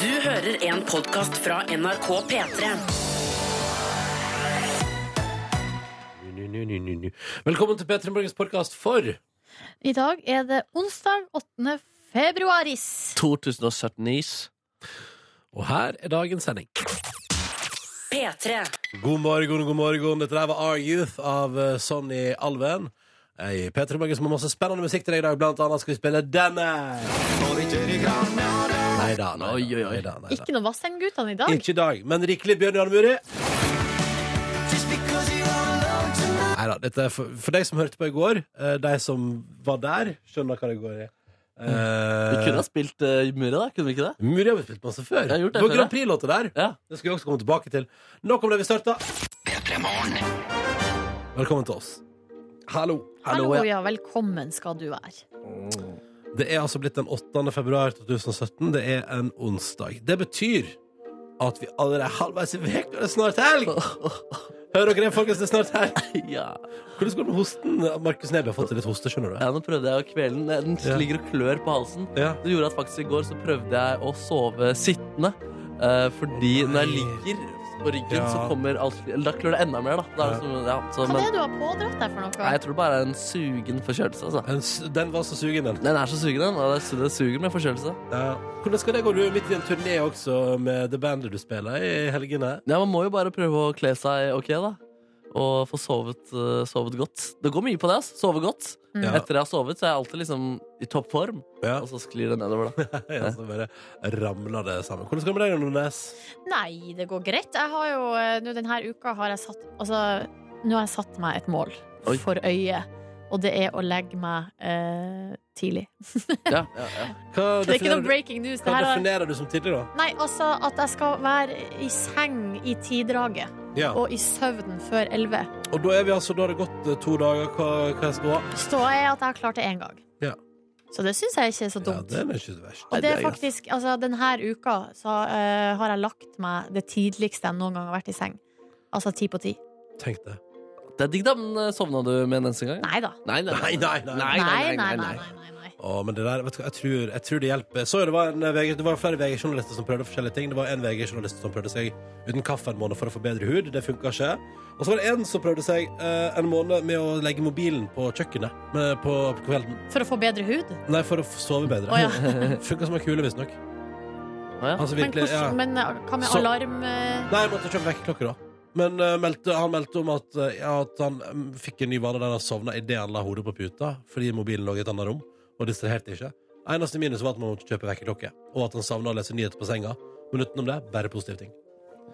Du hører en podcast fra NRK P3. Nu, nu, nu, nu, nu. Velkommen til P3 Morgens podkast for I dag er det onsdag 8. februaris. 2017-is. Og her er dagens sending. P3. God morgen, god morgen. Dette der var Our Youth av eh, Sonny Alven. Jeg er P3 Morgen som har masse spennende musikk til deg i dag. Blant annet skal vi spille denne. Nei da, nei Oi, oi, oi. da. Nei da. Ikke noe Vassendgutene i dag. Ikke i dag, men rikelig Bjørn Jan Muri. Nei da, dette er for, for deg som hørte på i går, eh, de som var der, skjønner hva det går i. Vi Eh, kunne ha spilt uh, Muri, da. Kunne vi ikke det? Muri har vi spilt masse før. Jeg har gjort det det var før, Grand Prix-låter der. Ja. Det skal vi også komme tilbake til. Nok om det vi starta. Velkommen til oss. Hallo. Hallo, Hallo, ja. ja. Velkommen skal du være. Det er altså blitt den 8. februar 2017. Det er en onsdag. Det betyr at vi allerede er halvveis i veka. Det er snart helg! Hører dere det, folkens? Det er snart helg. ja. Hvordan går det med hosten? Markus Neby har fått litt hoste, skjønner du. ja, nå prøvde jeg å kvele den. Den Ja. ligger og klør på halsen. Ja. Det gjorde at faktisk i går så prøvde jeg å sove sittende. eh, fordi Å, nei. når jeg ligger på ryggen, Ja. så kommer alt Eller da klør det enda mer, da. da er det som, ja, så, Hva men, er det du har pådratt deg for noe? nei, jeg tror det bare er en sugen forkjølelse, altså. Den s- Den var så sugen, den. Den er så sugen, den. og det su- Det suger med forkjølelse. Ja. Hvordan skal det gå? Du er midt i en turné også med det bandet du spiller i helgene. Ja, Man må jo bare prøve å kle seg ok, da. Og få sovet, eh, sovet godt. Det går mye på det. ass. Sove godt. Mm. Ja. Etter jeg har sovet, så er jeg alltid liksom i toppform. Ja. Og så sklir det nedover, da. Ja, så bare ramler det sammen. Hvordan skal det med deg, Nordnes? Nei, det går greit. Jeg har jo, eh, nå Denne uka har jeg satt Altså, nå har jeg satt meg et mål Oi. for øyet. Og det er å legge meg eh, tidlig. Ja, ja, ja. Hva Det er ikke definerer, noe breaking news. du, Det her hva er, definerer du som tidlig, da? nei, altså at jeg skal være i seng i tiddraget Ja. og i søvnen før elleve. Og da er vi altså, da har det gått eh, to dager. Hva, hva er ståa? Ståa er at jeg har klart det én gang. Ja. Så det syns jeg ikke er så Ja, dumt. det er ikke så verst. Nei, Og det det er er greit. faktisk, altså Denne uka så, eh, har jeg lagt meg det tidligste jeg noen gang har vært i seng. Altså ti på ti. Tenk det. Det er digg, da. Men sovna du med en eneste gang? Nei da. Nei, nei, Nei, nei, nei. nei, nei, nei. Å, men det der, vet du hva, jeg tror, jeg tror det hjelper. Så jo, det var, en, eh, VG, det var flere VG-journalister som prøvde forskjellige ting. Det var en VG-journalist som prøvde seg uten kaffe en måned for å få bedre hud. Det funka ikke. Og så var det en som prøvde seg eh, en måned med å legge mobilen på kjøkkenet med, på, på kvelden. For å få bedre hud. Nei, for å f- sove bedre. Å, ja. Funka som en kule, visstnok. Å, ja. Altså, Men, virkelig, ja. hvordan, men eh, hva med Så- alarm? eh, Nei, jeg måtte kjøpe vekkerklokke da. Men eh, meldte, han meldte om at, eh, ja, at han mm, fikk en ny vane der han sovna idet han la hodet på puta fordi mobilen lå i et annet rom og distraherte ikke. Eneste minus var at man måtte kjøpe vekkerklokke, og at han savna å lese nyheter på senga. Men utenom det, bare positive ting.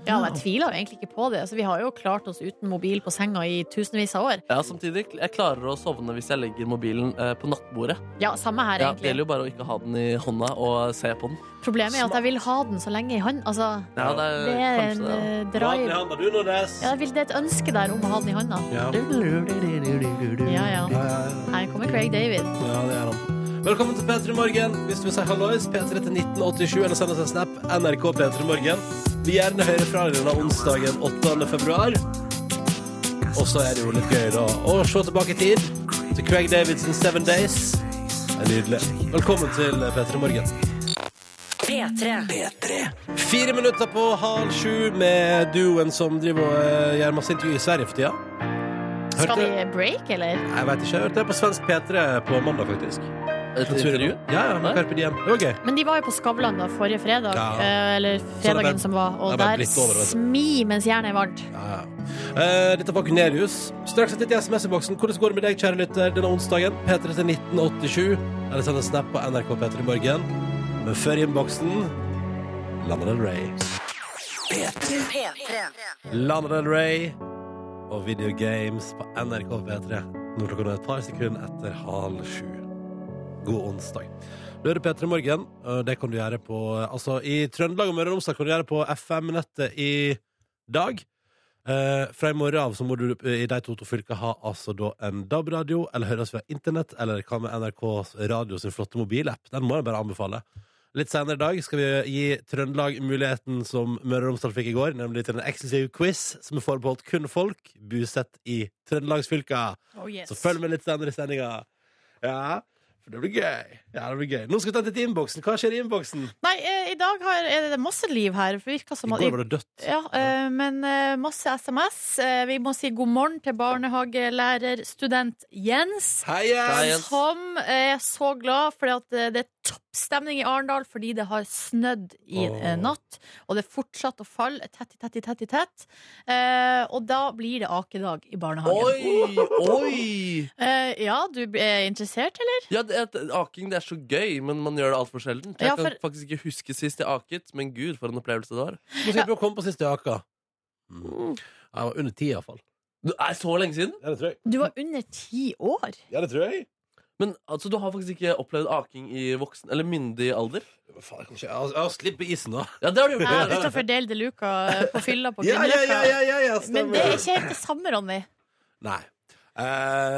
Ja, jeg tviler jo egentlig ikke på det. Altså, vi har jo klart oss uten mobil på senga i tusenvis av år. Ja, samtidig, jeg klarer å sovne hvis jeg legger mobilen eh, på nattbordet. Ja, samme her, Ja, det gjelder egentlig. jo bare å ikke ha den i hånda og se på den. Problemet er at jeg vil ha den så lenge i hånd. Altså, Ja, det er, det er en kanskje det, eh, Hva hadde i drive. handa du, Nordnes? Ja, jeg vil- det er et ønske der om å ha den i hånda. Ja. Ja, ja. Ja, ja, Her kommer Craig David. ja. ja, det er han. Velkommen til P3 Morgen. Hvis du vil si hallois, P3 til 1987, eller send oss en snap. NRK P3 Morgen. Vi gjerne hører fra deg denne onsdagen 8. februar. Og så er det jo litt gøy da å se tilbake i tid til Craig Davidson Seven Days. Det er nydelig. Velkommen til P3 Morgen. P3. Fire minutter på halv sju med duoen som driver og eh, gjør masse intervju i Sverige for tida. Skal Hørte- vi break, eller? Jeg vet ikke. Jeg hørte det på svensk P3 på mandag, faktisk. ja. Et intervju? Ja, ja. med Nei. Carpe Diem. Det var gøy. Men de var jo på Skavlan da forrige fredag, Ja. eh, eller det fredagen bare- som var, og det bare der blitt over, vet du. smi mens jernet er varmt. Ja, ja. Eh, dette var Gunerius. Straks etter SMS-boksen. Hvordan går det med deg, kjære lytter, denne onsdagen? P3 til 1987. Eller send en snap på NRK P3 i morgen. Men før innboksen Lana Del Rey. P3. Lana Del Rey og Video Games på NRK P3. Nå klokka nå er et par sekunder etter halv sju. God onsdag. Du hører P3 Morgen. og Det kan du gjøre på Altså, i Trøndelag og Møre og Romsdal kan du gjøre det på FM-nettet i dag. Eh, fra i morgen av så må du eh, i de to, to fylka ha altså da en DAB-radio, eller høre oss via internett, eller hva med NRKs radio sin flotte mobilapp? Den må jeg bare anbefale. Litt senere i dag skal vi gi Trøndelag muligheten som Møre og Romsdal fikk i går, nemlig til en eksklusiv quiz som er forbeholdt kun folk bosatt i trøndelagsfylka. Så følg med litt senere i sendinga. Ja, for det blir gøy. Ja, det blir gøy. Nå skal vi ta en titt i innboksen. Hva skjer i innboksen? Nei, eh, i dag har, er det masse liv her. For det virker I som at går var det dødt. ja, eh, men eh, masse SMS. Eh, Vi må si god morgen til barnehagelærer, student Jens. Heia! Hei, Jens. Som eh, er så glad fordi at eh, det er toppstemning i Arendal fordi det har snødd i Åh. eh, natt. Og det er fortsatt å falle tett i tett i tett i tett. Eh, og da blir det akedag i barnehagen. Oi, oi! Eh, ja, du er interessert, eller? Ja, det, at- aking det er så gøy, men man gjør det altfor sjelden. Jeg Ja, for- kan faktisk ikke huske sist jeg aket, men gud, for en opplevelse det var. Nå skal vi komme på siste jaka. Mm. Jeg var under ti, iallfall. Det er så lenge siden! Ja, det tror jeg. Du var under ti år. Ja, det tror jeg. Men altså, du har faktisk ikke opplevd aking i voksen eller myndig alder? Faen, jeg kan ikke- jeg har- jeg har slipp i isen, da. Ja, det har du gjort. Jeg er utafor Del de Luca eh, på fylla på Ja, ja, ja, Grünerløkka. ja, ja, ja, Men stemmer. det er ikke helt det samme, Ronny. Nei. Eh,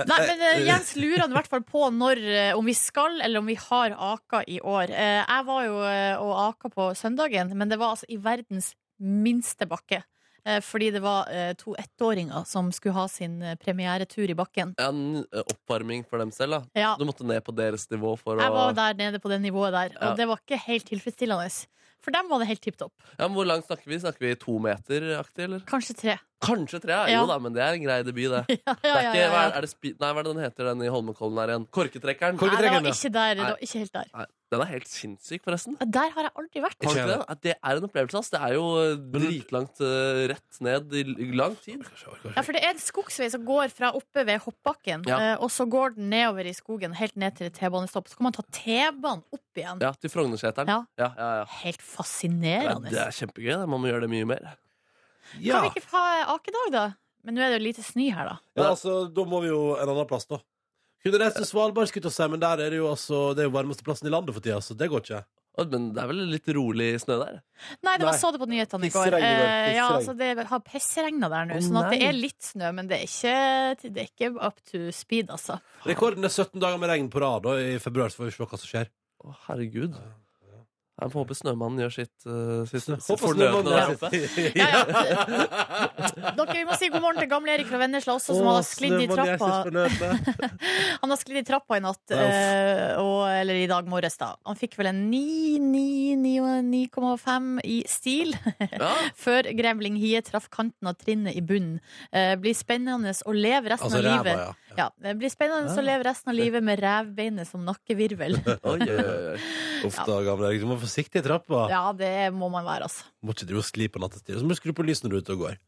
Nei, men eh, Jens lurer han i hvert fall på når, eh, om vi skal eller om vi har aka i år. Eh, jeg var jo eh, og aka på søndagen, men det var altså i verdens minste bakke. Eh, fordi det var eh, to ettåringer som skulle ha sin eh, premieretur i bakken. En eh, oppvarming for dem selv, da. Ja, Du måtte ned på deres nivå for jeg å var der nede på det nivået der, Ja. og det var ikke helt tilfredsstillende. For dem var det helt tipp topp. Ja, men Hvor langt snakker vi? Snakker vi to meter-aktig, eller? Kanskje tre. Kanskje tre? Ja. Jo da, men det er en grei debut, det. Ja, Det ja, er ja, ikke, ja, hva er, ja. er det spi... Nei, hva er det den heter, den i Holmenkollen her igjen? Korketrekkeren? Kork- Nei, det var Nei. ikke der. Det var ikke helt der. Nei, den er helt sinnssyk, forresten. Ja, Der har jeg aldri vært. Har du Ikke ikke det? At det er en opplevelse, ass. Det er jo eh, dritlangt eh, rett ned i l- lang tid. Ja, for det er en skogsvei som går fra oppe ved hoppbakken, Ja. eh, og så går den nedover i skogen, helt ned til et T-banestopp. Så kan man ta T-banen opp igjen. Ja, til Frognerseteren. Ja. Ja, ja, ja. Helt Ja, fascinerende. det er kjempegøy. Det. Man må gjøre det mye mer. Kan Ja. vi ikke ha eh, akedag, da? Men nå er det jo lite snø her, da. ja, altså, da må vi jo en annen plass, da. Kunne reist til Svalbard, skulle jeg til å si, men der er det jo altså Det er jo varmeste plassen i landet for tida, så det går ikke. Å, Men det er vel litt rolig snø der? Nei, det var Nei. så det på nyhetene i går. Pisseregn i Eh, går, ja, pisseregn. altså det har pissregna der nå, Å, sånn at det nei. er litt snø, men det er ikke, det er ikke up to speed, altså. Rekorden er 17 dager med regn på rad, og i februar så får vi se hva som skjer. Å, herregud. Jeg får håpe Snømannen gjør sitt, uh, sitt, sitt Håper fornødne snømannen der er oppe. sitt. Ja, ja. Dere, vi må si god morgen til gamle Erik fra Vennesla også, som Å, har sklidd i snømannen er trappa. sitt fornødne. Han har sklidd i trappa i natt, Ja, uff. eh, og, eller i dag morges, da. Han fikk vel en 9, 9, 9, 9,5 i stil Ja. før Gremling Hie traff kanten av trinnet i bunnen. Eh, blir spennende å leve resten Altså av ræva, livet. ja. Ja, det blir spennende å leve resten av livet med revbeinet som nakkevirvel. Oi, oi, oi. Uff da, gamle Erik. Du må være forsiktig i trappa. Ja, det må man være, altså. Må ikke drive og skli på nattestid. Så må du skru på lyset når du er ute og går.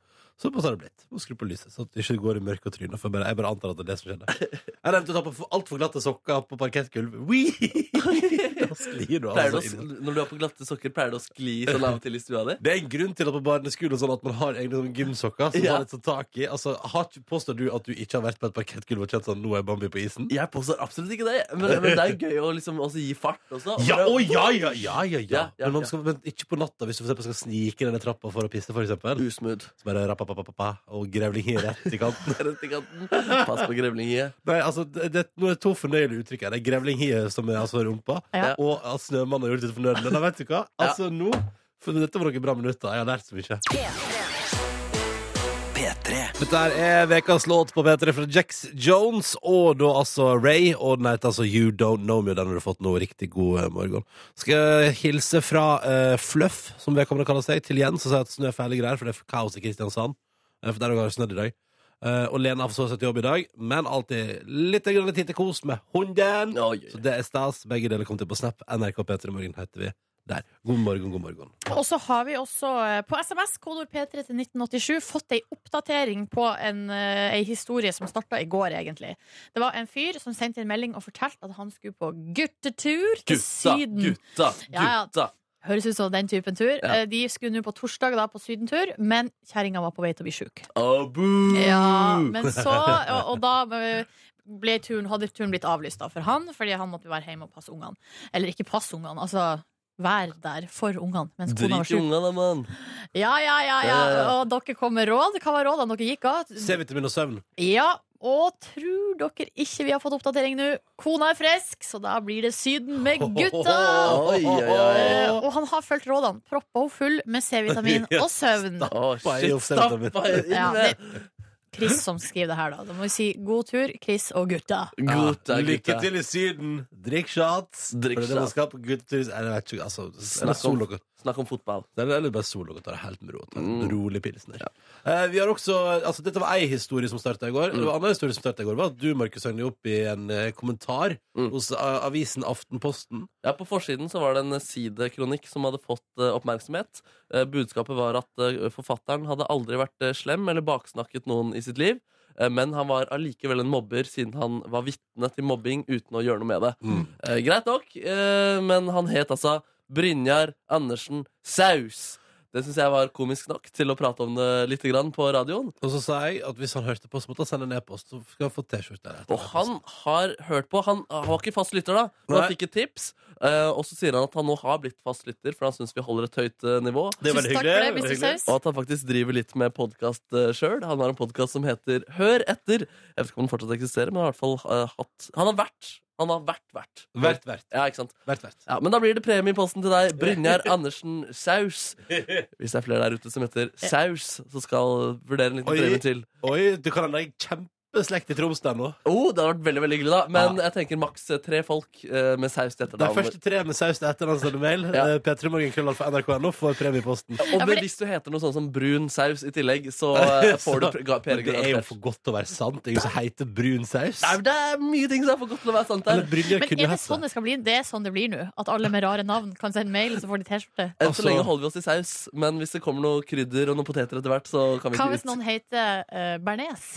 Så på så har det blitt. Må skru på lyset, så at du ikke går i mørke og trynet. For jeg bare, jeg bare antar at det er det som skjedde. Jeg nevnte å ta på for- altfor glatte sokker på parkettgulv. Da sklir du Pleier du altså å, inn. når du er på glatte sokker, pleier du å skli sånn av og til i stua di? Det er en grunn til at på barneskolen og sånn at man har egne sånne gymsokker som Ja. har litt sånn tak i. Altså, har, ikke- påstår du at du ikke har vært på et parkettgulv og kjent sånn 'nå er Bambi på isen'? Jeg påstår absolutt ikke det, men, men det er jo gøy å liksom også gi fart også. Og Ja, det- å ja, ja, ja, ja, ja. Ja, ja, Men, man ja. skal, men ikke på natta, hvis du for eksempel skal snike ned den trappa for å pisse, for eksempel. Usmooth. Så bare rapapapapa og grevling rett i kanten. Rett i kanten. Pass på grevlinghiet. Nei, altså, det, det, nå er det to fornøyelige uttrykk her. Det er grevlinghie, som er altså rumpa, Ja. og at snømannen har gjort litt fornøyelig. Men vet du hva? Altså, nå For dette var noen bra minutter. Jeg har lært så mye. Dette her er ukas låt på P3 fra Jax Jones, og da altså Ray. Og den heter altså You Don't Know Me, og den har du fått nå. Riktig god eh, morgen. Skal jeg hilse fra eh, Fluff, som vedkommende kaller seg, til Jens, og si at snø er fæle greier, for det er kaos i Kristiansand. Eh, For der har det snødd i dag. Eh, og Lena har forsått seg til jobb i dag, men alltid litt grann tid til kos med hunden. Oi, oi. Så det er stas. Begge deler kom til på Snap. NRK P3 Morgen heter vi der. God morgen, god morgen. Og så har vi også eh, på SMS, kodeord P3 til 1987, fått ei oppdatering på en, eh, ei historie som starta i går, egentlig. Det var en fyr som sendte en melding og fortalte at han skulle på guttetur til Gutta, Syden. gutta, Ja, ja. gutta. Høres ut som den typen tur. Ja. Eh, De skulle nå på torsdag da på sydentur, men kjerringa var på vei til å bli sjuk. Abu! Ja, men så Og, og da eh, ble turen, hadde turen blitt avlyst da for han, fordi han måtte være hjemme og passe ungene. Eller ikke passe ungene, altså være der for ungene mens kona var Drit i sjuk. unga, da, mann. Ja, ja, ja, ja. Ja, ja, ja. Og dere kom med råd. Hva var rådene dere gikk av? C-vitamin og søvn. Ja, og tror dere ikke vi har fått oppdatering nå? Kona er frisk, så da blir det Syden med gutta! Oi, oi, oi. Eh, og han har fulgt rådene. Proppa henne full med C-vitamin og søvn. Å, Stappa i shit, oss, stappa i Ja, inn det- det. Chris som skriver det her, da. Da må vi si god tur, Chris og gutta. Gutta, Lykke gutta. til i Syden! Drikk shots! Drikk For det er det man shots. skal på guttetur. Jeg vet ikke, altså, eller Snakk om- solo- Snakk om fotball. Eller, eller bare solo og tar det helt med ro. Ta en Mm. Rolig pilsner. Eh, vi har også, altså Dette var ei historie som starta i går. En Mm. annen historie som startet i går var at du Markus, hang deg opp i en eh, kommentar Mm. hos eh, avisen Aftenposten. Ja, På forsiden så var det en sidekronikk som hadde fått eh, oppmerksomhet. Eh, budskapet var at eh, forfatteren hadde aldri vært eh, slem eller baksnakket noen i sitt liv, eh, men han var allikevel en mobber siden han var vitne til mobbing uten å gjøre noe med det. Eh, greit nok, eh, men han het altså Brynjar Andersen Saus. Det syns jeg var komisk nok til å prate om det litt grann på radioen. Og så sa jeg at hvis han hørte på, så måtte han sende en e-post. Så skal han få T-skjorte. der etter Og han har hørt på. Han var ikke fast lytter, da. Men han altså. Nei. fikk et tips, eh, og så sier han at han nå har blitt fast lytter, for han syns vi holder et høyt eh, nivå. Det er veldig Tusen takk hyggelig, for det, veldig Mr. hyggelig. Saus. Og at han faktisk driver litt med podkast uh, sjøl. Han har en podkast som heter Hør etter. Jeg vet ikke om den fortsatt eksisterer, men han har i hvert fall eh, hatt Han har vært. Han har vært vert. Hvert, hvert. Ja, ikke sant? hvert, hvert. Ja, men da blir det premie i posten til deg, Brynjar Andersen Saus. Hvis det er flere der ute som heter Saus, så skal vurdere en liten Oi. premie til. Oi, du kan ha deg kjempeslekt i Troms der nå. Oh, det hadde vært veldig veldig hyggelig, da. Men jeg tenker maks eh, tre folk eh, med saus De til etternavn. første tre med saus til etternavn sender mail. eh, Ja. Ja. P3morgenkrøllalfa.nrk.no får premie i posten. Og Ja, for men det- hvis du heter noe sånn som brun saus i tillegg, så eh, får du Så- pr- ga- Men det er jo PR-garantert. for godt til å være sant. Ingen som heter brun saus. Nei, men Det er mye ting som er for godt til å være sant Eller her. Brynjar Men kunne jo er det hett sånn det skal bli? Det er sånn det blir nå. At alle med rare navn kan sende mail, så får de T-skjorte. Enn altså- så lenge holder vi oss i saus, men hvis det kommer noe krydder og noen poteter etter hvert, så kan vi Hva ikke hvis ut. noen heter eh, bearnés?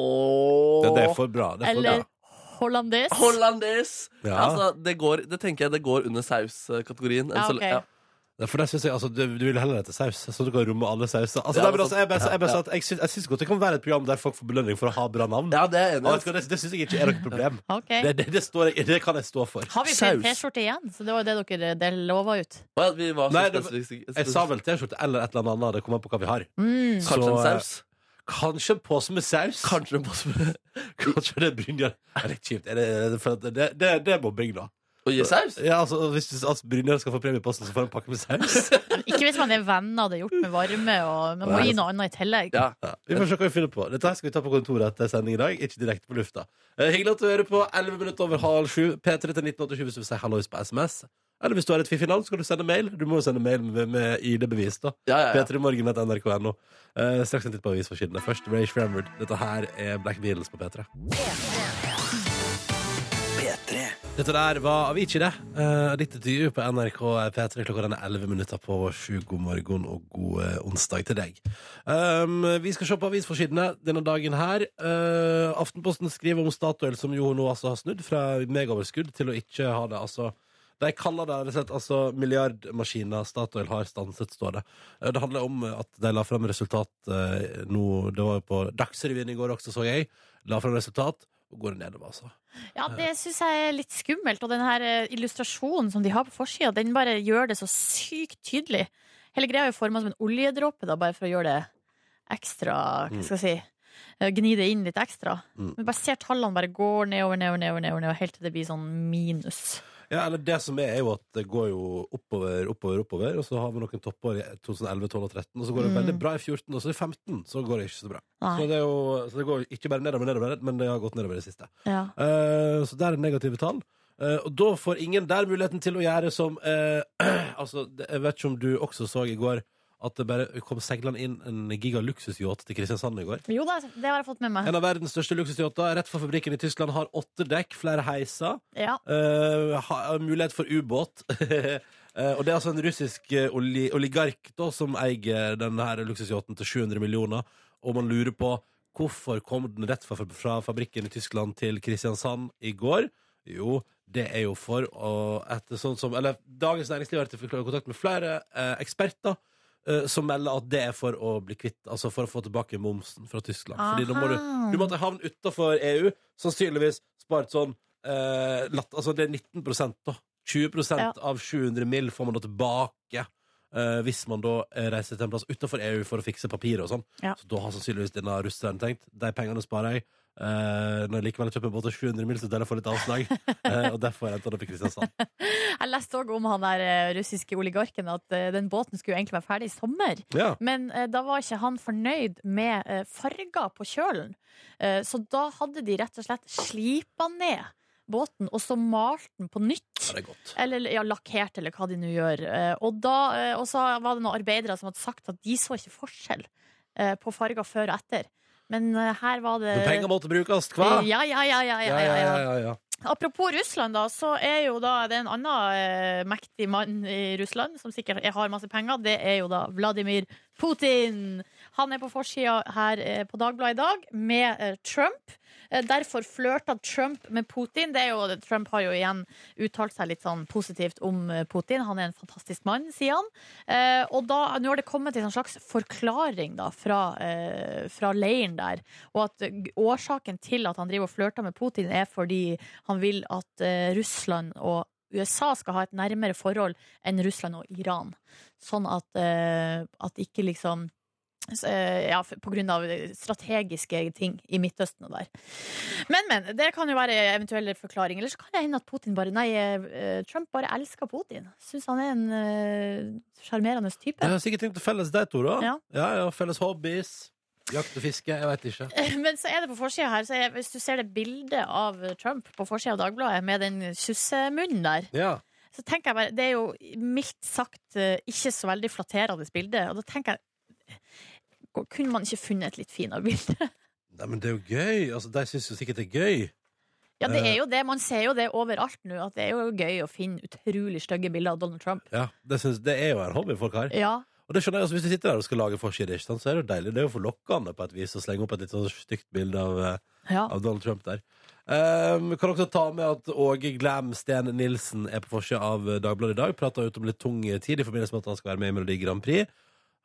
Åh. Ja, det er for bra. Det er for Eller bra. hollandes? Hollandes! Ja. Altså, det, går, det tenker jeg det går under saus-kategorien. Ja, ok. Ja, For der synes jeg, altså, du, du vil heller hete saus, så du kan romme alle sauser. Altså, nei, Ja, men men altså, jeg bare- sant. jeg bare Ja, sa at jeg syns- jeg syns godt det kan være et program der folk får belønning for å ha bra navn. ja, det er jeg Og enig. vet du hva, det det syns jeg ikke er noe problem. Ok. Det, det, det, står jeg, det kan jeg stå for. Har vi flere Saus. T-skjorte igjen? Så det var jo det dere det lova ut. Å, ja, vi var så Nei, det- spesifikke. Jeg sa vel T-skjorte eller et eller annet. Det kommer an på hva vi har. Mm. Så, eh, Kanskje en saus? Kanskje en pose med saus. Kanskje en pose Kanskje det er Brynjar. Det er litt kjipt. Er det- er det- for at Det, det, det er mobbing, da. Å gi saus? Ja, altså, hvis du- altså, Brynjar skal få premie i posten, så får han pakke med saus. Ikke hvis man er venner det er gjort med varme, og man må Nei. gi noe annet i tillegg. Ja. Ja, vi får se hva vi finner på. Dette her skal vi ta på kontoret etter sending i dag. Ikke direkte på lufta. Eh, hyggelig at du hører på. 11 minutter over halv sju. P3 til 1987 hvis du vil si hallois på SMS. Eller hvis du har et fiffig navn, så kan du sende mail. Du må jo sende mail med, med ID-bevis, da. Ja, ja, ja. P3morgen.nrk.no. Eh, straks en titt på avisforsidene. Først Ray Shramford. Dette her er Black Beatles på P3. Dette der var Avicii, det. Uh, litt intervju på NRK P3. Klokka den er 11 minutter på sju. God morgen og god eh, onsdag til deg. Um, vi skal se på avisforsidene denne dagen her. Eh, Aftenposten skriver om Statoil, som jo nå altså har snudd fra megaoverskudd til å ikke ha det. altså de kaller det rett og slett altså, milliardmaskiner Statoil har stanset, står det. Eh, Det handler om at de la fram resultat eh, nå Det var jo på Dagsrevyen i går også, så jeg. La fram resultat, og går nedover, altså. Ja, det syns jeg er litt skummelt. Og den her eh, illustrasjonen som de har på forsida, den bare gjør det så sykt tydelig. Hele greia er jo forma som en oljedråpe, da, bare for å gjøre det ekstra Hva skal jeg si? eh, Gni det inn litt ekstra. Mm. Men bare ser tallene bare går nedover, nedover, nedover, nedover, nedover helt til det blir sånn minus. Ja, eller det som er, er jo at det går jo oppover, oppover, oppover, og så har vi noen topper i 2011, 12 og 13, og så går det Mm. veldig bra i 14, og så i 15 så går det ikke så bra. Så Nei. det, er jo, så det går ikke bare nedover, nedover, men det har gått nedover i det siste. Ja. Eh, så der er negative tall. Eh, og da får ingen der muligheten til å gjøre som eh, Altså, det, jeg vet ikke om du også så i går at det bare kom seilende inn en giga luksusyacht til Kristiansand i går. Jo da, det har jeg fått med meg. En av verdens største luksusyachter rett for fabrikken i Tyskland har åtte dekk, flere heiser. Ja. Eh, ha, mulighet for ubåt. Eh, og det er altså en russisk eh, oli oligark da, som eier denne her luksusyachten til 700 millioner. Og man lurer på hvorfor kom den rett fra, fra fabrikken i Tyskland til Kristiansand i går. Jo, det er jo for å etter sånn som, eller Dagens Næringsliv har vært i kontakt med flere eh, eksperter eh, som melder at det er for å bli kvitt, altså for å få tilbake momsen fra Tyskland. Fordi da må du Aha. du måtte havne utafor EU, E sannsynligvis spart sånn eh, latt, Altså det er 19 da. 20 Ja. av 700 mill. får man da tilbake. eh, hvis man da eh, reiser til en plass utenfor EU for å fikse papirer og sånn. Ja. Så da har sannsynligvis denne russeren tenkt de pengene sparer jeg. eh, når jeg likevel kjøper en båt til 700 mil, så der jeg får litt avslag. Eh, og derfor endte han opp i Kristiansand. Jeg leste òg om han der eh, russiske oligarken at eh, den båten skulle jo egentlig være ferdig i sommer. Ja. Men eh, da var ikke han fornøyd med eh, farger på kjølen. Eh, så da hadde de rett og slett slipa ned båten, og så malt den på nytt. Ja, det er godt. Eller ja, lakkert, eller hva de nå gjør. Eh, og, da, eh, og så var det noen arbeidere som hadde sagt at de så ikke forskjell eh, på farger før og etter. Men eh, her var det Men penger måtte brukes, hva? ja, ja, ja, ja, ja, ja, ja. ja, ja. Apropos Russland, da, så er jo da det er en annen eh, mektig mann i Russland som sikkert er- har masse penger. Det er jo da Vladimir Putin. Han er på forsida her eh, på Dagbladet i dag med eh, Trump. Eh, Derfor flørta Trump med Putin. Det er jo, Trump har jo igjen uttalt seg litt sånn positivt om eh, Putin. Han er en fantastisk mann, sier han. Eh, og da, nå har det kommet en sånn slags forklaring da, fra, eh, fra leiren der. Og at eh, årsaken til at han driver og flørter med Putin, er fordi han vil at eh, Russland og USA skal ha et nærmere forhold enn Russland og Iran. Sånn at, eh, at ikke liksom s- eh, ja, for- på grunn av strategiske ting i Midtøsten og der. Men, men. Det kan jo være eventuelle forklaringer. Eller så kan det hende at Putin bare Nei, eh, Trump bare elsker Putin. Syns han er en eh, sjarmerende type. Jeg har sikkert tenkt å felles de to, da. Ja. Ja. ja, Felles hobbies. Jakt og fiske. Jeg veit ikke. Eh, Men så er det på forsida her, så er, hvis du ser det bildet av Trump på forsida av Dagbladet med den kyssemunnen der, Ja. så tenker jeg bare Det er jo mildt sagt eh, ikke så veldig flatterende bilde, og da tenker jeg kunne man ikke funnet et litt finere bilde? Nei, men det er jo gøy. Altså, De syns jo sikkert det er gøy. Ja, det Eh. er jo det. Man ser jo det overalt nå, at det er jo gøy å finne utrolig stygge bilder av Donald Trump. Ja, Det, syns- det er jo en hobby folk har. Ja, Og det skjønner jeg, altså Hvis du sitter der og skal lage forside, ikke sant, så er det jo deilig. Det er jo forlokkende på et vis å slenge opp et litt sånn stygt bilde av, eh, ja. av Donald Trump der. Um, kan også ta med at Åge Glam Sten Nilsen er på forsida av eh, Dagbladet i dag. Prata ut om litt tung eh, tid i forbindelse med at han skal være med i Melodi Grand Prix.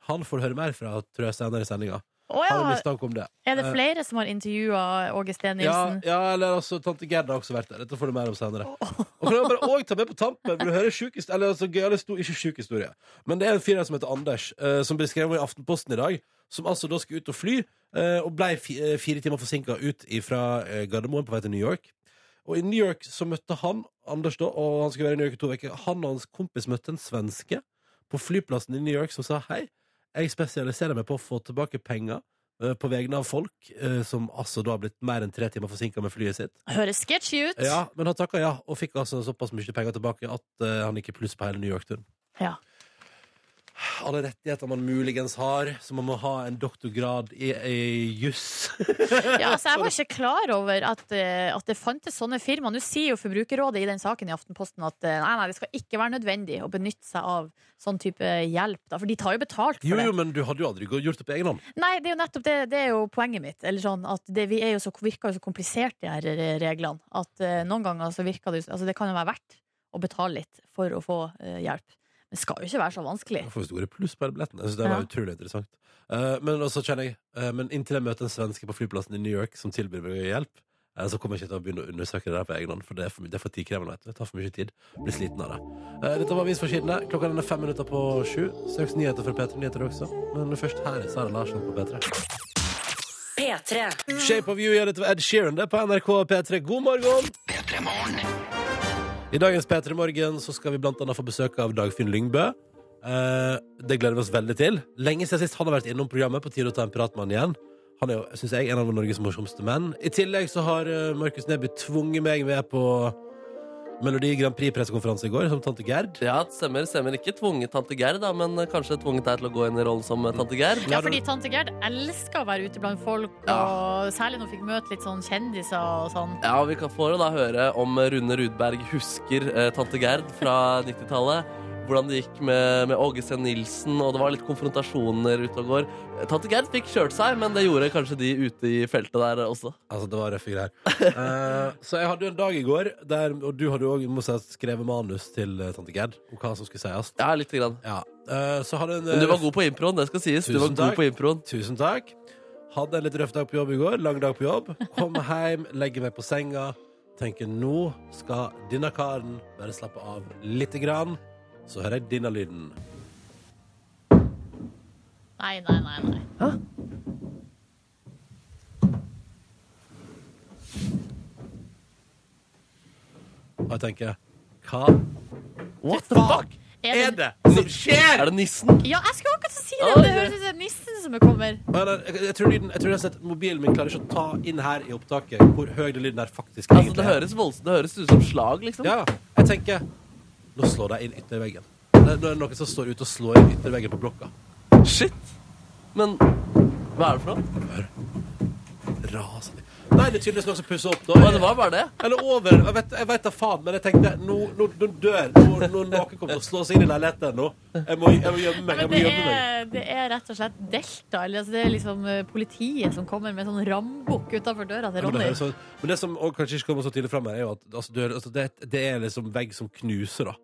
Han får høre mer fra, tror jeg, senere i sendinga. Å Har en ja. mistanke om det. Er det flere som har intervjua Åge Steen Eh. Ja, Nilsen? ja, eller altså, tante Gerd har også vært der. Dette får du mer om senere. Og kan jeg bare også ta med på tampen Vil du høre sjuk historie? Eller altså, gøyale sto ikke sjuk historie. Men det er en fyr her som heter Anders, eh, som ble skrevet i Aftenposten i dag. Som altså da skulle ut og fly, eh, og ble fi, eh, fire timer forsinka ut fra eh, Gardermoen på vei til New York. Og i New York så møtte han Anders da, og han skulle være i New York i to uker. Han og hans kompis møtte en svenske på flyplassen i New York som sa hei, jeg spesialiserer meg på å få tilbake penger eh, på vegne av folk eh, som altså da har blitt mer enn tre timer forsinka med flyet sitt. Høres sketchy ut. Ja, Men han takka ja, og fikk altså såpass mye penger tilbake at eh, han gikk i pluss på hele New York-turen. Ja. Alle rettigheter man muligens har, så man må ha en doktorgrad i, i juss. Ja, altså, jeg var ikke klar over at, eh, at det fantes sånne firmaer. Nå sier jo Forbrukerrådet i den saken i Aftenposten at eh, nei, nei, det skal ikke være nødvendig å benytte seg av sånn type hjelp. Da, for de tar jo betalt for Jo, jo, det. men du hadde jo aldri gå- gjort det på egen hånd. Nei, det er jo nettopp det, det er jo poenget mitt. Eller sånn, at det vi er jo så, virker jo så komplisert, de her eh, reglene, at eh, noen ganger så virker det jo Altså, det kan jo være verdt å betale litt for å få eh, hjelp. Men det skal jo ikke være så vanskelig. Jeg får store pluss på hele billetten. Jeg synes det var Ja. utrolig interessant. Eh, men også kjenner jeg eh, Men inntil jeg møter en svenske på flyplassen i New York som tilbyr meg hjelp, eh, så kommer jeg ikke til å begynne å undersøke det der på egen hånd, for det er for, my- det er for tidkrevende. vet du. Det tar for mye tid. Blir sliten av det. Eh, dette var Avisforsidene. Klokka den er fem minutter på sju. Straks nyheter fra P3 Nyheter også. Men først her er Sara Larsen på P3. P3. Shape of You gjør det til Ed Sheeran det er på NRK P3. God morgen! I dagens P3 Morgen så skal vi blant annet få besøk av Dagfinn Lyngbø. Eh, det gleder vi oss veldig til. Lenge siden sist han har vært innom programmet. På tide å ta en prat med han igjen. Han er jo, synes jeg, en av Norges morsomste menn. I tillegg så har eh, Markus Neby tvunget meg med på Melodi Grand Prix-pressekonferanse i går, som tante Gerd. Ja, stemmer, stemmer. Ikke tvunget tante Gerd, da, men kanskje tvunget deg til å gå inn i rollen som eh, tante Gerd. Ja, fordi tante Gerd elsker å være ute blant folk, og særlig når hun fikk møte litt sånn kjendiser og sånn. Ja, og Vi kan få da høre om Rune Rudberg husker eh, tante Gerd fra 90-tallet. Hvordan det gikk med, med Åge Steen Nilsen, og det var litt konfrontasjoner ute og går. Tante Gerd fikk kjørt seg, men det gjorde kanskje de ute i feltet der også. Altså, det var røffe greier. Eh, så jeg hadde jo en dag i går, der, og du hadde jo også, må si, skrevet manus til eh, tante Gerd om hva som skulle sies. Ja, lite grann. Ja. eh, så hadde en, Men du var god på improen, det skal sies. Du var Tusen god takk. på improen. Tusen takk. Hadde en litt røff dag på jobb i går. Lang dag på jobb. Kom hjem, legger meg på senga. Tenker nå skal denne karen bare slappe av lite grann. Så hører jeg denne lyden. Nei, nei, nei. nei. Og jeg tenker hva What the fuck er det som skjer?! Er det nissen? Ja, jeg skulle akkurat si det! Oi. Det høres ut som det er nissen som kommer. Nei, nei, Jeg, jeg tror, lyden, jeg tror rett og slett mobilen min klarer ikke å ta inn her i opptaket hvor høy den lyden her faktisk Altså, det er. høres voldsomt Det høres ut som slag, liksom. Ja, jeg tenker Nå slår de inn ytterveggen. Det er, nå er det noen som står ute og slår inn ytterveggen på blokka. Shit! Men hva er det for noe? Rasende. Nei, det er tydeligvis noen som pusser opp, Å, det da. var bare det. Eller over. Jeg vet, jeg vet da faen, men jeg tenkte nå, nå, nå dør nå, nå Noen kommer til å slå seg inn i leiligheten nå. Jeg må, jeg må gjemme meg. Men Jeg det må gjemme meg. er, det er rett og slett Delta. Eller, altså, det er liksom eh, politiet som kommer med sånn rambukk utenfor døra til Ja, Men det, Ronny. høres så, men det som også kanskje ikke kommer så tydelig fram, her, er jo at altså, dør, altså, det, det er liksom vegg som knuser. da.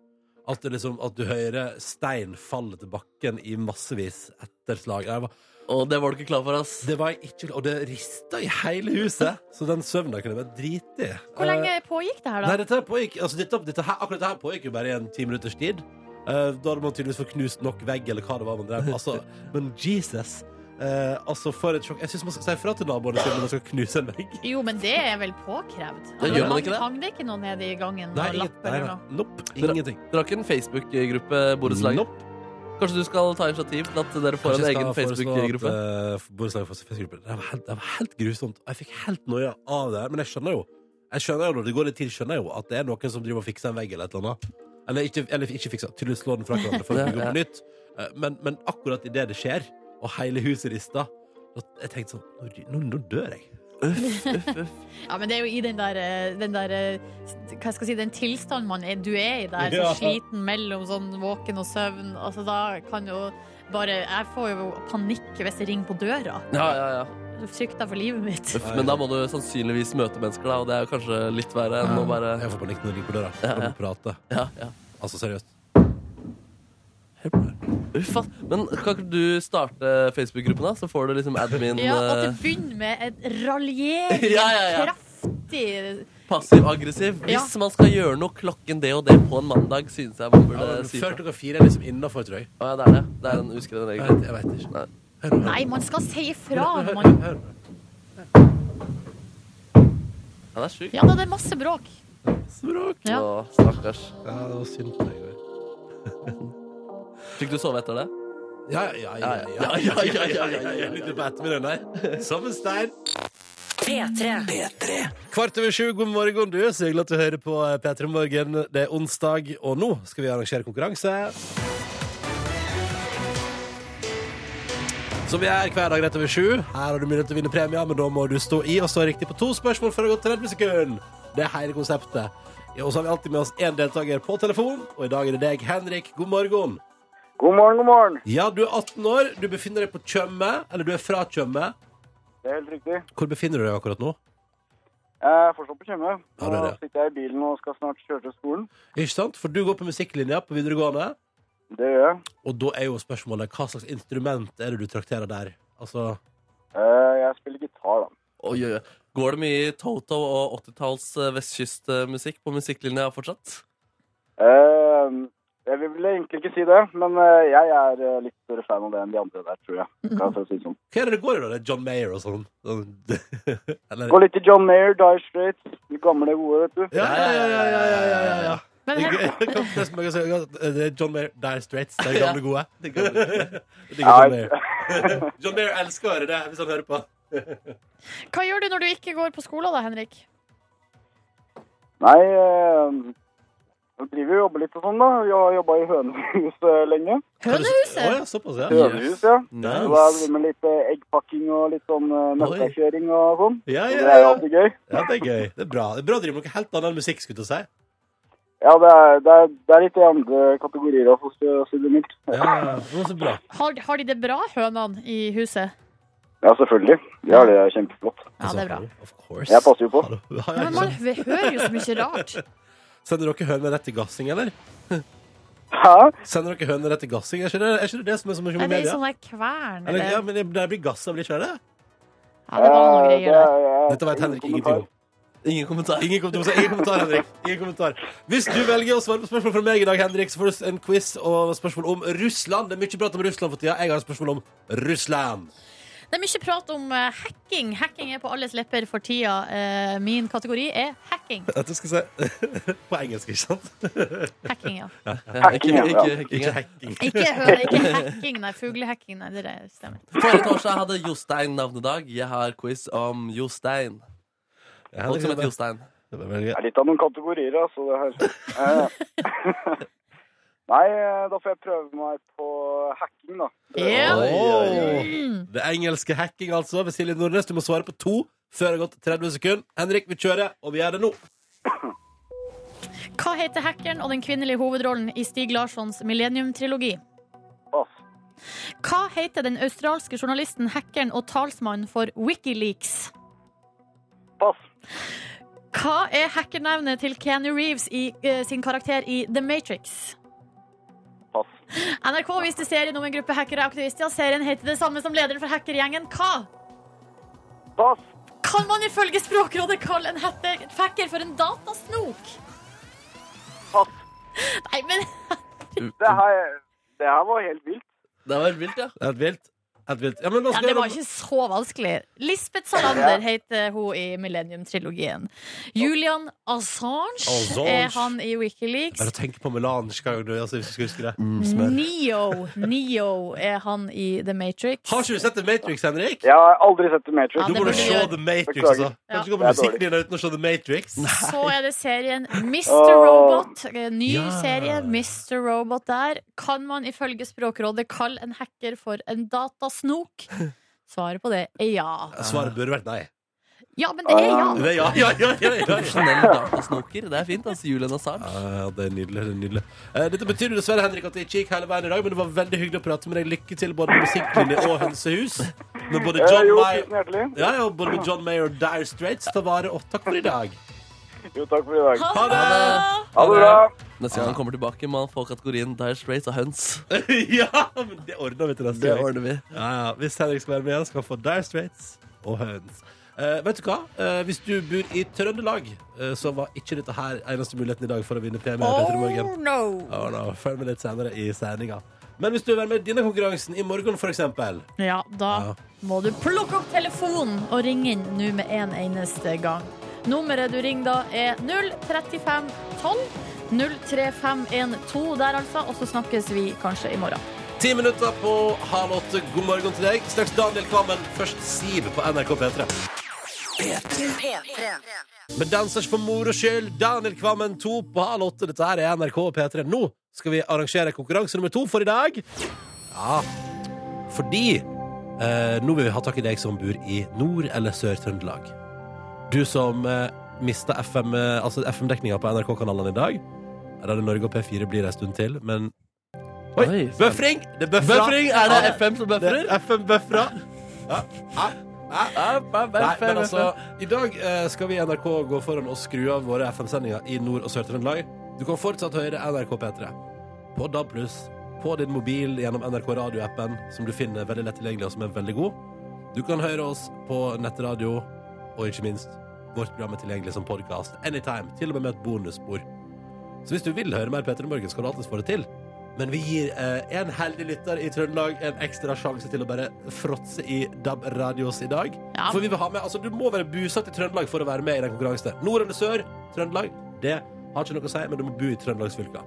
At, det liksom, at du hører stein falle til bakken i massevis etter slag. Jeg var, Å, det var du ikke klar for, ass. Det var jeg ikke Og det rista i hele huset. Så den søvnen der kunne jeg bare drite i. Hvor lenge pågikk det Eh, her, Nei, da? dette her pågikk altså, dette, dette her, Akkurat dette her pågikk jo bare i en ti minutters tid. Eh, da hadde man tydeligvis fått knust nok vegg, eller hva det var man drev med. Altså, men Jesus. Eh, altså, for et sjokk. Jeg syns man skal si ifra til naboene sine når man skal knuse en vegg. Jo, men det er vel påkrevd? Det gjør man ikke det. Hang det ikke noe nede i gangen? Nei, og ingen- lapper nei, eller nei. noe? Nope. Ingenting. Dere har ikke en Facebook-gruppe, borettslaget? Nope. Kanskje du skal ta initiativ til at dere får Kanskje en jeg egen skal foreslå at, Facebook-gruppe? eh, borettslaget får seg Facebook-gruppe. Det, var helt- det var helt grusomt. Og jeg fikk helt noia av det her. Men jeg skjønner jo Jeg skjønner jo når det går litt tid, skjønner jeg jo at det er noen som driver og fikser en vegg eller et eller annet. Eller ikke, eller ikke fikser, tydeligvis slår den fra hverandre for å Ja, bygge opp ja. nytt. Eh, Men, men akkurat idet det skjer, og hele huset rister, da jeg tenkte sånn nå, ry- nå, nå dør jeg. Ja, men det er jo i den der, eh, den der eh, Hva skal jeg si, den tilstanden man er, du er i der, Ja. så sliten mellom sånn våken og søvn, altså da kan jo bare Jeg får jo panikk hvis det ringer på døra. Ja, ja, ja. Jeg Frykter for livet mitt. Uff, men da må du sannsynligvis møte mennesker, da, og det er jo kanskje litt verre enn å bare Jeg får panikk når det ringer på døra. Ja, Jeg ja. må prate. Ja, ja. Altså, seriøst. Hør på det. Uff, ass. Men kan ikke du starte Facebook-gruppen, da? Så får du liksom admin Ja, at det eh, begynner med en raljering. Ja, ja, ja. Kraftig passiv-aggressiv. Hvis Ja. man skal gjøre noe klokken det og det på en mandag, synes jeg man Ja, burde men si før fra. klokka fire er liksom innafor, tror jeg. Å, ja, det er det. Det er en uskreven Jeg regel. vet, jeg vet ikke. Nei. Hør nå, hør nå. Nei, man skal si ifra. Hør, hør, Man, hør, hør. Han er sjuk. ja da, det er masse bråk. Språk. Ja. Å, stakkars. Ja, det var synd på deg. Roy. Fikk du sove etter det? Ja, ja, ja. ja, ja, ja, ja, ja, ja, ja, ja. Litt på ettermiddagen der. Som en stein. P3. Kvart over sju, god morgen, du. Så hyggelig at du hører på eh, P3 Morgen. Det er onsdag, og nå skal vi arrangere konkurranse. Som vi er hver dag rett over sju. Her har du mulighet til å vinne premie, men da må du stå i og svare riktig på to spørsmål før det har gått 30 sekunder. Det er hele konseptet. Ja, Og så har vi alltid med oss én deltaker på telefon, og i dag er det deg, Henrik. God morgen. God morgen, god morgen. Ja, du er 18 år, du befinner deg på Tjøme, eller du er fra Tjøme. Det er helt riktig. Hvor befinner du deg akkurat nå? Jeg er fortsatt på Tjøme. Ja, Nå det er det. sitter jeg i bilen og skal snart kjøre til skolen. Ikke sant? For du går på musikklinja på videregående, Det gjør jeg. og da er jo spørsmålet hva slags instrument er det du trakterer der? Altså, Eh, Jeg spiller gitar, da. Oi, oi, oi. Går det mye Toto og 80-talls eh, vestkystmusikk på musikklinja fortsatt? Eh, Jeg vil vel egentlig ikke si det, men eh, jeg er eh, litt større fan av det enn de andre der, tror jeg. Kan jeg få si det sånn. hva er det det går i da? Det er John Mayer og sånn? Eller... Gå litt til John Mayer, Die Straits. De gamle gode, vet du. Ja, ja, ja, ja, ja, ja, ja, ja, ja. Men Det her, er gøy. Det er som jeg kan si, det er John Mayer, Dire Straits, det er gamle gode. Det går ikke. Jeg digger John Mayer. John Mayer elsker å høre det, hvis han hører på. hva gjør du når du ikke går på skolen da, Henrik? Nei, eh, jeg driver jo og jobber litt og sånn, da. Jeg har jobba i hønehus eh, lenge. Å Hønehuset! ja, såpass, ja. Hønehus, ja. Så da driver Nice. jeg med litt eh, eggpakking og litt sånn eh, Oi. melkekjøring og sånn. Ja, Så Det ja, er jo ja. alltid gøy. Ja, det er gøy. Det er bra. Det er bra å drive med noe helt annet enn musikk, skulle jeg til å si. Ja, det er, det er, det er litt i andre kategorier, altså, for å si det mildt. Ja, det var så bra. Har, har de det bra, hønene i huset? Ja, selvfølgelig. Ja, det er kjempeflott. Ja, det er bra. Of course. Jeg passer jo på. Hallo. Ja, Ja, ja, men ikke man sant? hører jo så mye rart. Sender dere høner rett til gassing, eller? Hæ? Sender dere høner rett til gassing? Er ikke det er ikke det det som er så mye Er det med i media? sånn der kvern? Eller, Eller? ja, Ja, men det det blir gass av, blir ikke det? det var noe Eh, greier der. er- Dette vet Henrik ingenting om. Ingen kommentar. Ingen kommentar, ingen kommentar, Henrik. Ingen kommentar. Hvis du velger å svare på spørsmål fra meg i dag, Henrik, så får du en quiz og spørsmål om Russland. Det er mye prat om Russland for tida. Jeg har et spørsmål om Russland. Det er mye prat om eh, hacking. Hacking er på alles lepper for tida. Eh, Min kategori er hacking. Jeg tror jeg skal si På engelsk, ikke sant? Hacking, ja. Ikke, Hacking, ja. ikke, ikke, Ikke hacking. Ikke, hø- ikke hacking, nei. Fuglehacking, nei. Det er- stemmer. Forrige torsdag hadde Jostein navnedag. Jeg har quiz om Jostein. Ja, Folk som det, heter Jostein. det var veldig gøy. Det er litt av noen kategorier, altså, det her. Eh, Nei, eh, da får jeg prøve meg på hacking, da. Ja. Oi, oi, oi. Mm. Det engelske hacking, altså. Ved Silje Nordnes, du må svare på to før det har gått 30 sekunder. Henrik, vi kjører, og vi gjør det nå. Hva heter hackeren og den kvinnelige hovedrollen i Stig Larssons Millennium-trilogi? Pass. Hva heter den australske journalisten, hackeren og talsmannen for Wikileaks? Pass. Hva er hackernavnet til Keanu Reeves i eh, sin karakter i The Matrix? Pass. NRK viste serien om en gruppe hackere og aktivister. Serien heter det samme som lederen for hackergjengen. Hva Pass. kan man ifølge Språkrådet kalle en hatter- hacker for en datasnok? Pass. Nei, men Det her, det her var helt vilt. Det var helt vilt, ja. Helt vilt. Helt vilt. Ja, men nå Ja, skal det vi- var ikke så vanskelig. Lisbeth Salander heter hun i Millennium-trilogien. Julian Assange, Assange. er han i Bare Wikileaks. tenk på melange hver gang du altså, hvis du skal huske det. Mm. Neo, Neo er han i The Matrix. Har ikke du sett The Matrix, Henrik? Jeg har aldri sett The Matrix. Ja, Du det må burde jo du se gjøre. The Matrix, Beklager. altså. Kan Ja. du ikke gå Det på er dårlig. musikklinja uten å se The Matrix? Så er det serien Mr. Åh. Robot. Eh, Ny Ja. serie, Mr. Robot der. Kan man ifølge Språkrådet kalle en hacker for en datasnok? Svaret på det er ja. Svaret burde vært nei. Ja, men det er ja. Det er ja, ja, ja, ja, ja, ja. Profesjonell datasnoker. Det er fint. altså Julian Assange. Ja, det er nydelig. det er nydelig Eh, Dette betyr jo dessverre Henrik at det ikke gikk hele veien i dag, men det var veldig hyggelig å prate med deg. Lykke til både med musikklinje og hønsehus. Med både Eh, John jo, Mayer tusen hjertelig. ja, ja, både med John Mayer og Dire Straits. Ta vare og takk for i dag. Jo, takk for i dag. Ha Ha det! det! Ha det bra. Neste gang han kommer tilbake, må han få kategorien Dire Straits og Høns. Ja, men det ordner vi til neste Det gang. ordner vi. Ja, ja. Hvis Henrik skal være med igjen, skal han få Dire Straits og høns. Eh, vet du hva? Eh, hvis du bor i Trøndelag, eh, så var ikke dette her eneste muligheten i dag for å vinne premie. Petra Morgen. Oh no! Ja, da, Følg med litt senere i sendinga. Men hvis du vil være med i denne konkurransen i morgen, for eksempel Ja, da Ja. må du plukke opp telefonen og ringe inn nå med en eneste gang. Nummeret du ringer da er 03512. 03512 der, altså. Og så snakkes vi kanskje i morgen. Ti minutter på halv åtte. God morgen til deg. Straks Daniel Kvammen, først Siv på NRK P3. P3. Men dansers for moro skyld, Daniel Kvammen, to på halv åtte. Dette her er NRK P3. Nå skal vi arrangere konkurranse nummer to for i dag. Ja, fordi eh, nå vil vi ha tak i deg som bor i Nord- eller Sør-Trøndelag. Du som eh, mista FM, eh, altså FM-dekninga på NRK-kanalene i dag. Radio Norge og P4 blir det en stund til, men Oi! Oi, Bøfring! Det er bøfra. Buffering! Er det FM som Det bøfrer? er FM-bøfra. Ja. Ja. Nei, men altså, I dag eh, skal vi i NRK gå foran og skru av våre FM-sendinger i Nord- og Sør-Trøndelag. Du kan fortsatt høre NRK P3 på DAB+, på din mobil gjennom NRK Radio-appen, som du finner veldig lett tilgjengelig, og som er veldig god. Du kan høre oss på nettradio, og ikke minst vårt program er tilgjengelig som podkast anytime, til og med med et bonusspor. Så hvis du vil høre mer P3 Morgen, skal du alltids få det til. Men vi gir eh, en heldig lytter i Trøndelag en ekstra sjanse til å bare fråtse i DAB-radios i dag. Ja. For vi vil ha med, altså Du må være bosatt i Trøndelag for å være med i den konkurransen. der. Nord eller sør, Trøndelag, det har ikke noe å si, men du må bo i Trøndelagsfylka.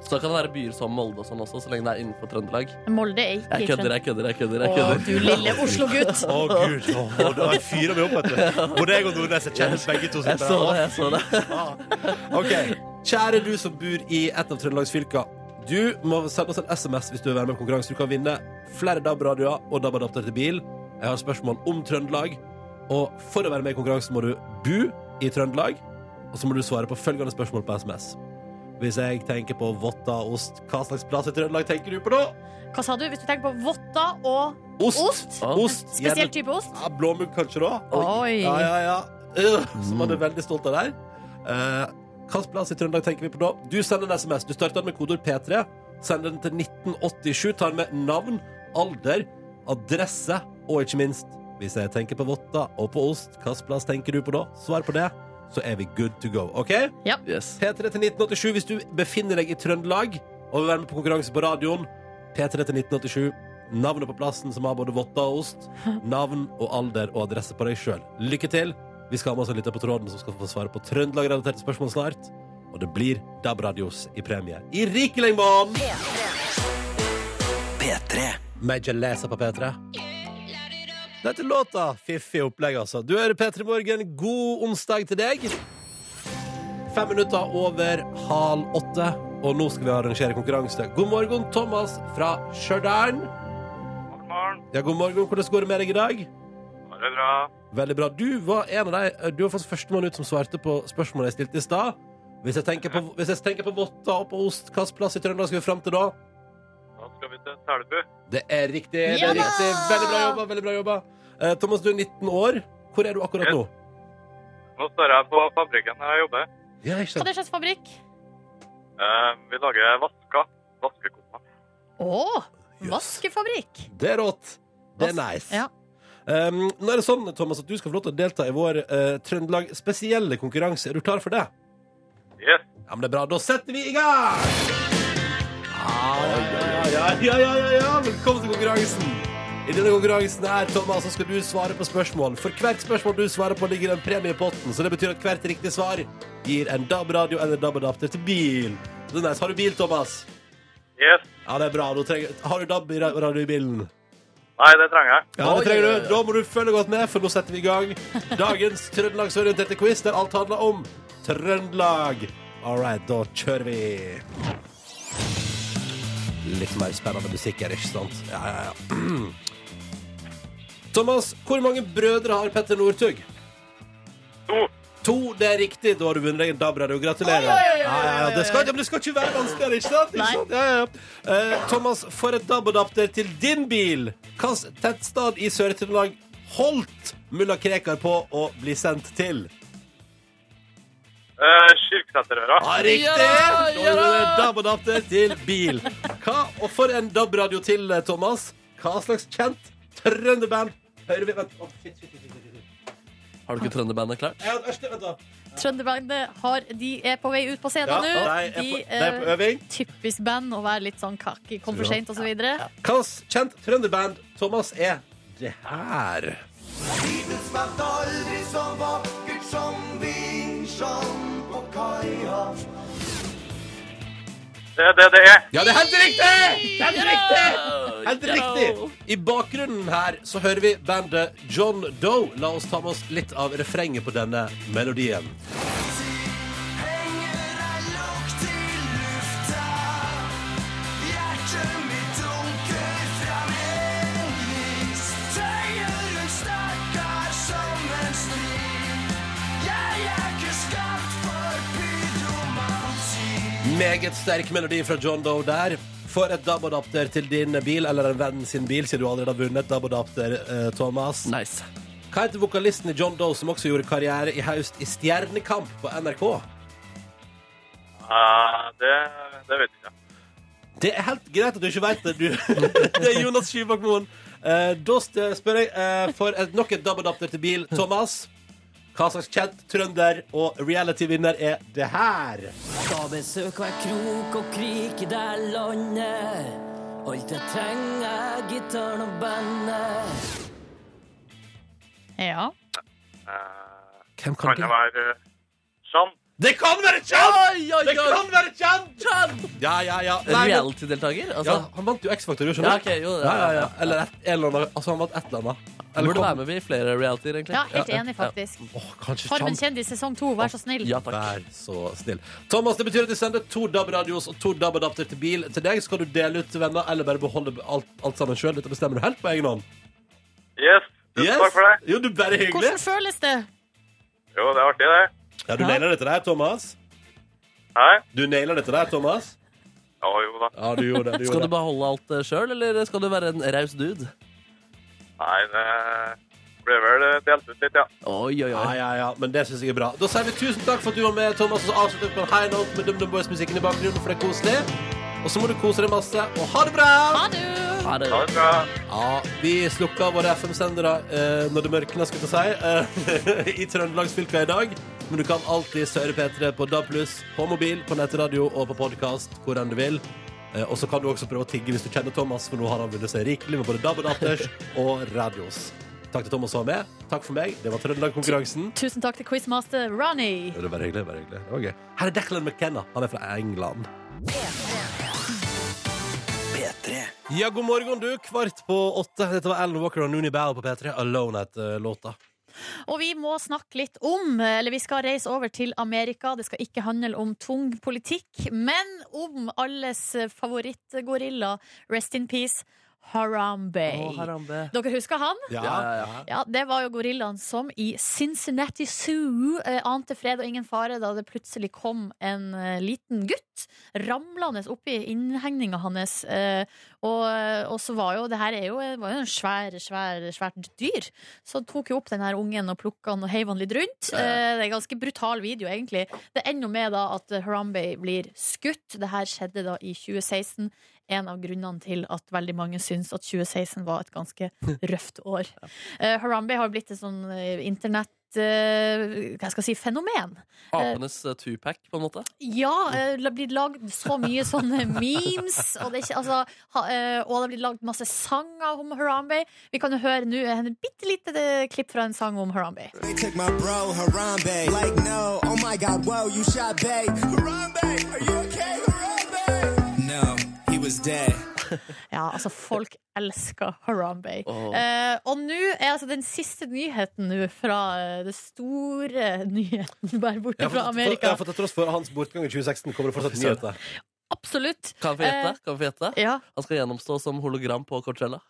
Så kan det være byer som Molde og sånn også, så lenge det er innenfor Trøndelag. Molde er ikke i Jeg kødder, jeg kødder, jeg kødder. jeg kødder. Å, du lille Oslo-gutt. Å, gud. Å, da fyrer vi opp, vet du. Både jeg og Nordnes jeg kjenner begge to. som Jeg så det, jeg så det. bare, «Å». Ok. Kjære du som bor i et av Trøndelagsfylka. Du må sende oss en SMS hvis du vil være med i konkurransen. Du kan vinne flere DAB-radioer og DAB-adapter til bil. Jeg har spørsmål om Trøndelag. Og for å være med i konkurransen må du bo i Trøndelag. Og så må du svare på følgende spørsmål på SMS. Hvis jeg tenker på votta og ost, hva slags plass i Trøndelag tenker du på da? Hva sa du? Hvis du tenker på votter og Ost! ost? Ja. Ost, gjerne Spesiell type ost? ja, blåmugg kanskje da. Oi. Ja, ja, ja. Øh, Som han er veldig stolt av der. Eh, Hvilken plass i Trøndelag tenker vi på da? Du sender en SMS. Du starter den med kodord P3. Sender den til 1987. Tar med navn, alder, adresse og ikke minst Hvis jeg tenker på votter og på ost, hvilken plass tenker du på da? Svar på det, så er vi good to go. OK? Yes. P3 til 1987 hvis du befinner deg i Trøndelag og vil være med på konkurranse på radioen. P3 til 1987. Navnet på plassen som har både votter og ost. Navn og alder og adresse på deg sjøl. Lykke til! Vi skal ha med oss en lytter på tråden som skal få svare på Trøndelag-relaterte spørsmål snart. Og det blir DAB-radios i premie i rikelig monn! Major Lazer på P3. Dette er låta. Fiffig opplegg, altså. Du hører P3 Morgen. God onsdag til deg. Fem minutter over hal åtte, og nå skal vi arrangere konkurranse. God morgen, Thomas fra Stjørdal. God morgen. Ja, god morgen. Hvordan går det med deg i dag? Går det bra? Veldig bra. Du var en av de Du var faktisk førstemann ut som svarte på spørsmålet jeg stilte i stad. Hvis jeg tenker på, hvis jeg tenker på votter og på ost, hvilken plass i Trøndelag skal vi fram til da? Da skal vi til Selbu. Det er riktig. det Ja er da! riktig. Veldig bra jobba. veldig bra jobba. Eh, Thomas, du er 19 år. Hvor er du akkurat nå? Nå står jeg på fabrikken der jeg jobber. Ja, ikke Hva er sant? det slags fabrikk? Eh, vi lager vasker. Vaskekopper. Å, Jøss. vaskefabrikk. Det er rått. Det er nice. Ja. Um, nå er det sånn, Thomas, at Du skal få lov til å delta i vår eh, Trøndelag spesielle konkurranse. Er du klar for det? Yes. Ja, men det er bra. Da setter vi i gang! Ah, ja, ja, ja, ja, ja, ja, ja. Velkommen til konkurransen. I denne konkurransen her, Thomas, så skal du svare på spørsmål. For hvert spørsmål du svarer på, ligger det en premie i potten. Så det betyr at hvert riktig svar gir en DAB-radio eller DAB-adapter til bil. Det er nice. Har du bil, Thomas? Yes. Ja, det er bra. Nå trenger... Har du DAB-radio i bilen? Nei, det trenger jeg. Ja, Oi, det trenger oi, du. oi. Da må du følge godt med, for nå setter vi i gang dagens trøndelagsorienterte quiz, der alt handler om Trøndelag. All right, da kjører vi. Litt mer spennende musikk her, ikke sant? Ja, ja, ja. Thomas, hvor mange brødre har Petter Northug? To. To, det er riktig. Da har du vunnet deg en DAB-radio. Gratulerer. Oi, oi, oi, oi, oi, oi. Ja, ja, ja, Det, skal, ikke- men det skal ikke være vanskeligere, ikke sant? Ikke Nei. sant? Ja, ja. ja. Eh, Thomas, for et DAB-adapter til din bil. Hvilket tettsted i Sør-Trøndelag holdt mulla Krekar på å bli sendt til? Eh, Kirkeseterøra. Ja, riktig! Ja da, Da ja da! er det DAB-adapter til bil. Hva, og for en DAB-radio til, eh, Thomas. Hva slags kjent trønderband hører vi? Vent, å, shit, shit, shit, shit, shit. Har du ikke trønderbandet klart? Ja, æsj, vent da. Trønderbandet har, de er på vei ut på scenen Ja, nå. de er på, de er på eh, øving. typisk band å være litt sånn kaki, kom for seint osv. Hans kjent trønderband Thomas er det her. Det er det det er. Ja, det er helt riktig! Det er Helt riktig! Åh, Helt ja. riktig! I bakgrunnen her så hører vi bandet John Doe. La oss ta med oss litt av refrenget på denne melodien. Meget sterk melodi fra John Doe der. For et DAB-adapter til din bil, eller en venn sin bil, siden du allerede har vunnet DAB-adapter, eh, Thomas. Nice. Hva heter vokalisten i John Doe, som også gjorde karriere i høst i Stjernekamp på NRK? Eh, det, det vet jeg ikke. Det er helt greit at du ikke veit det, du. det er Jonas Skybakk Moen. Eh, da st- spør jeg eh, for et, nok et DAB-adapter til bil, Thomas. Hva slags kjent trønder og reality-vinner er det her? Skal besøke hver krok og krik i det landet. Alt jeg trenger, er gitaren og bandet. Ja. Eh, Hvem kan kan det det være eh, Jean? Det kan være kjent! Oi, oi, Det oi. kan være kjent! Ja, ja, ja. Nei, men- Reality-deltaker? ja, Altså, han vant jo X-Factor, jo, ja, skjønner ok, jo, Ja, ja, ja. ja. Eller et, en eller annen, altså, han vant et eller annet. Eller Burde kom- være med i flere reality egentlig. ja, helt enig, faktisk. Åh, kanskje Farmen kjent. kjendis sesong to, vær så snill. Ja, takk. Vær så snill. Thomas, det betyr at vi sender to DAB-radios og to DAB-adapter til bil til deg. Skal du dele ut til venner, eller bare beholde alt, alt sammen sjøl? Dette bestemmer du helt på egen hånd. Yes. Tusen takk for det. Jo, du bare hyggelig. Hvordan føles det? Jo, det er artig, det. Ja, du nailer dette der, Thomas. Hei. Du nailer dette der, Thomas. Ja, jo da. Ja, du gjorde det. Du Skal gjorde du det. beholde alt sjøl, eller skal du være en raus dude? Nei, det ble vel eh, delt ut litt, ja. Oi, oi, Ja, oi. ja, ja, men det syns jeg er bra. Da sier vi tusen takk for at du var med, Thomas, og så avslutter vi på en high note med DumDum Boys-musikken i bakgrunnen, for det er koselig. Og så må du kose deg masse, og ha det bra! Ha det! Ha det. Ha det bra. Ja, vi slukka våre FM-sendere eh, når det mørkna, skulle jeg til å si, eh, i Trøndelagsfylka i dag. Men du kan alltid høre P3 på DAB+, på mobil, på nettradio og på podkast hvor enn du vil. Eh, Og så kan du også prøve å tigge hvis du kjenner Thomas, for nå har han vunnet seg rikelig med både DAB og Datters og Radios. Takk til Thomas som var med. Takk for meg. Det var Trøndelag-konkurransen. Tusen takk til quizmaster Ronny. Det var bare hyggelig. bare hyggelig. Det var gøy. Her er Declan McKenna. Han er fra England. Ja, god morgen, du. Kvart på åtte. Dette var Alan Walker og Noonie Bow på P3. Alone heter låta. Og vi må snakke litt om, eller vi skal reise over til Amerika. Det skal ikke handle om tung politikk, men om alles favorittgorilla, rest in peace, Harambe. Dere husker han? Ja, ja, ja. Ja, Det var jo gorillaen som i Cincinnati Zoo eh, ante fred og ingen fare da det plutselig kom en eh, liten gutt ramlende oppi innhegninga hans. Eh, og, og så var jo det her er jo, var jo en svær, svær, svært dyr. Så tok jo opp den her ungen og plukka han og heiv han litt rundt. Eh, det er en ganske brutal video, egentlig. Det ender jo med da at eh, Harambe blir skutt. Det her skjedde da i 2016. En av grunnene til at veldig mange syns at 2016 var et ganske røft år. Eh, Harambe har blitt et sånn eh, internett eh, hva skal jeg si, fenomen. Apenes eh, tupac, på en måte. Ja, eh, det har blitt lagd så mye sånne memes, og det, er ikke, altså, ha, eh, og det har blitt lagd masse sanger om Harambe. Vi kan jo høre nå en bitte lite eh, klipp fra en sang om Harambe. They took my bro, Harambe. Like, no, oh my god, whoa, you shot Bay. Harambe, are you okay, Harambe? No, he was dead. Ja, altså, folk elsker Harambe. Åh. Eh, og nå er altså den siste nyheten nå fra eh, det store nyheten bare borte Ja, for- fra For, ja, Amerika. for til tross for hans bortgang i 2016 kommer det fortsatt nyheter. Absolutt. Kan vi få gjette? Kan vi få gjette? Eh, Ja, Han skal gjennomstå som hologram på Coachella. Eh,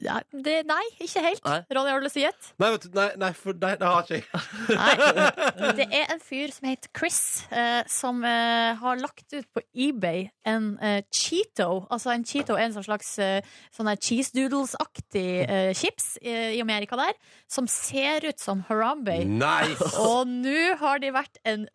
ja, det, nei, ikke helt. Nei. Ronny, har du lyst til å gjette? Nei, vet du, nei, nei, for, nei, det har ikke jeg. Nei. Det er en fyr som heter Chris, eh, som eh, har lagt ut på eBay en eh, Cheeto. Altså en Cheeto er en sånn slags eh, sånn der cheese doodles-aktig eh, chips eh, i Amerika der, som ser ut som Harambe. Nice! Og nå har de vært en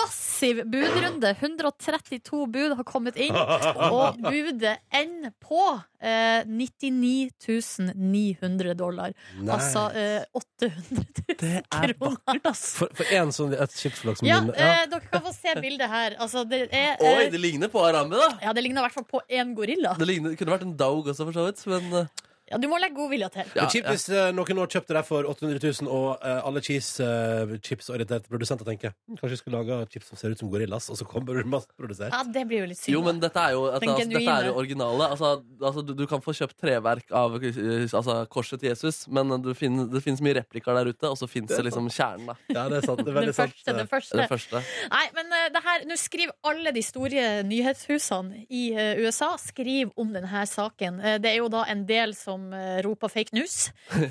massiv budrunde. 132 bud har kommet inn, og budet ender på eh, 99 900 dollar. Altså eh, 800 000 kroner. For, for en sånn et chipsflak som Ja, min- eh, dere kan få se bildet her. Altså, det er eh, Oi, det ligner på Harambe, da! ja, det ligner i hvert fall på én gorilla. Det ligner, det kunne vært en dog også, for så vidt. Men eh, Ja, du må legge godvilja til. ja, Men kjipt ja. hvis eh, noen år kjøpte det for 800 000, og eh, alle cheese, eh, chipsorienterte produsenter tenker "Hm, kanskje vi skulle lage chips som ser ut som gorillas, og så kommer det masse produsert. Ja, det blir jo litt synd. Jo, men dette er jo, dette, Den altså, dette er genuine. jo originale. Altså, altså, du, du kan få kjøpt treverk av eh, altså, korset til Jesus, men eh, du finner, det finnes mye replikker der ute, og så fins det liksom kjernen. Da. Ja, det er sant. Det er den veldig sant. første, den første. Det første. Nei, men eh, det her, nå skriver alle de store nyhetshusene i eh, USA skriv om denne saken. Eh, det er jo da en del som eh, roper fake news.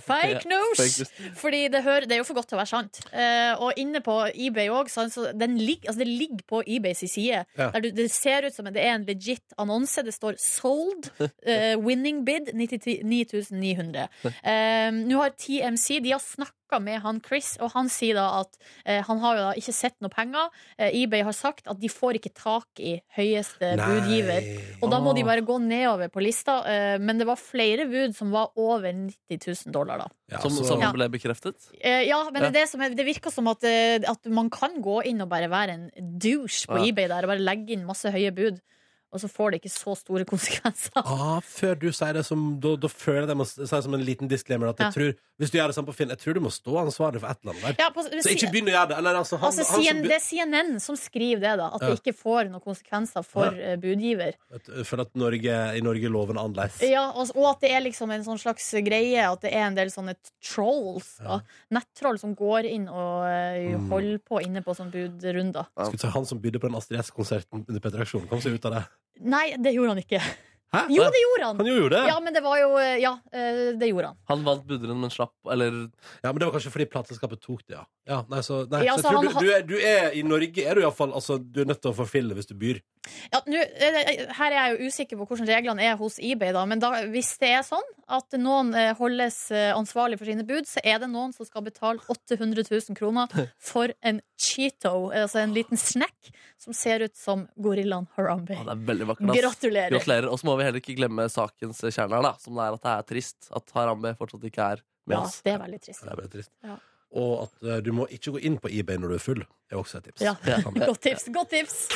Fake Ja, news! fake Fordi det, hører, det er jo for godt til å være sant. Eh, og inne på eBay òg, altså, det ligger på eBays side. Ja. Der du, det ser ut som en- det er en legit annonse. Det står 'sold', eh, 'winning bid', 9900. Eh, Nå har TMC de har snakka med han Chris, og han sier da at eh, han har jo da ikke sett noe penger. Eh, eBay har sagt at de får ikke tak i høyeste budgiver. Og da må de bare gå nedover på lista. eh, Men det var flere bud som var over 90 000 dollar, da. Ja, Som, så- som Ja. ble bekreftet. Eh, Ja, men det, Ja. er det, som er, det virker som at, eh, at man kan gå inn og bare være en douche på Ja. eBay der og bare legge inn masse høye bud, og så får det ikke så store konsekvenser. Ah, før du sier det, som, da, da føler jeg det må si det som en liten disclaimer at jeg tror, hvis du gjør det samme på Finn, jeg tror du må stå ansvarlig for et eller annet der. Ja, på, Så ikke begynn å gjøre det. Eller, altså, han, altså, han CN, som det er CNN som skriver det, da. At Ja. det ikke får noen konsekvenser for eh, budgiver. be- jeg føler at Norge, i Norge er loven annerledes. Ja, og, og at det er liksom en sånn slags greie at det er en del sånne t- trolls, da. nettroll, som går inn og eh, Mm. holder på inne på sånn budrunder. Skulle ta han som bydde på den Astrid S-konserten under Petter Aksjon, kom seg ut av det. Nei, det gjorde han ikke. Hæ? Jo, det gjorde han! Han gjorde jo det! Ja, men det var jo eh, Ja, eh, det gjorde han. Han vant buderen, men slapp Eller Ja, men det var kanskje fordi plateselskapet tok det, ja. ja nei, så, nei, Ja, altså, så jeg tror han har- du, du, er, du er I Norge er du iallfall altså, Du er nødt til å forfille hvis du byr. Ja, nå, eh, her er jeg jo usikker på hvordan reglene er hos eBay, da. men da, hvis det er sånn at noen eh, holdes eh, ansvarlig for sine bud, så er det noen som skal betale 800 000 kroner for en Cheeto, eh, altså en liten snack, som ser ut som gorillaen Harambe. ja, Det er veldig vakkert. ass. Gratulerer. Gratulerer. Og så må vi heller ikke glemme sakens kjerne her, da, som det er at det er trist at Harambe fortsatt ikke er med Ja, oss. det er veldig trist. Det er veldig trist. Ja. Og at eh, du må ikke gå inn på eBay når du er full, er også et tips. Ja. Det kan- Godt tips. Godt tips.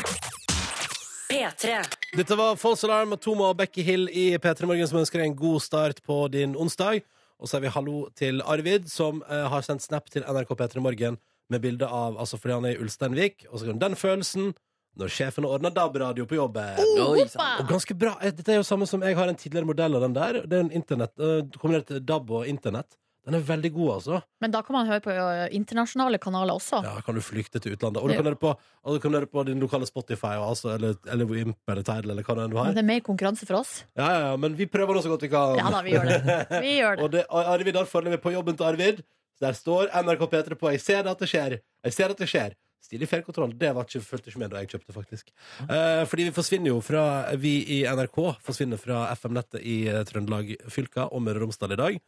P3. Dette var False Alarm og Toma og Becky Hill i P3 Morgen som ønsker deg en god start på din onsdag. Og så er vi hallo til Arvid, som eh, har sendt snap til NRK P3 Morgen med bilde av altså fordi han er i Ulsteinvik. Og så kan den følelsen når sjefen ordner DAB-radio på jobben. Oi, Og Oh, Hoppa! ganske bra. Eh, Dette er jo samme som jeg har en tidligere modell av den der. Det er en internett, eh, kombinert DAB og internett. Den er veldig god, altså. Men da kan man høre på ø, internasjonale kanaler også. Ja, kan du flykte til utlandet. Og du Ja. kan høre på, og du kan høre på din lokale Spotify og altså, eller, eller Wimp eller Tidal eller hva det enn du Men har. det er mer konkurranse for oss. Ja, ja, ja, men vi prøver også så godt vi kan. Ja da, vi gjør det. Vi gjør det. Og det, og Arvid har foreløpig på jobben til Arvid. Så der står NRK P3 på. Jeg ser det at det skjer. Jeg ser at det skjer. Stilig fjernkontroll. Det var ikke, fulgte ikke med da jeg kjøpte, faktisk. Eh, fordi vi forsvinner jo fra Vi i NRK forsvinner fra FM-nettet i eh, Trøndelag fylka og Møre og Romsdal i dag.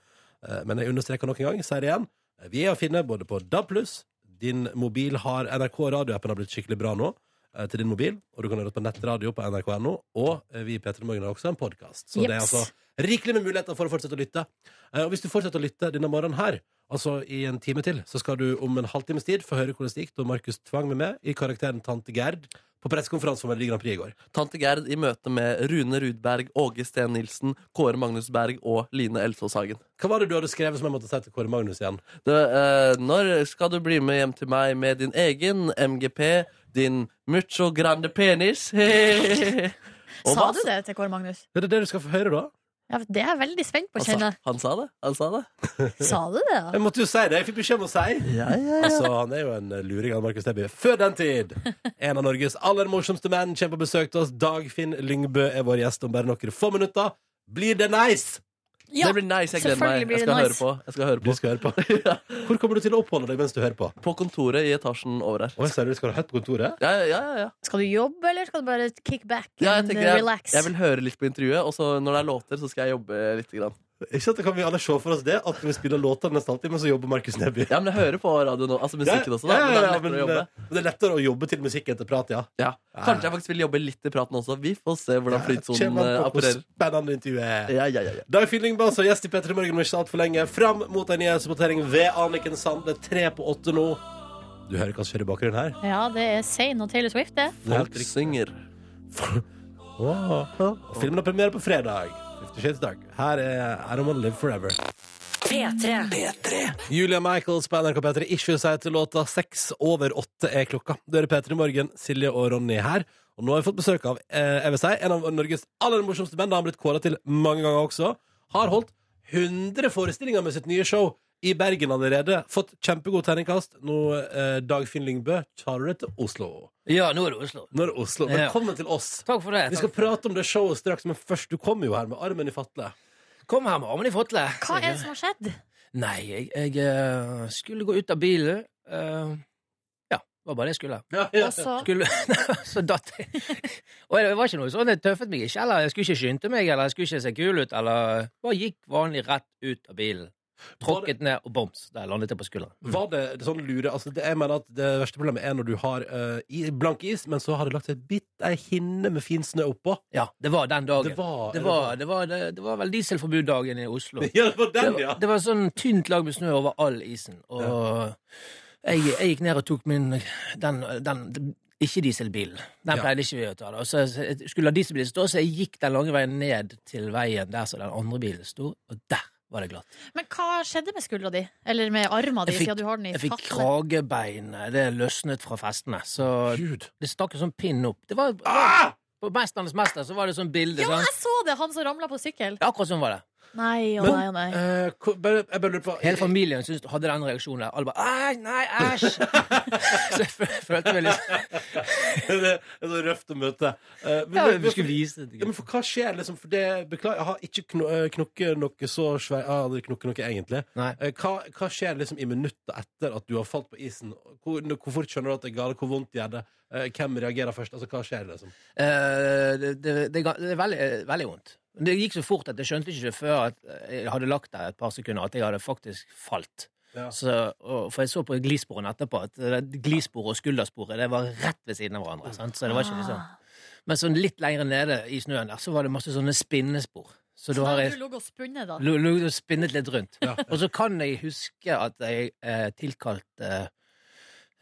Eh, men jeg understreker nok en gang, sier det igjen, eh, vi er å finne både på DAB+, din mobil har NRK radioappen har blitt skikkelig bra nå eh, til din mobil, og du kan høre det på nettradio på nrk.no, og eh, vi i P3 Morgen har også en podkast. Så det er Jeps. altså rikelig med muligheter for å fortsette å lytte. Eh, Og hvis du fortsetter å lytte denne morgenen her, altså i en time til, så skal du om en halvtimes tid få høre hvordan det gikk da Markus tvang med meg i karakteren Tante Gerd på pressekonferansen for Melodi Grand Prix i går. Tante Gerd i møte med Rune Rudberg, Åge Steen Nilsen, Kåre Magnus Berg og Line Elfås Hagen. Hva var det du hadde skrevet som jeg måtte si til Kåre Magnus igjen? Det, eh, når skal du bli med hjem til meg med din egen MGP, din mucho grande penis? Og Sa hva du det til Kåre Magnus? Er det det du skal få høre, da? Ja, det er jeg veldig spent på, Han kjenner sa, jeg. Altså, han sa det. Han sa det. Sa du det? da? Jeg måtte jo si det. Jeg fikk beskjed om å si. Altså, han er jo en luring av Markus Neby. Før den tid! En av Norges aller morsomste menn kommer på besøk til oss. Dagfinn Lyngbø er vår gjest om bare noen få minutter. Blir det nice? Ja, det blir nice. Jeg gleder meg. selvfølgelig blir det Jeg skal høre nice. på. Jeg skal høre Du på. skal høre på. Hvor kommer du til å oppholde deg mens du hører på? på kontoret i etasjen over her. Å, jeg ser du skal ha høyt på kontoret. Ja, ja, ja, ja. Skal du jobbe, eller skal du bare kick back and uh, ja jeg, tenker jeg, eh, relax? jeg vil høre litt på intervjuet, og så når det er låter, så skal jeg jobbe litt. Grann. Ikke at det kan vi alle se for oss det, at vi spiller låter nesten alltid, men så jobber Markus Neby. Ja, men jeg hører på radio nå. Altså musikken også, da. Ja, ja, ja, men men, det er lettere å jobbe. eh, men det er lettere å jobbe til musikk etter prat, ja. Ja. Kanskje jeg faktisk vil jobbe litt i praten også. Vi får se hvordan flytsonen Kjem an eh, på hvor opererer. spennende intervjuet er. Ja, ja, ja, ja. Dag Fylling Bass og gjest i Petter i Morgen om ikke alt for lenge. Fram mot en nyhetsrapportering ved Anniken Sand. Det er tre på åtte nå. Du hører hva som skjer i bakgrunnen her? Ja, det er Zain og Taylor Swift, det. Det er helt Folk riktig. synger. Åh. Og filmen har premiere på fredag. Fifty Shades Dark. Her er I Don't Wanna Live Forever. P3. Julia Michaels på NRK P3 Issues heter låta Seks over åtte er klokka. Du hører P3 Morgen, Silje og Ronny her. Og nå har vi fått besøk av eh, jeg vil si, en av Norges aller morsomste band. Det har han blitt kåra til mange ganger også. Har holdt 100 forestillinger med sitt nye show i Bergen allerede. Fått kjempegod terningkast. Nå eh, Dagfinn Lyngbø tar du det til Oslo. Ja, nå er det Oslo. Nå er det Oslo. Ja. Velkommen til oss. Takk for det. Vi skal prate om det showet straks, men først, du kommer jo her med armen i fatle. Kom her med armen i fotle. Hva er det som har skjedd? Nei, jeg, jeg eh, skulle gå ut av bilen. eh, ja, det var bare det jeg skulle. Og så skulle Så datt jeg. Og det var ikke noe sånn, jeg tøffet meg ikke, eller jeg skulle ikke skynde meg, eller jeg skulle ikke se kul ut, eller bare gikk vanlig rett ut av bilen. Tråkket ned, og boms, der landet jeg på skulderen. Var det, det sånn lure altså det, Jeg mener at det verste problemet er når du har eh, i, blank is, men så har det lagt seg et bitt ei hinne med fin snø oppå. Ja, det var den dagen. Ah, Det var- det var, det var, det, det var vel dieselforbuddagen i Oslo. Ja, det var Det var, det var sånn tynt lag med snø over all isen, og jeg, jeg gikk ned og tok min den, den, ikke dieselbilen. Den Ja. pleide ikke vi å ta. Da. Og Så jeg skulle la dieselbilen stå, så jeg gikk den lange veien ned til veien der som den andre bilen sto, og der var det glatt. Men hva skjedde med skuldra di? Eller med arma di, Jeg fikk- siden du har den i Jeg fikk fatten? kragebein. Det løsnet fra festene. Så Gud. det stakk en sånn pinn opp. Det var, På 'Mesternes mester' så var det sånn bilde. Ja, sant? jeg så det! Han som ramla på sykkel. Ja, Akkurat sånn var det. Nei og Men- nei og nei. Eh, hvor- bare, jeg bare lurer på Hele familien syntes hadde den reaksjonen. der. Alle bare 'æsj, nei, æsj'. så jeg føl- følte meg litt Det er så røft å møte. Eh, men, ja, men, Vi skulle for, vise det. til ja, men gutten. for hva skjer, liksom? For det, beklager, jeg har ikke kno, eh, knokket noe så svært Jeg har aldri knokket noe, egentlig. Nei. Eh, hva, hva skjer liksom i minuttet etter at du har falt på isen? Hvor, hvor fort skjønner du at det er galt? Hvor vondt gjør det? Eh, hvem reagerer først? Altså, hva skjer, liksom? Eh, det, det, det, ga- det er veldig, eh, veldig vondt. Men Det gikk så fort at jeg skjønte ikke før at jeg hadde lagt der et par sekunder, at jeg hadde faktisk falt. Ja. Så, og, for jeg så på glisporene etterpå at det- glisporet og skuldersporet det var rett ved siden av hverandre. Sant? Så det Ah. var ikke liksom Men sånn litt lenger nede i snøen der, så var det masse sånne spinnespor. Så da Da har har jeg du ligget og spunnet, da. lo- lo- spinnet litt rundt. Og så kan jeg huske at jeg eh, tilkalte eh,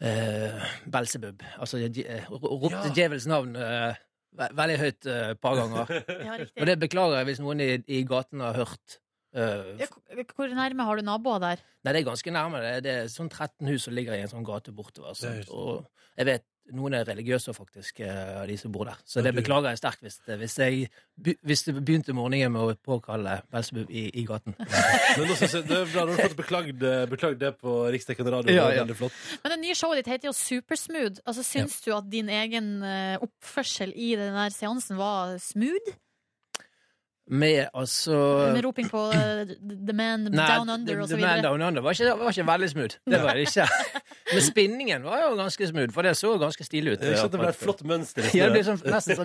eh, Belsebub, altså eh, ropte Ja. djevelens navn eh, ve veldig høyt eh, et par ganger. Ja, Og riktig. det beklager jeg hvis noen i, i gaten har hørt. eh, Ja, k- Hvor nærme har du naboer der? Nei, det er ganske nærme. Det er, det er sånn 13 hus som ligger i en sånn gate Det er bortover. Sant? just- Og jeg vet noen er religiøse, faktisk, eh, av de som bor der. Så Ja, det du- beklager jeg sterkt hvis, det- hvis, jeg, be- hvis det begynte morgenen med å påkalle Belsebub i, i gaten. Men nå synes jeg det er bra, nå har du fått beklagd, eh, beklagd det på Riksdekkende radio. Ja, det ja. er Veldig flott. Men det nye showet ditt heter jo Supersmooth. Altså, syns du at din egen eh, oppførsel i den der seansen var smooth? Med altså Med roping på eh, The Man Down Under og så The Man videre. Down Under var ikke, var ikke veldig smooth. Det var det ikke. Men spinningen var jo ganske smooth, for det så ganske stilig ut. Det er Ikke at det ble et flott mønster. i Ja, det ble stedet. sånn, nesten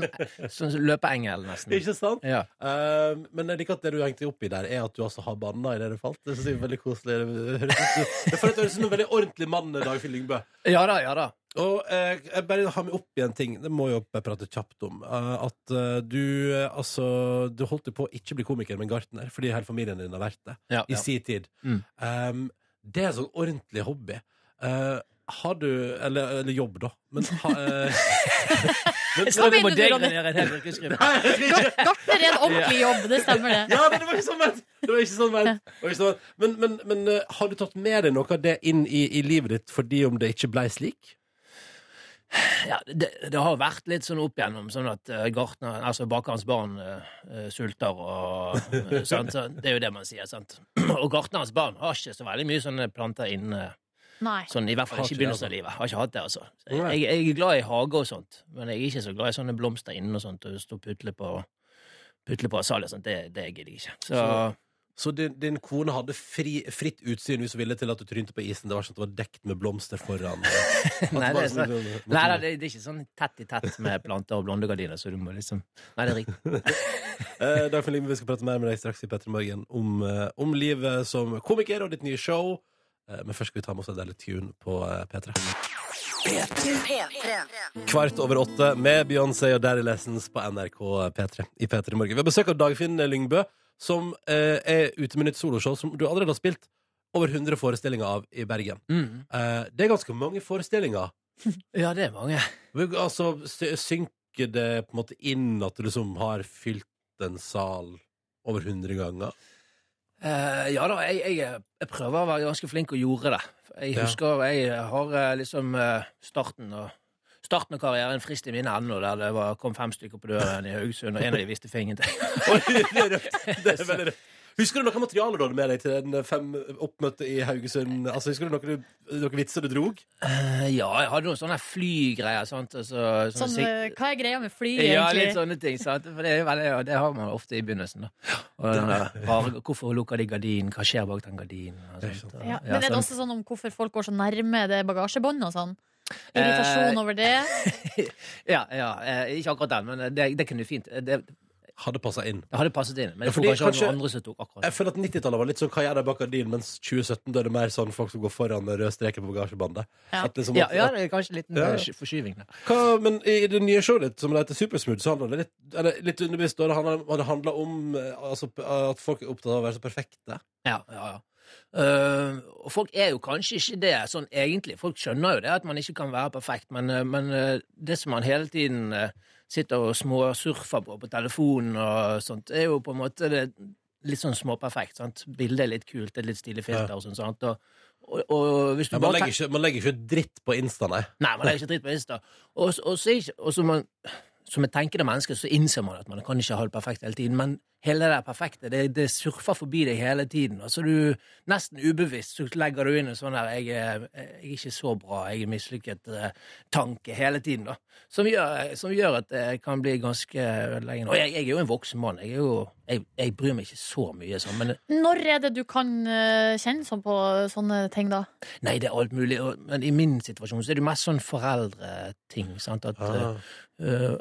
sånn, sånn løpeengel, nesten. Ikke sant? Ja. Um, men jeg liker at det du hengte opp i der, er at du altså har banna i det du falt. Det synes jeg er veldig koselig. Det høres ut- Jeg føler at det høres ut som en veldig ordentlig mann, eh, Dagfinn Lyngbø. ja da, ja da. Og eh, jeg bare har med opp i en ting, det må jeg jo bare prate kjapt om. Eh, at eh, du eh, altså Du holdt jo på å ikke bli komiker, men gartner, fordi hele familien din har vært det Ja, i ja. sin tid. Mm. Um, det er en sånn ordentlig hobby. Eh, har du Eller, eller jobb, da. Men ha, eh, men, Hva mener du, Ronny? degenerere en hel yrkesgruppe. Nei, jeg vet ikke. Gartner er en ordentlig jobb, det stemmer det. Ja, men det var ikke sånn ment! Det var ikke sånn ment. Det var ikke sånn ment. Men, men, men eh, har du tatt med deg noe av det inn i, i livet ditt fordi om det ikke blei slik? Ja, det, det har vært litt sånn opp igjennom, sånn at uh, gartner, altså bakerens barn eh, eh, sulter og eh, sant, så Det er jo det man sier, sant. Og gartnerens barn har ikke så veldig mye sånne planter inne, Nei. sånn, i hvert fall Har ikke ikke det, i altså. begynnelsen av livet. Har ikke hatt det, altså. Nei. Jeg, jeg er glad i hage og sånt, men jeg er ikke så glad i sånne blomster inne og sånt, og stå og putle på putle på asalia og sånt. Det, det gidder jeg ikke. Så Så- Så din, din kone hadde fri, fritt utsyn hvis hun ville til at du trynte på isen? Det var ikke sånn at det var dekt med blomster foran? Nei, det er sånn- så- Nei da, det... det, det er ikke sånn tett i tett med planter og blondegardiner, så du må liksom Nei, det er riktig. Eh, Dagfinn Lyngbø, vi skal prate mer med deg straks i Petter Morgen om, eh, om livet som komiker og ditt nye show. Eh, men først skal vi ta med oss en deilig tune på eh, P3. P3. Kvart over åtte med Beyoncé og Daddy Lessons på NRK P3 i P3 Morgen. Vi har besøk av Dagfinn Lyngbø, som eh, er ute med nytt soloshow som du allerede har spilt over 100 forestillinger av i Bergen. Mm. Eh, det er ganske mange forestillinger. Ja, det er mange. Men, Altså, sy- synker det på en måte inn at du liksom har fylt en sal over 100 ganger? Eh, ja da, jeg, jeg, jeg prøver å være ganske flink og gjorde det. Jeg Ja. husker jeg har eh, liksom eh, starten og Starten av karrieren frist i mine ender, der det var, kom fem stykker på døren i Haugesund, og en av de visste fingeren til. Oi, det er røft. Det er veldig røft. Husker du noe materiale du hadde med deg til den fem oppmøte i Haugesund? Altså, husker du noen, noen vitser du drog? Eh, ja, jeg hadde noen sånne flygreier, sant. og så- sånne Sånn, sik- eh, hva er greia med fly, ja, litt egentlig? sånn- sånne ting, sant. For det, er veldig, ja, det har man ofte i begynnelsen, da. Og den der, rare- hvorfor lukker de gardinen? Hva skjer bak den gardinen? Og Det er sånt, sant. og- Ja, men er det sånn. også sånn om hvorfor folk går så nærme det bagasjebåndet og sånn? Irritasjon Eh, over det? ja, ja, eh, ikke akkurat den, men det, det kunne fint eh, Det, Hadde passa inn. Det hadde passet inn, Ja, men jeg tror fordi kanskje, det kanskje- var andre som tok akkurat Jeg føler at 90-tallet var litt sånn Hva gjør de bak gardinen? Mens 2017 da er det mer sånn folk som går foran med rød strek på bagasjebandet. Ja. At liksom, Ja, at, ja, det er kanskje en liten Ja. eh, sky- forskyving der. hva, men i det nye showet ditt, som heter Supersmooth, så handler det litt, eller, litt underbevisst da, det handler- har det handla om eh, altså, p- at folk er opptatt av å være så perfekte. Ja, ja, ja. Eh, og folk er jo kanskje ikke det sånn egentlig. Folk skjønner jo det at man ikke kan være perfekt, men, eh, men eh, det som man hele tiden eh, sitter og småsurfer på på telefonen og sånt, er jo på en måte det litt sånn småperfekt. sant? Bildet er litt kult, det er litt stilig filter og sånn. sant? Og, og, og hvis du Ja, man, bare legger ikke, man legger ikke dritt på Insta, nei. Nei, man legger ikke dritt på Insta. Og, og, så ikke, og så man, som et tenkende menneske så innser man at man kan ikke ha det perfekt hele tiden, men hele det der perfekte, det, det surfer forbi deg hele tiden. Og så du, nesten ubevisst, så legger du inn en sånn der jeg, er- 'jeg er ikke så bra, jeg er mislykket'-tanke hele tiden, da. Som gjør, som gjør at det kan bli ganske ødeleggende. Og jeg, jeg er jo en voksen mann, jeg, er jo, jeg, jeg bryr meg ikke så mye sånn, men Når er det du kan eh, kjenne sånn på sånne ting, da? nei, det er alt mulig. Og, men i min situasjon så er det mest sånn foreldreting, sant, at eh, Eh,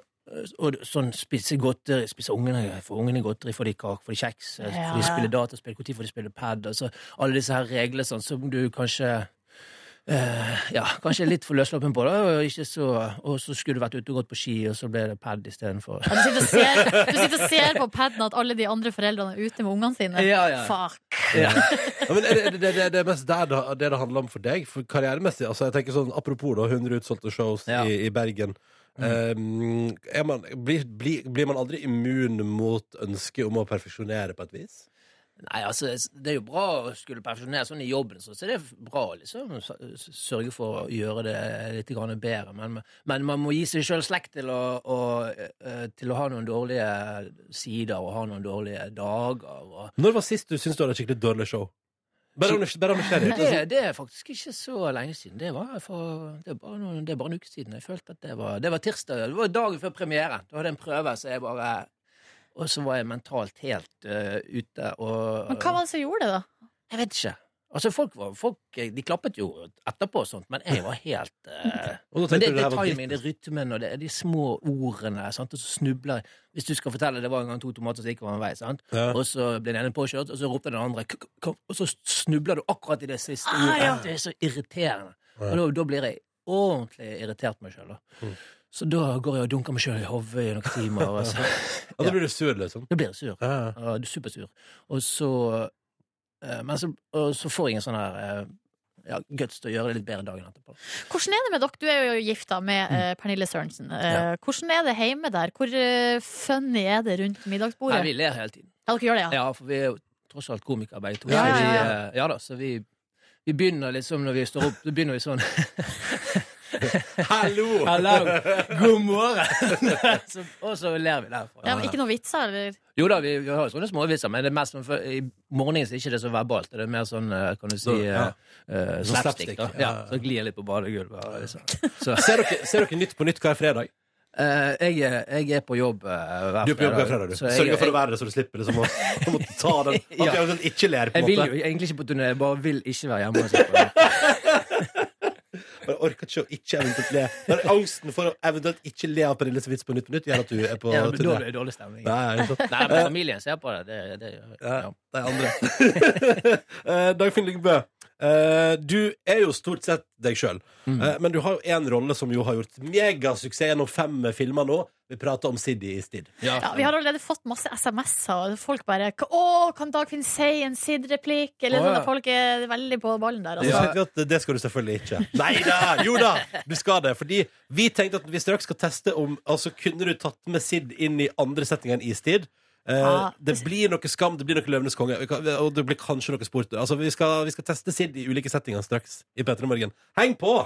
og sånn spise godteri, spise ungene, få ungene godteri, få de kake, få de kjeks, eh, Ja. få de spille dataspill, når får de spille pad, altså alle disse her reglene sånn, som du kanskje eh, ja, kanskje er litt for løssluppen på, da, og, ikke så, og så skulle du vært ute og gått på ski, og så ble det pad istedenfor. Ja, Du sitter, og ser, du sitter og ser på paden at alle de andre foreldrene er ute med ungene sine. Ja, ja. Fuck. Ja. Ja, men er det, det, det, det er mest der det, det det handler om for deg, for karrieremessig. Altså, jeg tenker sånn, Apropos da, 100 utsolgte shows Ja. Mm. i, i Bergen. Um, er man, blir, blir, blir man aldri immun mot ønsket om å perfeksjonere på et vis? Nei, altså, det er jo bra å skulle perfeksjonere sånn i jobben, så så det er bra, liksom. s- s- Sørge for å gjøre det litt grann bedre. Men, men man må gi seg sjøl slekk til å, å, eh, til å ha noen dårlige sider og ha noen dårlige dager. Og Når var sist du syntes du hadde et skikkelig dårlig show? Bare om det- bare om det skjer. det, det er faktisk ikke så lenge siden. Det, var for, det, er bare noen, det er bare en uke siden. Jeg følte at det var, det var tirsdag. Det var dagen før premieren. Da hadde jeg en prøve, så jeg bare Og så var jeg mentalt helt eh, ute. Og, Men hva var det som gjorde det, da? Jeg vet ikke. Altså, folk, var, folk eh, de klappet jo etterpå og sånt, men jeg var helt eh, Og da Men det, tenkte du det her er var timing, det dritt. er rytmen, og det er de små ordene, sant? og så snubler jeg. Hvis du skal fortelle det var en gang to tomater som gikk hver vei, sant? Ja. og så ble den ene påkjørt, og så ropte den andre, «Kom, kom», og så snubler du akkurat i det siste Ah, ordet. ja. Det er så irriterende. Ja. Og da, da blir jeg ordentlig irritert meg sjøl. Mm. Så da går jeg og dunker meg sjøl i hodet i noen timer, og så Ja, da blir du sur, liksom. da blir jeg sur. Ja, ja. Ja, du er supersur. Og så eh, Men så, og så får jeg en sånn her eh, ja, guts til å gjøre det litt bedre dagen etterpå. Hvordan er det med dere? Du er jo gifta med eh, Mm. Pernille Sørensen. Eh, Hvordan er det hjemme der? Hvor eh, funny er det rundt middagsbordet? Nei, vi ler hele tiden. Ja, dere gjør det, ja. Ja, for vi er jo tross alt komikere begge to. Ja, ja, så vi, ja. eh, ja da, så vi, vi begynner liksom når vi står opp, så begynner vi sånn Hallo! Hallo! God morgen! så, og så ler vi derfra. ja. men Ikke noen vitser, eller? Jo da, vi, vi har jo sånne småvitser, men det er mest sånn for, i morgenen så er ikke det så verbalt. Det er mer sånn, eh, kan du si, Så, ja. eh, eh, Sånn slapstick. slapstick, da. ja. Ja, så glir jeg litt på badegulvet. og Liksom. Så, Ser dere, ser dere Nytt på Nytt hver fredag? eh, jeg, er- jeg er på jobb eh, hver Du er på jobb hver fredag, du. så jeg- Sørger for jeg- å være det, så du slipper liksom å å måtte ta den. At Ja. jeg eventuelt ikke ler, på Jeg en vil måte. jo egentlig ikke på turné, jeg bare vil ikke være hjemme. og se på. Bare orker ikke å ikke eventuelt le. Bare angsten for å eventuelt ikke le av Pernilles vits på Nytt på Nytt gjør at du er på Ja, men da turné. blir det dårlig stemning. Nei, det er sant. Eh, Nei, men familien ser på det. det, det ja. De andre. Eh, Dagfinn Lyngbø, eh, du er jo stort sett deg sjøl, Mm. men du har jo én rolle som jo har gjort megasuksess gjennom fem filmer nå. Vi prater om Siddy i Stid. Ja, vi har allerede fått masse SMS-er, og folk bare "K- 'Å, kan Dagfinn si en Sid-replikk?' Eller Å, sånn ja. at folk er veldig på ballen der. Og så Altså. tenkte vi at det skal du selvfølgelig ikke. Nei da! Jo da! Du skal det. Fordi vi tenkte at vi straks skal teste om Altså, kunne du tatt med Sid inn i andre setninger enn Istid? Eh, Ja. det blir noe Skam, det blir noe Løvenes konge, vi kan- og det blir kanskje noe sport. Altså, vi skal, vi skal teste Sid i ulike settinger straks i P3 Morgen. Heng på!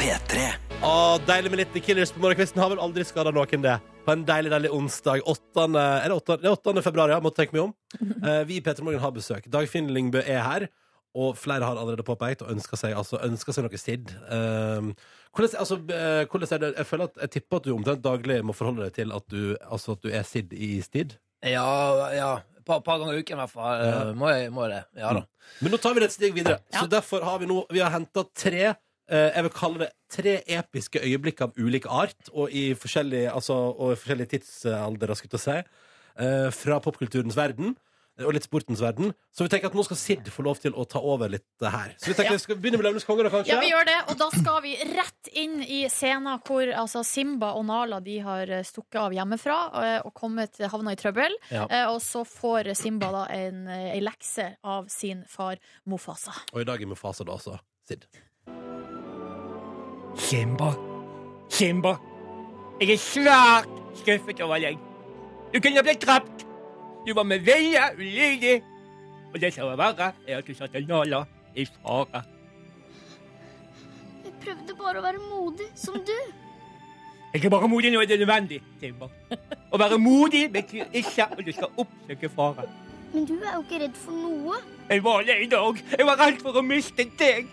P3. Å, deilig med litt The Killers på morgenkvisten. Har vel aldri skada noen, det. På en deilig, deilig onsdag. 8. Er det 8. Det er 8. februar, ja. Måtte tenke meg om. Eh, vi i P3 Morgen har besøk. Dagfinn Lyngbø er her. Og flere har allerede påpekt og ønsker seg, altså, ønsker seg noe SID. Um, hvordan, altså, eh, hvordan er det? Jeg føler at jeg tipper at du omtrent daglig må forholde deg til at du, altså, at du er SID i STID. Ja, ja. Et par, par ganger i uken i hvert fall. Ja. eh, Må, jeg, må jeg det. Ja da. Mm. Men nå tar vi det et steg videre. Så derfor har vi nå Vi har henta tre eh, jeg vil kalle det tre episke øyeblikk av ulik art og i forskjellige, altså, og i forskjellige tidsalderer, skulle jeg til å si, eh, fra popkulturens verden og litt sportens verden. Så vi tenker at nå skal Sid få lov til å ta over litt eh, her. Så vi tenker Ja. vi skal begynne med Løvenes konge, da, kanskje? Ja, vi gjør det, og da skal vi rett inn i scenen hvor altså, Simba og Nala de har eh, stukket av hjemmefra eh, og kommet, havna i trøbbel. Ja. Eh, Og så får Simba da en, eh, en lekse av sin far Mofasa. Og i dag er vi faser, da, altså. Sid. Simba, Simba, jeg er svært skuffet over deg. Du kunne blitt drept. Du var med vilje ulydig. Og det som var verre, er at du satte Nala i fare. Jeg prøvde bare å være modig, som du. Jeg er bare modig når det er nødvendig, Simba. Å være modig betyr ikke at du skal oppsøke fare. Men du er jo ikke redd for noe. Jeg var lei i dag. Jeg var redd for å miste deg.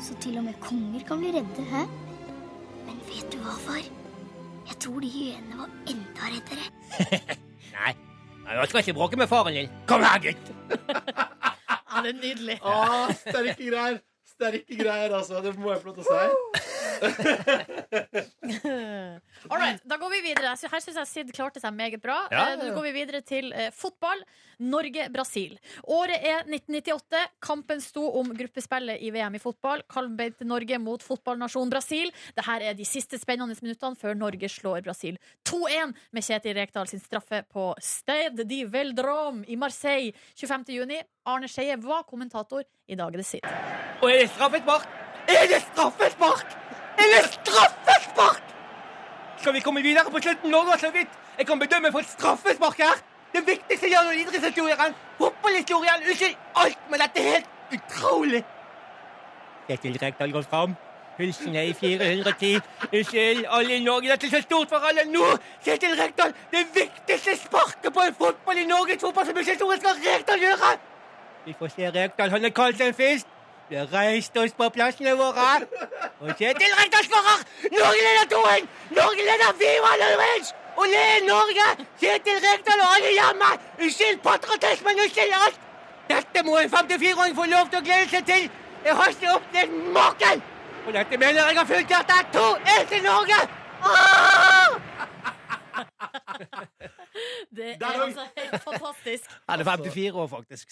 Så til og med konger kan bli redde, hæ? Men vet du hva, far? Jeg tror de hyenene var enda reddere. Nei, jeg skal ikke bråke med faren din. Kom her, gutt. Ja, det er nydelig. Ah, sterke greier! Sterke greier, altså. Det må jeg få lov til å si. All right, da går vi videre. Så Her syns jeg Sid klarte seg meget bra. Ja, Eh, ja, ja. Nå går vi videre til eh, fotball. Norge-Brasil. Året er 1998. Kampen sto om gruppespillet i VM i fotball. Kalmbeinte Norge mot fotballnasjon Brasil. Dette er de siste spennende minuttene før Norge slår Brasil 2-1 med Kjetil Rekdal sin straffe på Stade de Veldrom i Marseille 25. juni. Arne Skeie var kommentator. I dag er det Sid. Og er det straffespark? Er det straffespark? Er det straffespark? Skal vi komme videre på slutten nå, da, så vidt? Jeg kan bedømme for et straffespark her. Det viktigste gjennom idrettshistorien, fotballhistorien, unnskyld, alt, men dette er helt utrolig. Kjetil Rekdal går fram. Pulsen er i 410. Unnskyld, alle i Norge, dette er så stort for alle nå! Kjetil Rekdal, det viktigste sparket på en fotball i Norges fotballhistorie skal Rekdal gjøre! Vi får se Rekdal, han er kalt en fisk. Vi har reist oss på plassene våre. Og Kjetil Rekdal skårer! Norge leder 2-1! Norge leder 4-1! Olé, Norge! Kjetil Rekdal og alle hjemme! Unnskyld patriotismen, unnskyld alt! Dette må en 54-åring få lov til å glede seg til! Jeg har ikke opplevd maken! Og dette mener jeg har fulgt at det er 2-1 til Norge! Åh! Det er Der er- altså helt fantastisk. Han er 54 år, faktisk.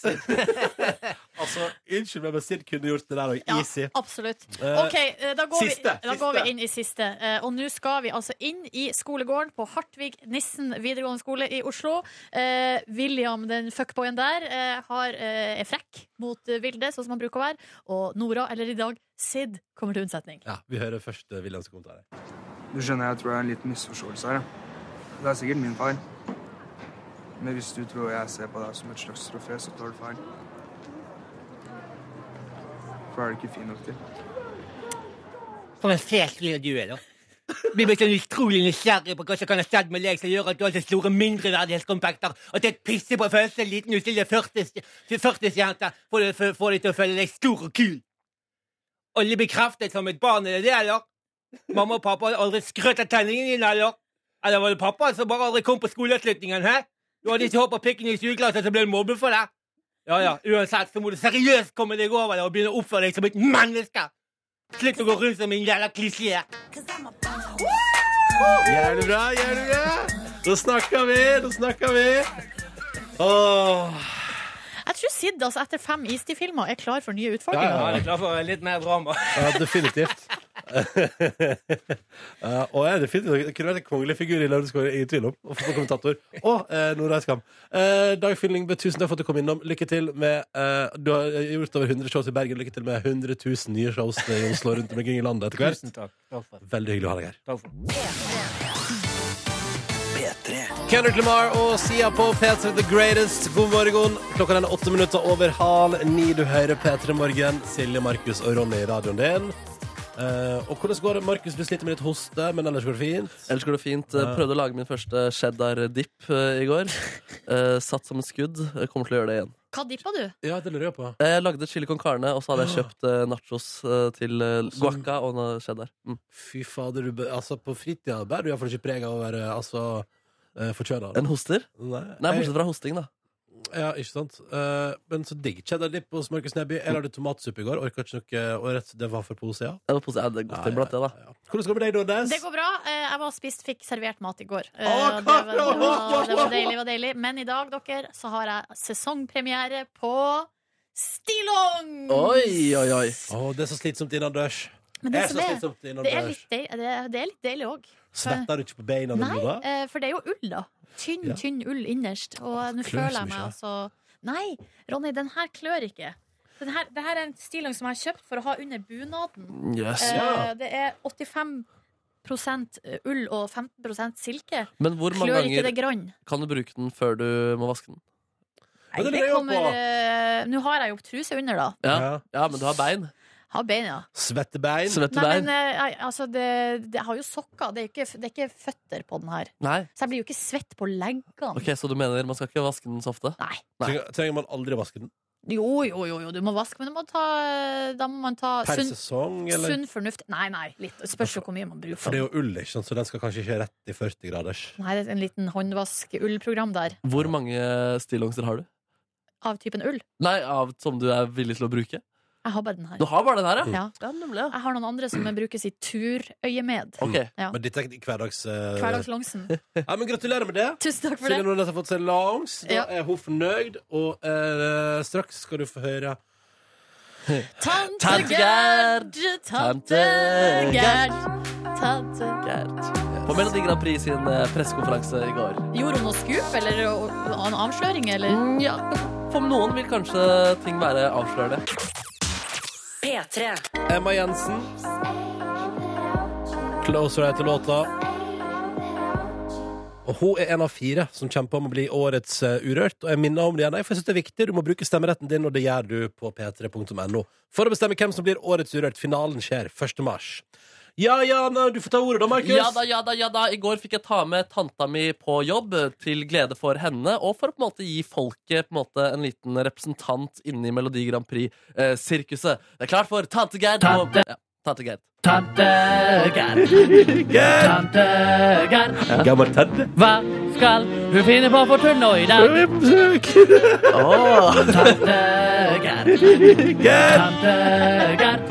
altså, unnskyld meg, men Sid kunne gjort det der òg. Ja, Easy. absolutt. Eh, OK, eh, da går, siste, vi, da går siste. vi inn i siste. Eh, Og nå skal vi altså inn i skolegården på Hartvig Nissen videregående skole i Oslo. Eh, William, den fuckboyen der, eh, har, eh, er frekk mot eh, Vilde, sånn som han bruker å være. Og Nora, eller i dag Sid, kommer til unnsetning. Ja, Vi hører først eh, Williams kommentarer. Du skjønner, jeg tror det er en liten misforståelse her. ja. Det er sikkert min feil. Men hvis du tror jeg ser på deg som et slags trofé, så tar du feil. For er du ikke fin nok til. For en fæslig du er, da. Blir blitt sånn utrolig nysgjerrig på hva som kan ha skjedd med deg som gjør at du har så store mindreverdighetskomplekser at det pisser på følelsen av en liten uskyldig 40-jente får deg- får- får deg til å føle deg stor og kul. Alle bekreftet som et barn, er det det, eller? Mamma og pappa hadde aldri skrøt av tenningene dine, eller? Eller var det pappa som bare aldri kom på skoleavslutningen, hæ? Du hadde ikke håpet pikken i sugeglasset, så ble du mobbet for det. Ja, ja, uansett så må du seriøst komme deg over det og begynne å oppføre deg som et menneske. Slutt å gå rundt som en jævla klisjé. Jævlig bra, jævlig bra! Da snakker vi, da snakker vi! Åh. Jeg tror Sid altså, etter fem Istid-filmer er klar for nye utfordringer. Ja, han er klar for litt mer drama. Ja, definitivt. Ja, og jeg er definitivt Det kunne vært en kongelig figur i Lørenskog, i tvil om. Og få på kommentator. Og eh, Nora Skam. Eh, Dag Fyllingbø, tusen takk for at du kom innom. Lykke til med eh, Du har gjort over 100 shows i Bergen. Lykke til med 100 000 nye shows i Oslo rundt omkring i landet etter hvert. Tusen takk. Takk for det. Veldig hyggelig å ha deg her. Takk for det. Kendrick Lamar og Sia på P3 The Greatest. God morgen. Klokka den er åtte minutter over halv ni. Du hører P3 Morgen. Silje, Markus og Ronny i radioen din. Eh, og hvordan går det? Markus, du sliter med litt hoste, men ellers går det fint? Ellers går det fint. Eh, Prøvde å lage min første cheddar-dip eh, i går. Eh, Satt som et skudd. Eh, Kommer til å gjøre det igjen. Hva dippa du? Ja, det lurer jeg på. Eh, Jeg lagde chili con carne, og så hadde jeg kjøpt eh, nachos eh, til eh, guacca og noe cheddar. Mm. Fy fader, du, bø- altså på fritida bærer du iallfall ikke preg av å være altså, eh, forkjøla. En hoster? Nei, Nei, jeg- bortsett fra hosting, da. Ja, ikke sant. Eh, men så digg cheddar dip hos Markus Neby. Jeg lagde tomatsuppe i går. Orka ikke noe og rett, Det var for pose, ja. Det var pose, ja, det er godt innblandt, det, da. Hvordan går det med deg, Nordnes? Det går bra. Eh, Jeg var og spist, fikk servert mat i går. Eh, Å, og Det var, det, klart! var, det var deilig, det var deilig. Men i dag, dere, så har jeg sesongpremiere på Stilong! Oi, oi, oi. det er så slitsomt innendørs. Men det, er som så er, slitsomt det er innendørs. litt deilig, det er, det er litt deilig òg. Svetter du ikke på beina Nei, nå, da? eh, for det er jo ull, da. Tynn, Ja. tynn ull innerst. Og nå klør føler så jeg meg mye. altså Nei, Ronny, den her klør ikke. Den her, det her er en stillong som jeg har kjøpt for å ha under bunaden. Yes. Eh, Ja. Det er 85 ull og 15 silke. Men hvor mange klør ikke det grann? ganger kan du bruke den før du må vaske den? Nei, det kommer eh, Nå har jeg jo truse under, da. Ja. ja, men du har bein. Har beina. Svette bein. Svette Nei, bein. men eh, jeg- altså, det, det har jo sokker. Det er, ikke, det er ikke føtter på den her. Nei. Så jeg blir jo ikke svett på leggene. Ok, Så du mener man skal ikke vaske den så ofte? Nei. Trenger, trenger man aldri vaske den? Jo, jo, jo, jo, du må vaske, men du må ta, eh, da må man ta Per sunn, sesong, eller? sunn fornuft. Nei, nei, litt. Det spørs jo hvor mye man bruker. For det er jo ull, ikke sant, så den skal kanskje ikke rett i 40 graders. Nei, det er en liten håndvask-ullprogram der, Hvor mange eh, stillongser har du? av typen ull. Nei, av som du er villig til å bruke? Jeg har bare den her. Du har bare den Mm. her, ja? Ja. Jeg har noen andre som brukes i turøyemed. Ja. Men dette er hverdags... eh, Hverdagslongsen. Ja, men Gratulerer med det. Tusen takk for Silje det. Nordnes har fått seg langs. Da Ja. er hun fornøyd. Og eh, straks skal du få høre Tante Gerd, tante Gerd, tante Gerd. På Melodi Grand Prix sin eh, pressekonferanse i går. Gjorde hun noe skup, eller og- og en Mm, avsløring, eller? Ja, for noen vil kanskje ting være avslørende. P3. P3. Emma Jensen. Closer heter låta. Og hun er en av fire som kjemper om å bli årets eh, Urørt. Og jeg minner om det igjen, jeg, for jeg synes det er viktig. Du må bruke stemmeretten din, og det gjør du på p3.no. For å bestemme hvem som blir årets Urørt. Finalen skjer 1. mars. Ja, ja, nei, du får ta ordet da, Markus. Ja da, ja da, ja da. I går fikk jeg ta med tanta mi på jobb, til glede for henne, og for å på en måte gi folket på en, måte, en liten representant inni Melodi Grand Prix-sirkuset. det er klart for Tante Gerd. og- Tante. Ja, tante Gerd. Tante Gerd. Gerd. Tante Gerd. Gammel tante. Hva skal hun finne på for tull nå i dag? Åh. Tante Gerd. Tante Gerd.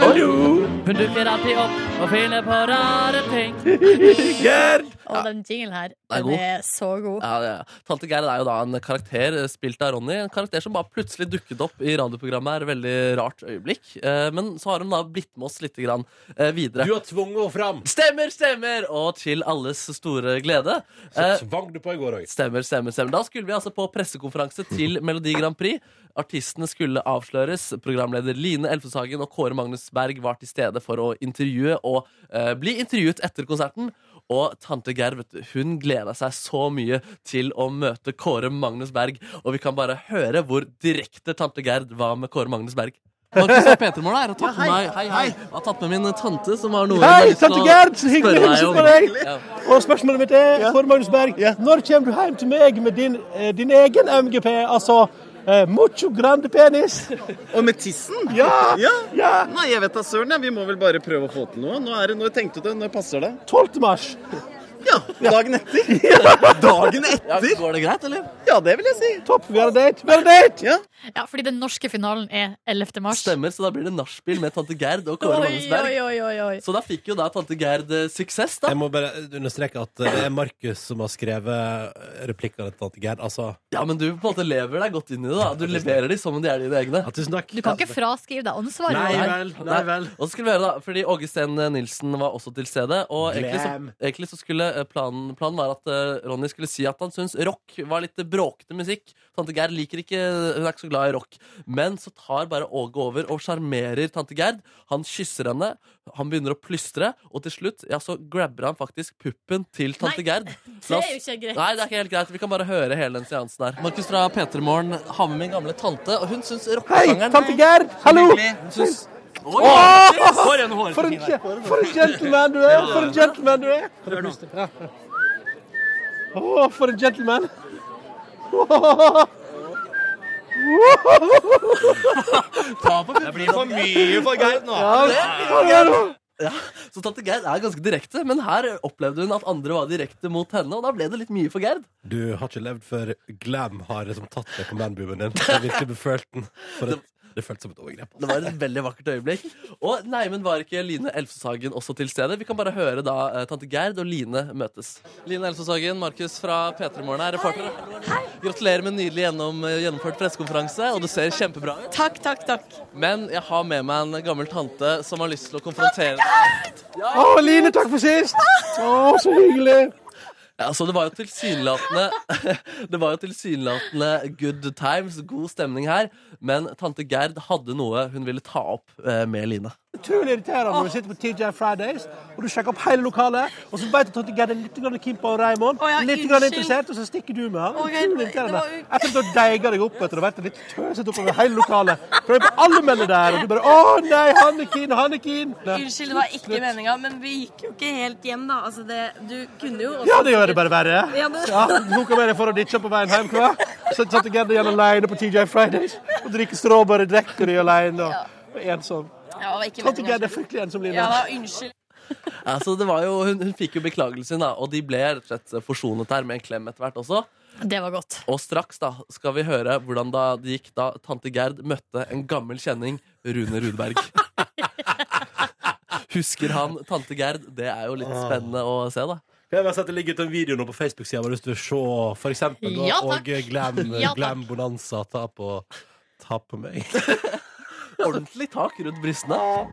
Hun dukker alltid opp og finner på rare ting. Gerd! Og den jinglen her, er den god. er så god. Ja, ja. Tante Gerd er jo da en karakter eh, spilt av Ronny. En karakter som bare plutselig dukket opp i radioprogrammet. her Veldig rart øyeblikk. Eh, Men så har hun da blitt med oss litt grann eh, videre. Du har tvunget henne fram. Stemmer, stemmer! Og til alles store glede. Så tvang du på i går òg. Eh, Stemmer, stemmer, stemmer. Da skulle vi altså på pressekonferanse til Melodi Grand Prix. Artistene skulle avsløres. Programleder Line Elfeshagen og Kåre Magnus Berg var til stede for å intervjue og eh, bli intervjuet etter konserten. Og tante Gerd vet du, hun gleda seg så mye til å møte Kåre Magnus Berg. Og vi kan bare høre hvor direkte tante Gerd var med Kåre Magnus Berg. Markus og Petermorgen er og tatt med meg Hei, hei. Jeg har tatt med min tante, som har noe Hei, jeg har lyst til tante å Gerd, så hyggelig spørre å hilse om. på deg. Ja. Og spørsmålet mitt er, for Magnus Berg, når kommer du hjem til meg med din, eh, din egen MGP, altså eh, mucho grande penis? Og med tissen? Ja! Ja. ja. Nei, jeg vet da søren. jeg. Vi må vel bare prøve å få til noe. Nå er det, når tenkte du det? Når passer det? 12. mars. Ja, dagen etter. dagen etter? går det greit, eller? Ja, det vil jeg si. Topp. Vi har date. Vi har date! Ja. Ja, fordi den norske finalen er 11. mars. Stemmer, så da blir det nachspiel med tante Gerd og Kåre Oi, Magnus Berg. oi, oi, oi, oi. Så da fikk jo da tante Gerd eh, suksess, da. Jeg må bare understreke at eh, det er Markus som har skrevet eh, replikkene til tante Gerd. Altså Ja, men du på en måte lever deg godt inn i det. da Du leverer de som om de er dine egne. tusen takk. Du kan ikke fraskrive deg ansvaret. Nei. Og så skulle vi høre da, fordi Åge Steen Nilsen var også til stede. Og egentlig så, Glam. egentlig så skulle eh, planen, planen var at eh, Ronny skulle si at han syntes rock var litt eh, bråkete musikk. Tante Gerd liker ikke Hun er ikke så glad i rock. Men så tar bare Åge over og sjarmerer tante Gerd. Han kysser henne, han begynner å plystre, og til slutt ja, så grabber han faktisk puppen til tante Gerd. det La oss- er jo ikke greit. Nei, det er ikke helt greit. Vi kan bare høre hele den seansen her. Markus fra P3 Morgen har med min gamle tante, og hun syns rockesangeren tante Gerd, hallo! Hun syns- Oi, Åh! for en hårete For en, fin her. gen- for en gentleman du er! For en gentleman du er! Hør nå. Ja. Åh, for en gentleman. Det blir for mye for Gerd nå. Ja, så tante Gerd er ganske direkte, men her opplevde hun at andre var direkte mot henne, og da ble det litt mye for Gerd. Du har ikke levd før glam har liksom tatt deg på manboomen din. Jeg har virkelig befølt den. For det, det føltes som et overgrep. Det var et veldig vakkert øyeblikk. Og Neimen var ikke Line Elfsåshagen også til stede. Vi kan bare høre da eh, tante Gerd og Line møtes. Line Elfsåshagen, Markus fra P3 Morgen er reporter. Gratulerer med en nydelig gjennom, eh, gjennomført pressekonferanse, og du ser kjempebra ut. Takk, takk, takk. Men jeg har med meg en gammel tante som har lyst til å konfrontere deg. Åh, Line, takk for sist! Åh, så hyggelig! Ja, så det var jo tilsynelatende Det var jo tilsynelatende good times, god stemning her. Men tante Gerd hadde noe hun ville ta opp eh, med Line. Utrolig irriterende når du sitter på TJ Fridays og du sjekker opp hele lokalet, og så vet du at tante Gerd er litt grann keen på Raymond, ja, litt unnskyld. grann interessert, og så stikker du med han. Å, jeg- Utrolig det irriterende. var jo- Etter at du har deiga deg opp etter å ha vært litt tøset oppover hele lokalet, prøver på alle mennene der, og du bare Å nei, han er keen, han er keen! Nei. Unnskyld, det var ikke meninga, men vi gikk jo ikke helt hjem, da. Altså, det, du kunne jo også Ja, det gjør det bare verre. Ja, det- Ja, hun kom med deg for å ditche på veien hjem, hva? Så satt Gerd igjen alene på TJ Fridays og drikker strawberry-drikker i alene og og ensom. Ja, det var ikke Tante Gerd meningen, er fryktelig ensom, Line. Ja, da, unnskyld. Ja, så Altså, det var jo, hun, hun fikk jo beklagelsen, da, og de ble rett og slett forsonet der med en klem etter hvert også. Det var godt. Og straks da skal vi høre hvordan da det gikk da tante Gerd møtte en gammel kjenning, Rune Rudberg. Husker han tante Gerd? Det er jo litt Ah. spennende å se, da. Kan jeg bare si at Det ligger ut en video nå på Facebook-sida hvor du vil se for eksempel, da, Ja, og takk. Glam, Ja, takk. glam Bonanza ta på, ta på meg. Ordentlig tak rundt brystene.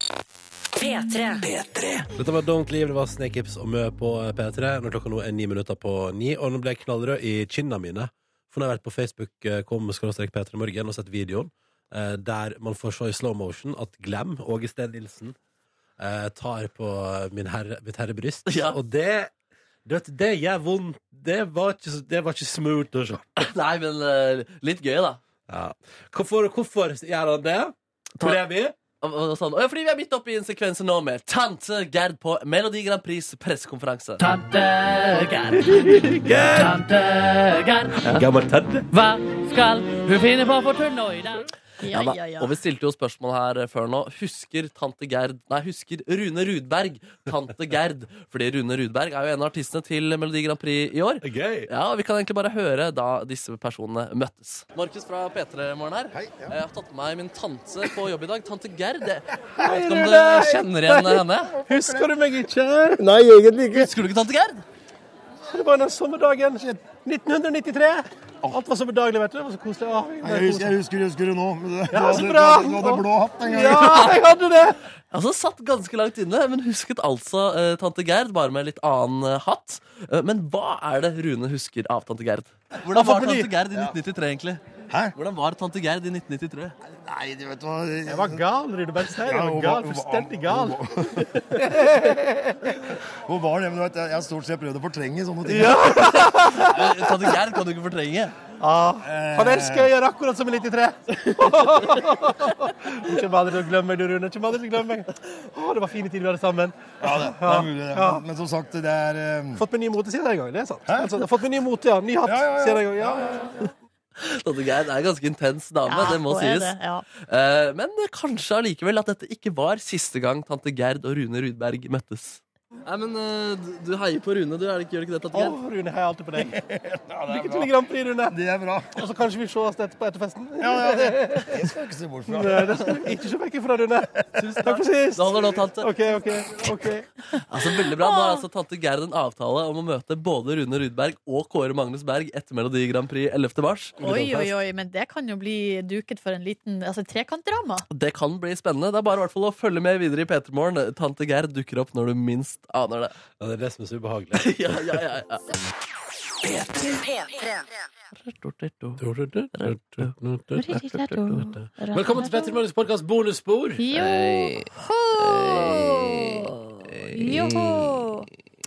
P3. P3. Dette var Don't Leave, det var Snakeips og Mø på eh, P3 når klokka nå er ni minutter på ni. Og nå ble jeg knallrød i kinna mine. For nå har jeg vært på Facebook eh, kom skråstrek P3 Morgen og sett videoen eh, der man får se i slow motion at Glam, Åge Steen Nilsen, eh, tar på min herre, mitt herre bryst. Og det du vet, det gjør vondt. Det var ikke, så- det var ikke smooth å se. Nei, men eh, litt gøy, da. Ja. Hvorfor, hvorfor gjør han det? Hvor er vi? Og, og sånn. «Å, fordi vi er midt oppe i en sekvense nå med Tante Gerd på Melodi Grand Prix pressekonferanse. Tante Gerd. Gerd. Tante Gerd. Gammel tante. Hva skal hun finne på for tunna i dag? Ja, da. Og vi stilte jo spørsmål her eh, før nå. Husker tante Gerd Nei, husker Rune Rudberg tante Gerd? Fordi Rune Rudberg er jo en av artistene til Melodi Grand Prix i år. Ja, og Vi kan egentlig bare høre da disse personene møttes. Markus fra P3 Morgen her. Eh, Jeg har tatt med meg min tante på jobb i dag. Tante Gerd. Jeg Hei, vet ikke om Rune. du kjenner igjen Hei. henne? Husker du meg ikke? Nei, egentlig ikke. Husker du ikke tante Gerd? Det var den sommerdagen 1993. Alt var sommerdaglig, vet du. Det var så koselig. Åh, det var Jeg husker, jeg koselig. husker, jeg husker det nå. Men det, Ja, du, så hadde, bra. Du, hadde, du hadde blå hatt den gangen. Ja, jeg hadde det! Altså, Satt ganske langt inne, men husket altså eh, tante Gerd, bare med litt annen eh, hatt. Eh, men hva er det Rune husker av tante Gerd? Hvordan var tante Gerd i 1993, egentlig? Hæ? Hvordan var tante Gerd i 1993? Nei, du vet hva Jeg var gal, Rudeberg Stein. Ja, Jeg var hun var- gal, hun var- fullstendig gal. Hvor var det? Men du vet, jeg jeg har stort sett prøvd å fortrenge sånne ting. Ja. Eh, tante Gerd kan du ikke fortrenge. Ah, han elsker å gjøre akkurat som i 93. Hun kommer aldri til å glemme meg, du, Rune. Hun Kommer aldri til å glemme meg. Å, det var fine tider vi hadde sammen. Ja, det, det er mulig, det. Ja. Men, men som sagt, det er eh, Fått meg ny mote siden den gang. Det er sant. Altså, jeg har fått meg ny mote, ja. Ny hatt Ja, ja, ja. siden den gang. Ja, Tante Gerd er en ganske intens dame, Ja, det må hun er sies. det, ja. Eh, men kanskje allikevel at dette ikke var siste gang tante Gerd og Rune Rudberg møttes. Nei, men eh, Du heier på Rune, du. Er det ikke, gjør du ikke det, tante Å, Gerd? Rune, heier alltid på deg. Lykke til bra. i Grand Prix, Rune. Det er bra. Og så kanskje vi ses etterpå etter festen. Ja, ja, det, det skal du ikke se bort fra. Nei, det skal du ikke se vekk fra, Rune. Takk for sist. Det holder nå, tante. OK, OK. ok. Altså, veldig bra. Nå har altså tante Gerd en avtale om å møte både Rune Rudberg og Kåre Magnus Berg etter Melodi Grand Prix 11. mars. Oi, oi, oi, men det kan jo bli duket for en liten altså, trekantdrama. Det kan bli spennende. Det er bare i hvert fall å følge med videre i P3 Morgen. Tante Gerd dukker opp når du minst aner det. Ja, Det er det som er så ubehagelig. ja, ja, ja, ja. Velkommen til Petter Morgens podkast Bonusspor. Joho!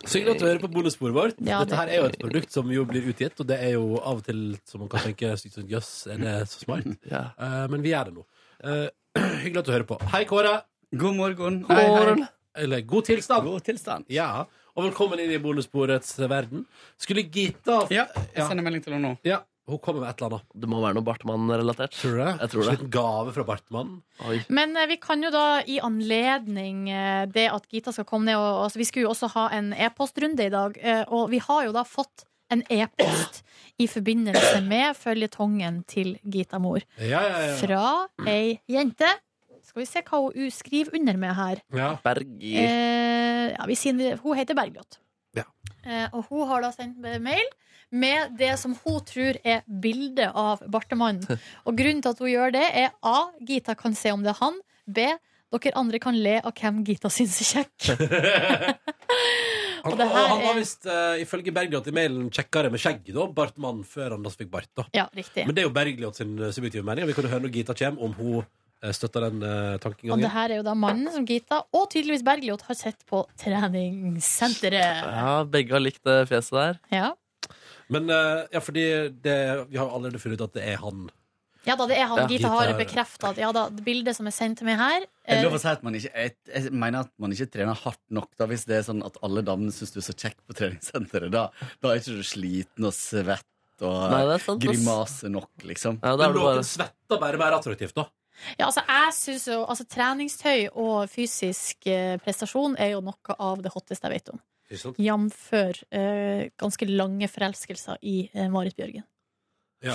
Så hyggelig at du hører på bonussporet vårt. Ja, det- Dette her er jo et produkt som jo blir utgitt, og det er jo av og til som man kan tenke sånn, Jøss, er det så smart? Eh, men vi gjør det nå. Eh, hyggelig at du hører på. Hei, Kåre. God morgen. God Hei, hei. Eller god tilstand. God tilstand. Ja. Og velkommen inn i bonussporets verden. Skulle Gita Ja, jeg sender melding til henne nå. Ja, Hun kommer med et eller annet. Det må være noe Bartmann-relatert. Tror du det? Jeg tror det. En gave fra Bartmann. Oi. Men eh, vi kan jo da i anledning eh, det at Gita skal komme ned og altså, Vi skulle jo også ha en e-postrunde i dag, eh, og vi har jo da fått en e-post i forbindelse med føljetongen til Gita Mor. Ja, ja, ja. Fra ei jente. Skal vi se hva hun skriver under med her. Berg. Eh, ja, vi sier, hun heter Bergljot. Eh, og hun har da sendt meg mail med det som hun tror er bildet av Bartemannen. Og grunnen til at hun gjør det, er A. Gita kan se om det er han. B. Dere andre kan le av hvem Gita syns er kjekk. Han, Og det her han var er- visst, eh, ifølge Bergljot i mailen, kjekkere med skjegg, da. Bartmann før han da fikk bart, da. Ja, riktig. Men det er jo Bergljot sin eh, subjektive mening. og Vi kan jo høre når Gita kommer, om hun eh, støtter den eh, Og det tankegangen. her er jo da mannen som Gita og tydeligvis Bergljot har sett på treningssenteret. Ja, begge har likt det fjeset der. Ja. Men eh, ja, fordi det, vi har jo allerede funnet ut at det er han. ja da, det er han. Ja, Gita har Gita- bekrefta at ja da, det bildet som er sendt til meg her Jeg, eh, lover å si at man ikke, jeg, jeg mener at man ikke trener hardt nok da, hvis det er sånn at alle damene syns du er så kjekk på treningssenteret. Da, da er ikke du sliten og svett og Nei, det er sant, ass. grimase nok, liksom. Ja, da er Men det bare- noen svetter bare mer attraktivt, da. Ja, altså, jeg synes jo altså, Treningstøy og fysisk eh, prestasjon er jo noe av det hotteste jeg vet om. Ikke sant? Jamfør eh, ganske lange forelskelser i eh, Marit Bjørgen.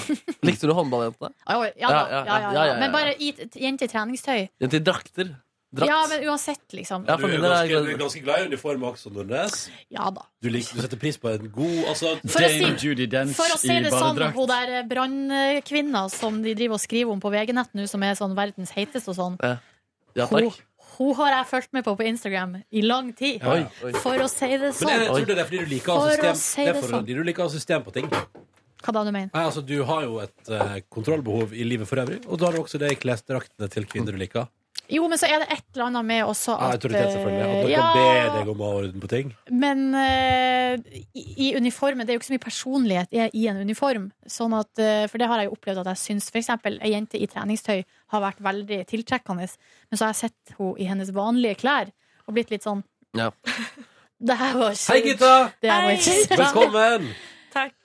Likte du håndballjentene? Ja, ja, ja, da, ja, ja, ja. Men bare i, jente i treningstøy. Jenter i drakter. Drakt. Ja, men uansett, liksom. du, er ganske, du er ganske glad i uniform også, Nordnes. Ja da. Du, liker, du setter pris på en god altså, For å si- Dame Judi For å si det sånn, hun der eh, brannkvinna som de driver og skriver om på VG-nett nå, som er sånn verdens heiteste og sånn, Ja. Eh, Ja, hun, takk. hun har jeg fulgt med på på Instagram i lang tid. Ja, ja. Oi. For å si det Men sånn. jeg tror det er fordi du liker å ha For å system, si det det er fordi sånn. du liker å ha system på ting. Hva da du mener? Nei, altså, du har jo et eh, kontrollbehov i livet for øvrig, og da har du også det i klesdraktene til kvinner du liker. Jo, men så er det et eller annet med også Ja, at eh, autoritet, selvfølgelig. At dere ja, eh, ber deg om å ha orden på ting. Men eh, i, i uniformen Det er jo ikke så mye personlighet i, i en uniform. Sånn at, eh, for det har jeg jo opplevd at jeg syns f.eks. ei jente i treningstøy har vært veldig tiltrekkende, men så har jeg sett henne i hennes vanlige klær og blitt litt sånn Ja. Det her var ikke Hei, gutta! Det her var ikke så bra. Velkommen!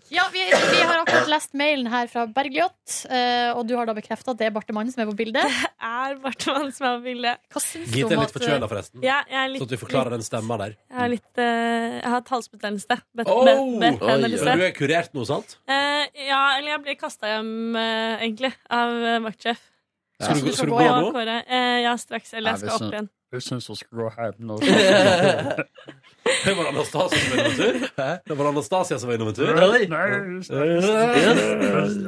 Ja, vi, vi har akkurat lest mailen her fra Bergljot, eh, og du har da bekrefta at det er Barte Mann som er på bildet. Det er Barte Mann som er på bildet. Hva syns du Gitt er om litt at forkjøla, forresten. Ja, jeg er litt, Sånn at vi forklarer den stemma der. Jeg har litt eh, Jeg har thalsbetennelse. Bet- Oh! bet- Oi, betennelse. Men du er kurert nå, sant? Eh, ja, eller jeg ble kasta hjem, eh, egentlig, av eh, vaktsjef. Ja. Skal du- skal du gå ja, nå? Kåre. Eh, ja, straks. Eller jeg skal opp sånn- sånn- igjen. Jeg syns hun skal gå hjem nå. Det var Anastasia som var innom en tur. Det var Anastasia som var innom en tur. Really? Og det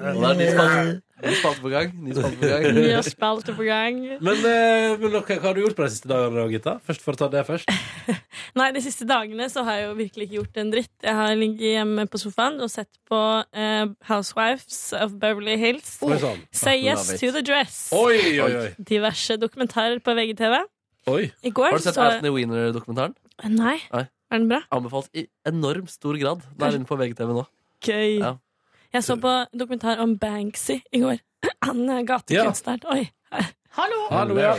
er ny spalte- ny spalte på gang. Ny spalte på gang. Mye spalte på gang. Men, eh, men ok, hva har du gjort på de siste dagene, Gitta? Først for å ta det først. Nei, de siste dagene så har jeg jo virkelig ikke gjort en dritt. Jeg har ligget hjemme på sofaen og sett på eh, Housewives of Beverly Hills. Oi, sann. Say yes Love it. to the dress. sånn. Oi, oi, oi. Diverse dokumentarer på VGTV. Oi. I går Har du sett så- Anthony Weiner-dokumentaren? Nei. Nei. Er den bra? Anbefalt i enormt stor grad. Den er inne på VGTV nå. Gøy. Ja. Jeg så på dokumentar om Banksy i går. Han er gatekunstneren. Oi. Hallo! Hallo, ja.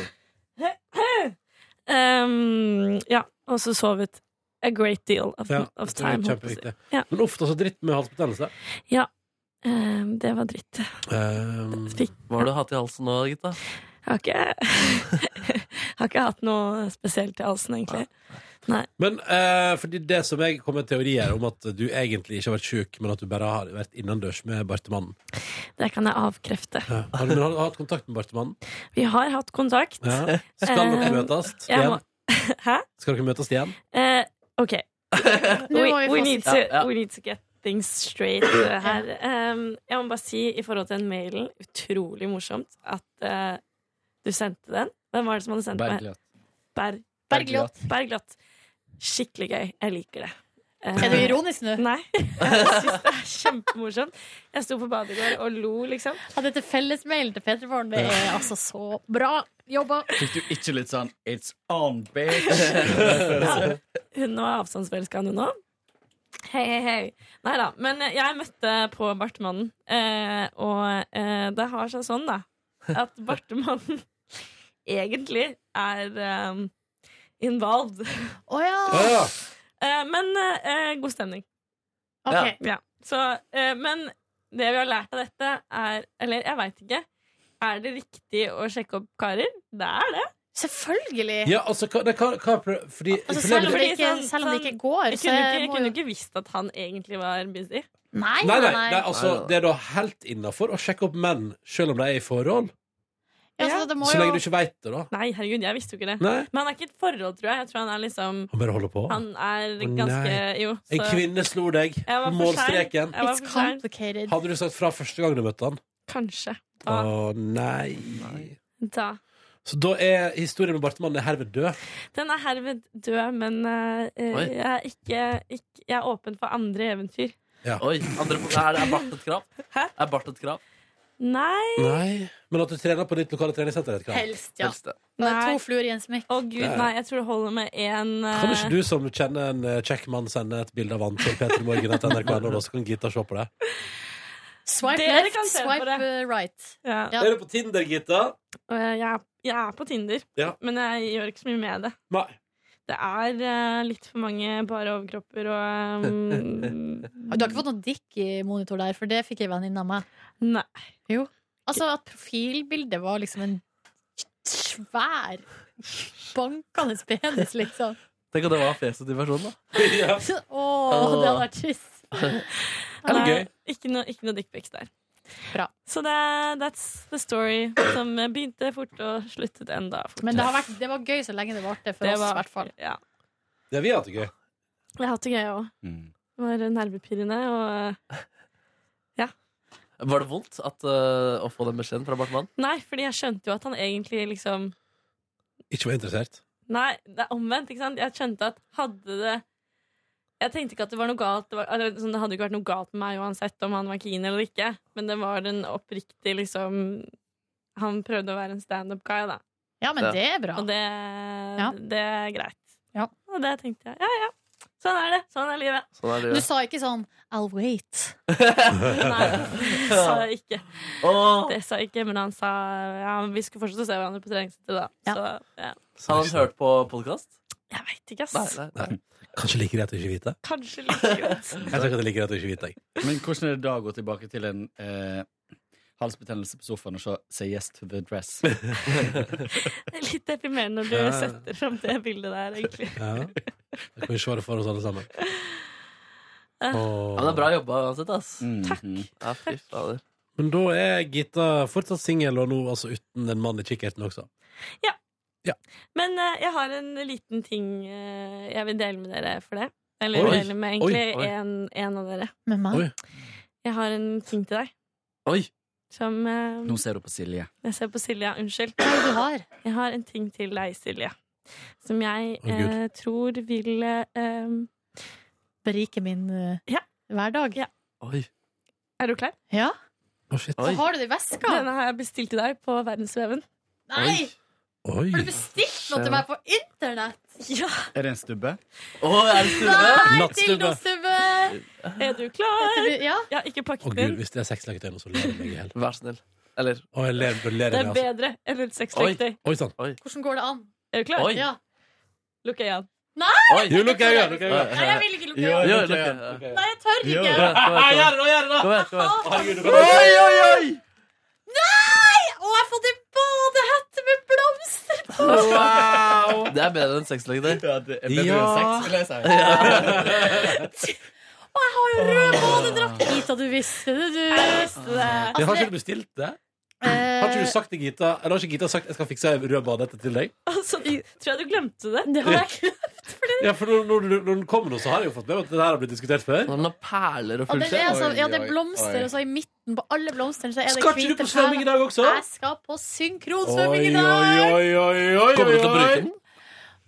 um, ja. Og så sovet a great deal of, Ja, of det er time. holdt på å si. kjempeviktig. Ja. Men ofte så dritt med halsbetennelse. ja. Um, det var dritt. Ehm, Hva har du hatt i halsen nå, Gitta? Jeg har ikke, har ikke hatt noe spesielt i halsen, egentlig. Nei. Men eh, fordi det som jeg kom med teorier om at du egentlig ikke har vært sjuk, men at du bare har vært innendørs med Bartemannen. Det kan jeg avkrefte. Ja. Har du, men har du hatt kontakt med Bartemannen? Vi har hatt kontakt. Ja. Skal dere Um, møtes jeg må- igjen? Skal dere møtes igjen? Eh, OK. må vi we, få we, need sitte. to, Ja, ja. we need to get things straight eh, her. Em, jeg må bare si i forhold til den mailen, utrolig morsomt at eh, du sendte den. Hvem var det som hadde sendt meg? Bergljot. Ber Bergljot. Bergljot. Skikkelig gøy. Jeg liker det. Eh, Er du ironisk nå? Nei. Jeg syns det er kjempemorsomt. Jeg sto på badet i går og lo, liksom. Hadde til fellesmail til Peterborn. Det er altså så bra jobba. Fikk du ikke litt sånn It's on, bitch! Hun var avstandsforelska, hun òg. Hei, hei, hei. Nei da. Men eh, jeg møtte på Bartemannen, eh, og eh, det har seg sånn, da, at Bartemannen egentlig er eh, involved. Å ja. Eh, men eh, god stemning. Ok. Ja. Så, eh, men det vi har lært av dette, er Eller jeg veit ikke. Er det riktig å sjekke opp karer? Det er det. Selvfølgelig. Ja, altså, hva, det, hva, hva prøv- fordi, Altså, problemet- selv om det ikke, Fordi sånn- sånn- går, jeg kunne ikke- jeg Jeg kunne kunne ikke visst at han egentlig var busy. Nei, Nei, nei, nei, altså, det er da helt innafor å sjekke opp menn selv om de er i forhold. Så lenge du ikke veit det, da. Nei, herregud, jeg visste jo ikke det. Nei. Men han er ikke i et forhold, tror jeg. Jeg tror han er liksom Han bare holder på. Han er Å, ganske nei. Jo. En så- kvinne slo deg Jeg på var for sein. målstreken. Jeg var It's for sein. complicated. Hadde du sagt fra første gang du møtte han? Kanskje. Å Da. nei. da. Så da er historien med Bartemannen er herved død. Den er herved død, men eh, eh, Oi. jeg er ikke, ikke Jeg er åpen for andre eventyr. Oi, andre, er, er bart et krav? Er bart et krav? Nei. Nei. Men at du trener på ditt lokale treningssenter? er et krav. Helst, ja. Helst, ja. To fluer i en smekk. Å gud, Nei. nei. Jeg tror det holder med én eh, Kan ikke du som kjenner en eh, kjekk mann, sende et bilde av han til Peter Morgen etter NRK.no, og så kan Gita se på det? Swipe Dere left, kan se på swipe det. eh, right. Ja. Er du på Tinder, Gita? Og jeg, jeg er- jeg er på Tinder, Ja. men jeg gjør ikke så mye med det. Nei. Det er eh, litt for mange bare overkropper og um, Du har ikke fått noe dick i monitor der, for det fikk ei venninne av meg. Nei. Jo. Altså at profilbildet var liksom en svær, bankende penis, liksom. Tenk at det var fjeset til personen, da. Å, det hadde vært trist. Nei, gøy? Ikke noe, ikke noe dickpics der. Bra. Så det, that's the story som eh, begynte fort og sluttet enda fort. Men det, har vært, det var gøy så lenge det varte for Det oss, var- i hvert fall. Ja. Ja, vi har hatt det gøy. Jeg har hatt det gøy òg. Mm. Det var nervepirrende og Var det vondt at, eh, å få den beskjeden fra Bartmann? Nei, fordi jeg skjønte jo at han egentlig liksom Ikke var interessert. Nei, det er omvendt, ikke sant? Jeg skjønte at hadde det Jeg tenkte ikke at det var noe galt det, var, eller, sånn, det hadde jo ikke vært noe galt med meg uansett om han var keen eller ikke. Men det var en oppriktig liksom Han prøvde å være en standup-guy, da. Ja, men det er bra. Og det, det er greit. Og det tenkte jeg. Ja, ja. Sånn er det. Sånn er livet. Sånn er livet. Du sa ikke sånn 'I'll wait'. Det sa jeg ikke. Det sa jeg ikke, men han sa ja, vi skulle fortsette å se hverandre på treningssenteret, da. Så ja. Så har han hørt på podkast? Vet ikke, ass. Kanskje like greit å ikke vite? Kanskje like greit. Jeg tror ikke det er like greit å ikke vite. jeg. Men hvordan er det da å gå tilbake til en eh, halsbetennelse på sofaen og så say yes to the dress? Det er litt deprimerende når du Ja. setter fram det bildet der, egentlig. Ja. Da kan vi se det for oss alle sammen. Eh. Ja, det er bra jobba uansett, ass. Eh. Mm. Takk. Ja, fy fader. Men da er Gita fortsatt singel, og nå altså uten den mannen i kikkerten også. Men eh, jeg har en liten ting eh, jeg vil dele med dere for det. Eller Oi. dele med egentlig Oi, oi. En, en av dere. Med meg? Oi. Jeg har en ting til deg Oi! som eh, Nå ser du på Silje. Jeg ser på Silja. Unnskyld. Jeg har en ting til deg, Silje, som jeg Å, Gud. eh, tror vil eh, Berike min eh, hverdag. Oi. Er du klar? Ja. Oi. Så har du det i veska. Denne har jeg bestilt til deg på Verdensveven. Nei! Oi. Har du bestilt noe til meg på internett? Ja. Er det en stubbe? Å, er det Nei, dildostubbe! Er du klar? Ja. Jeg har ikke Å pakket gud, den. hvis det er sexleketøy nå, så ler jeg meg i hjel. Vær så snill. Eller Å, jeg ler, da ler Det jeg er meg, altså. bedre enn et Oi, sexleketøy. oi sånn. sann. Hvordan går det an? Er du klar? Oi. Ja. Lukker jeg den? Nei! Oi. Jo, lukk øynene! lukk øynene. Nei, jeg vil ikke lukke Jo, øynene. lukk øynene. Nei, jeg tør Jo. ikke. Gjør det, gjør det, da. Kom her, kom her. Oi, oi, oi! Nei! Å, jeg har fått en badehette med blomster på! Det er bedre enn sexleketøy. Ja, det er bedre enn sex, vil jeg si. Og jeg har jo rød badedrakt! Gita, du visste det, du. Jeg har Altså, ikke du bestilt det? Eh, Har ikke du sagt til Gita Eller har ikke Gita sagt jeg skal fikse ei rød badehette til deg? Altså, tror jeg du glemte det. Det har jeg ikke. Ja, for når, når, når den kommer nå, så har jeg jo fått med meg at det her har blitt diskutert før. Han har perler og det, er altså, ja, det er blomster, og så i midten på alle blomstene så er det Skal ikke du på svømming i dag også? Jeg skal på synkronsvømming i dag! Oi, oi, oi, oi, Kommer du til å oi, bruke oi. den?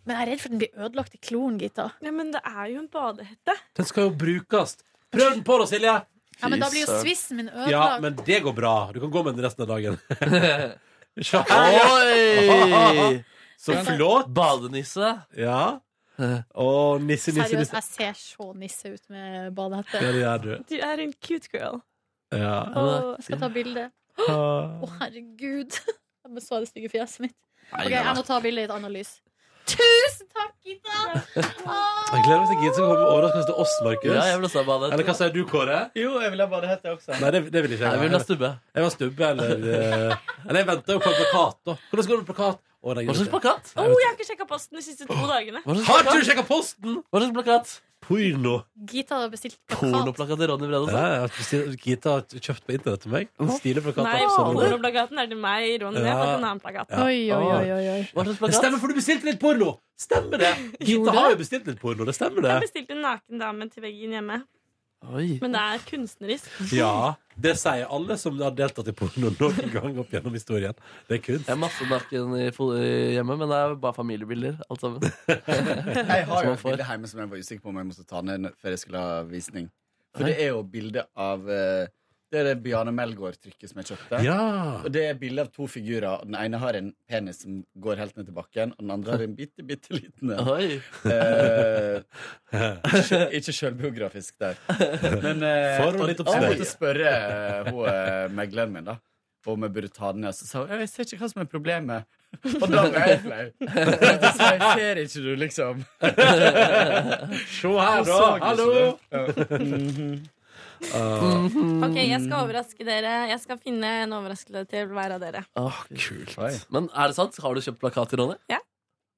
Men jeg er redd for den blir ødelagt i kloren, Gita. Ja, men det er jo en badehette. Den skal jo brukes. Prøv den på da, Silje! Ja, men da blir jo svissen min ødelagt. Ja, men det går bra. Du kan gå med den resten av dagen. Se Oi! Så flott! Badenisse. Ja. Å, nisse, nisse, Seriøst, nisse. jeg ser så nisse ut med Ja, det badehette. gjør du. Du er en cute girl. Ja. Åh, jeg skal ta bilde. Å, herregud. Jeg må svare stygge fjeset mitt. Nei, Ok, nei. Jeg må ta bilde i et annet lys. Tusen takk, Gita! Jeg gleder meg til Gita skal komme med overraskelse til oss, Markus. Ja, jeg vil også ha badehette. Eller hva sier du, Kåre? Jo, jeg vil ha badehette også. Nei, det, det vil ikke Nei, jeg. vi vil ha stubbe. Jeg var stubbe, eller eh, Eller jeg venter jo på en plakat, da. Hvordan skal du med plakat? Å, nei, jeg Hva slags gjorde det. plakat? Oh, jeg har ikke sjekka posten de siste to dagene. Hva slags Har plakat? du sjekka posten?! Hva slags plakat? Porno. Gita hadde bestilt plakat. Pornoplakat til Ronny Brede. altså. Ja, jeg har bestilt- Gita har kjøpt på internett til meg. Sånn En stilig plakat. Nei, absolutt. pornoplakaten er til meg, Ronny. Jeg har fått en annen plakat. Ja. Ah. Hva slags Det plakat? stemmer, for du bestilte litt porno! Stemmer det? Gita har jo bestilt litt porno, det stemmer Jeg det. bestilte en naken dame til veggen hjemme. Oi. Men det er kunstnerisk. Ja, det sier alle som har deltatt i porno noen gang opp gjennom historien. Det er kunst. Jeg har masse naken i fo- i eh, hjemme, men det er bare familiebilder, alt sammen. Jeg har Som jo man et får. bilde hjemme som jeg var usikker på om jeg måtte ta ned før jeg skulle ha visning. For det er jo bilde av eh, Det er det Bjarne Melgaard-trykket som jeg kjøpte. Ja. Og det er bilde av to figurer. og Den ene har en penis som går helt ned til bakken, og den andre har en bitte, bitte liten en. Oi. Eh, ikke ikke sjølbiografisk der. Men eh, For å og- litt og jeg oppstøy. måtte spørre eh, hun, eh, megleren min da om jeg burde ta den ned. Så sa hun «Ja, jeg ser ikke hva som er problemet. Og da ble jeg flau. Så sa jeg ser ikke du, liksom. Se her, da. Så ikke Hallo! du. Mhm. Ok, jeg skal overraske dere. Jeg skal finne en overraskelse til hver av dere. Åh, kult. Men er det sant? Har du kjøpt plakat til Ronny? Ja.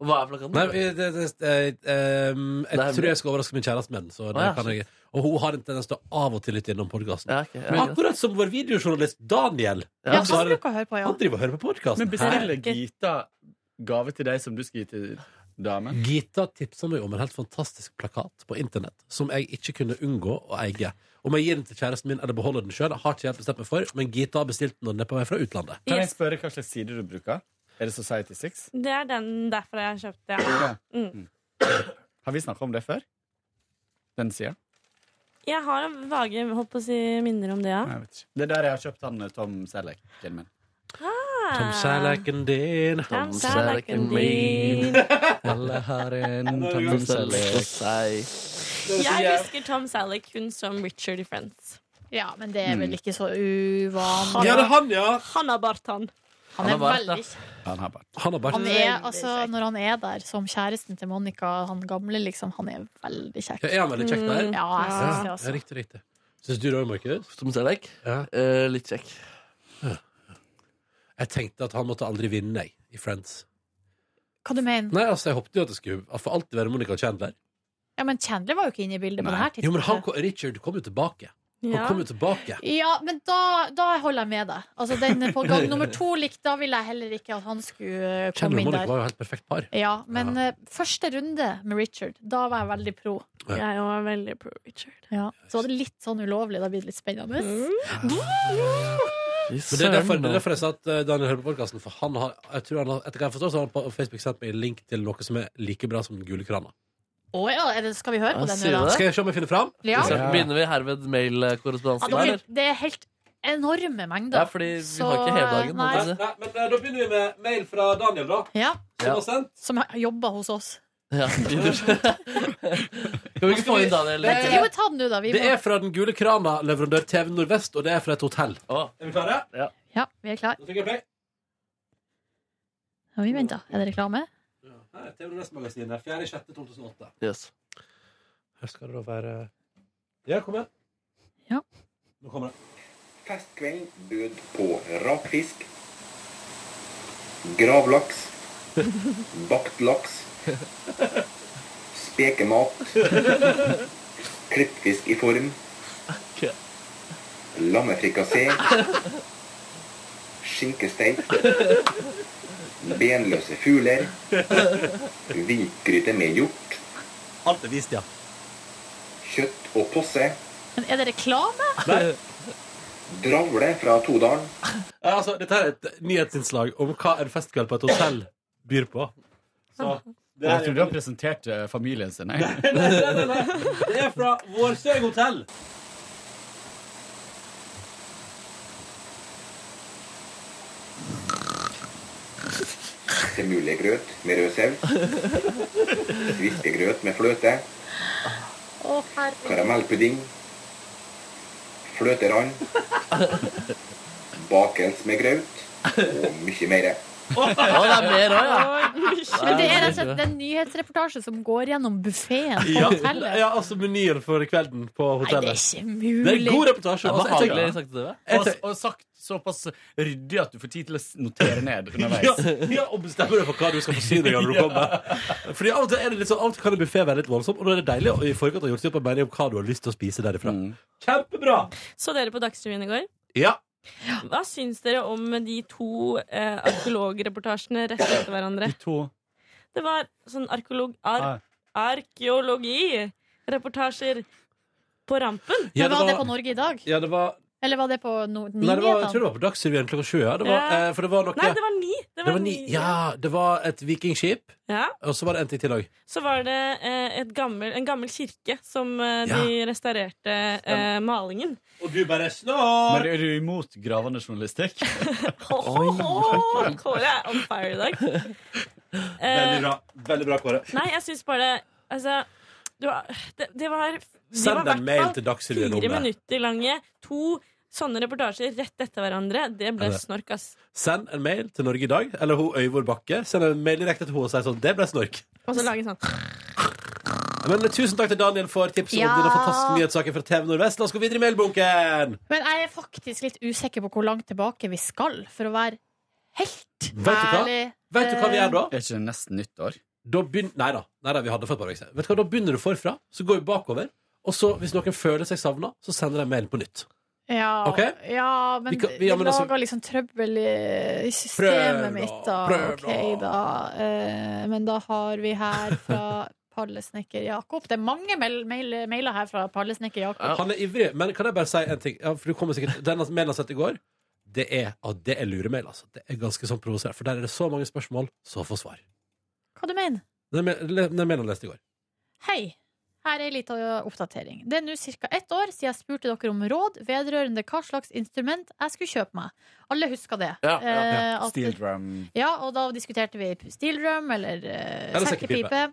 Og hva er plakaten? Nei, det, det, det, eh, ehm, Det er jeg tror hemmelig. jeg skal overraske min kjæreste med den. Så det Å, ja, kan jeg, og hun har en tendens til å av og til lytte innom podkasten. ok, ja, greit. Akkurat som vår videojournalist Daniel. Ja, Så har- han bruker å høre på, ja. han driver og hører på podkasten. Men bestiller Gita gave til deg som du skal gi til damen? Gita tipsa meg om en helt fantastisk plakat på internett som jeg ikke kunne unngå å eie. Om jeg gir den til kjæresten min eller beholder den sjøl, har ikke jeg bestemt meg for, men Gita har bestilt den når den er på vei fra utlandet. Kan jeg spørre hva slags side du bruker? Er det Society 6? Det er den derfor jeg har kjøpt det. Ja. Mm. Har vi snakka om det før? Den sida? Jeg har vage holdt på å si, minner om det, ja. Nei, jeg vet ikke. Det er der jeg har kjøpt han eh, Tom Selleck-filmen. Ah. Tom Sellecken din. Tom Sellecken din. Alle har en Tom Selleck hos Jeg husker Tom Selleck, hun som Richard i Friends. Ja, men det Mm. er vel ikke så uvanlig. Han- Ja, det er han, ja! Han har bartan. Han er veldig Han har bart. Han har bart. han er, altså, Når han er der som kjæresten til Monica, han gamle, liksom, han er veldig kjekk. Mm. Ja, Er han veldig kjekk der? Ja, jeg synes det, Ja, altså. Riktig, riktig. Syns du det òg, Markus? Tom Selleck? Eh, litt kjekk. Jeg tenkte at han måtte aldri vinne, jeg, i Friends. Hva du mener? Nei, altså, jeg håpte jo at det skulle at for alltid være Monica Chandler. Ja, men Chandler var jo ikke inne i bildet på det her Jo, men han, tidspunktet. kom- Richard kom jo tilbake. Ja. Han kom jo tilbake. Ja, men da, da holder jeg med deg. Altså, den på gang nummer to lik, da ville jeg heller ikke at han skulle eh, komme Chandler og inn Monica der. var jo helt perfekt par. Ja, men eh, første runde med Richard, da var jeg veldig pro. Ja. Jeg var veldig pro Richard. Ja. Så var det litt sånn ulovlig, da blir det litt spennende. Mm. Men det er derfor, det er derfor jeg sa at eh, Daniel hører på podcasten, for han har, jeg tror han har, etter hva jeg forstår, så har han på Facebook sendt meg en link til noe som er like bra som Gule kraner. Å ja, er det, skal vi høre på den sier nå, du da? det? Skal jeg se om jeg finner fram? Ja. Så Ja. Begynner vi herved Ja, mailkorrespondansen? det, her, er, det er helt enorme mengder. Ja, fordi vi har ikke hele dagen, Nei. holdt jeg Nei, men eh, da begynner vi med mail fra Daniel, da. Ja. Som har sendt. Som har jobba hos oss. Ja, vi Kan vi ikke få inn Daniel? eh? Men, jo, men ta den du, da. Vi, Det må, er fra Den gule krana, leverandør TV Nordvest, og det er fra et hotell. Er vi klare? Ja. ja, vi er klare. trykker jeg play. Ja, vi venter. Er det reklame? Her er TV Nordvest-magasinet. 4.6.2008. Yes. Her skal det da være Ja, kom igjen. Ja. Nå kommer det. Festkveld, bud på rakfisk, gravlaks, bakt laks, spekemat, klippfisk i form, lammefrikassé, skinkesteik, benløse fugler, vikgryte med hjort, Alt er vist, ja. kjøtt og posse, Men er det reklame? dravle fra Todalen, Ja, altså, dette her er et nyhetsinnslag om hva en festkveld på et hotell byr på. Så, det Jeg er- trodde han presenterte eh, familien sin. jeg. Det er fra Vårsøg hotell. semulegrøt med rød saus, vispegrøt med fløte, Å, herregud. karamellpudding, fløterand, bakels med graut og mye mer. det er mer også, ja. Men det er rett og slett en nyhetsreportasje som går gjennom buffeen på Ja, hotellet. ja, altså menyen for kvelden på hotellet. Nei, det er ikke mulig. Det er god reportasje. Det er Altså, jeg behagelig tenker- sagt til deg. Jeg Og, tenker- og sagt såpass ryddig at du får tid til å s- notere ned ja, underveis. ja, og bestemmer deg for hva du skal forsyne deg av når du kommer. Fordi av og til er det litt sånn, av og til kan en buffé være litt voldsom, og da er det deilig å i forkant ha gjort seg opp en mening om hva du har lyst til å spise derifra. Kjempebra! Så dere på Dagsrevyen i går? Ja. Hva syns dere om de to eh, arkeologreportasjene rett etter hverandre? Det var sånn arkeolog... Ar arkeologireportasjer på rampen. Ja, Men det var det var- på Norge i dag? Ja, det var Eller var det på no Nei, det var, nyhetene? jeg tror det var på Dagsrevyen klokka 20. Ja. Det var, Ja. eh, for det var noe Nei, det var ni. Det var ni. ni, Ja, det var et vikingskip, Ja. og så var det en ting til òg. Så var det eh, et gammel, en gammel kirke som eh, Ja. de restaurerte eh, malingen. Og du bare Men snar! er du imot gravende journalistikk? Åh, Kåre er on fire i dag. Eh, Veldig bra, Veldig bra Kåre. Nei, jeg syns bare Altså, du har Det, det var de Send var i en hvert mail fall til Dagsrevyen om Fire det. minutter lange. To sånne reportasjer rett etter hverandre. Det ble Er det- snork, ass. Send en mail til Norge i dag, eller hun Øyvor Bakke. Send en mail direkte til henne og si sånn. Det ble snork. Og så lage sånn Men eh, tusen takk til Daniel for tipset Ja. om denne fantastiske nyhetssaken fra TV Nordvest. La oss gå videre i mailbunken! Men jeg er faktisk litt usikker på hvor langt tilbake vi skal, for å være helt Vet du hva? ærlig. Vet du hva vi Eh, gjør da? Er ikke det nesten nyttår? Da begyn- Nei da. Nei da, vi hadde fått bare vekst. Vet du hva, Da begynner du forfra, så går vi bakover. Og så, hvis noen føler seg savna, så sender de mailen på nytt. Ja, Ok? ja men Vi vi, kan- ja, men altså- lager liksom trøbbel i, i systemet Prøv da, mitt, da. prøv Ok, da. Eh, men da har vi her fra Pallesnekker Jakob. Det er mange mail, mail, mailer her fra Pallesnekker Jakob. Han er ivrig, men kan jeg bare si en ting? Ja, for du kommer sikkert Den mailen jeg sendte i går, det er, ja, det er luremail. Altså. Det er ganske sånn provoserende. For der er det så mange spørsmål, så få svar. Hva du mener Den er- den er mailen jeg leste i går. Hei. Her er ei lita oppdatering. Det er nå ca. ett år siden jeg spurte dere om råd vedrørende hva slags instrument jeg skulle kjøpe meg. Alle husker det. Ja, ja. Eh, at- Steel drum. Ja, og da diskuterte vi steel drum eller, eh, Eller sekkepipe. sekkepipe.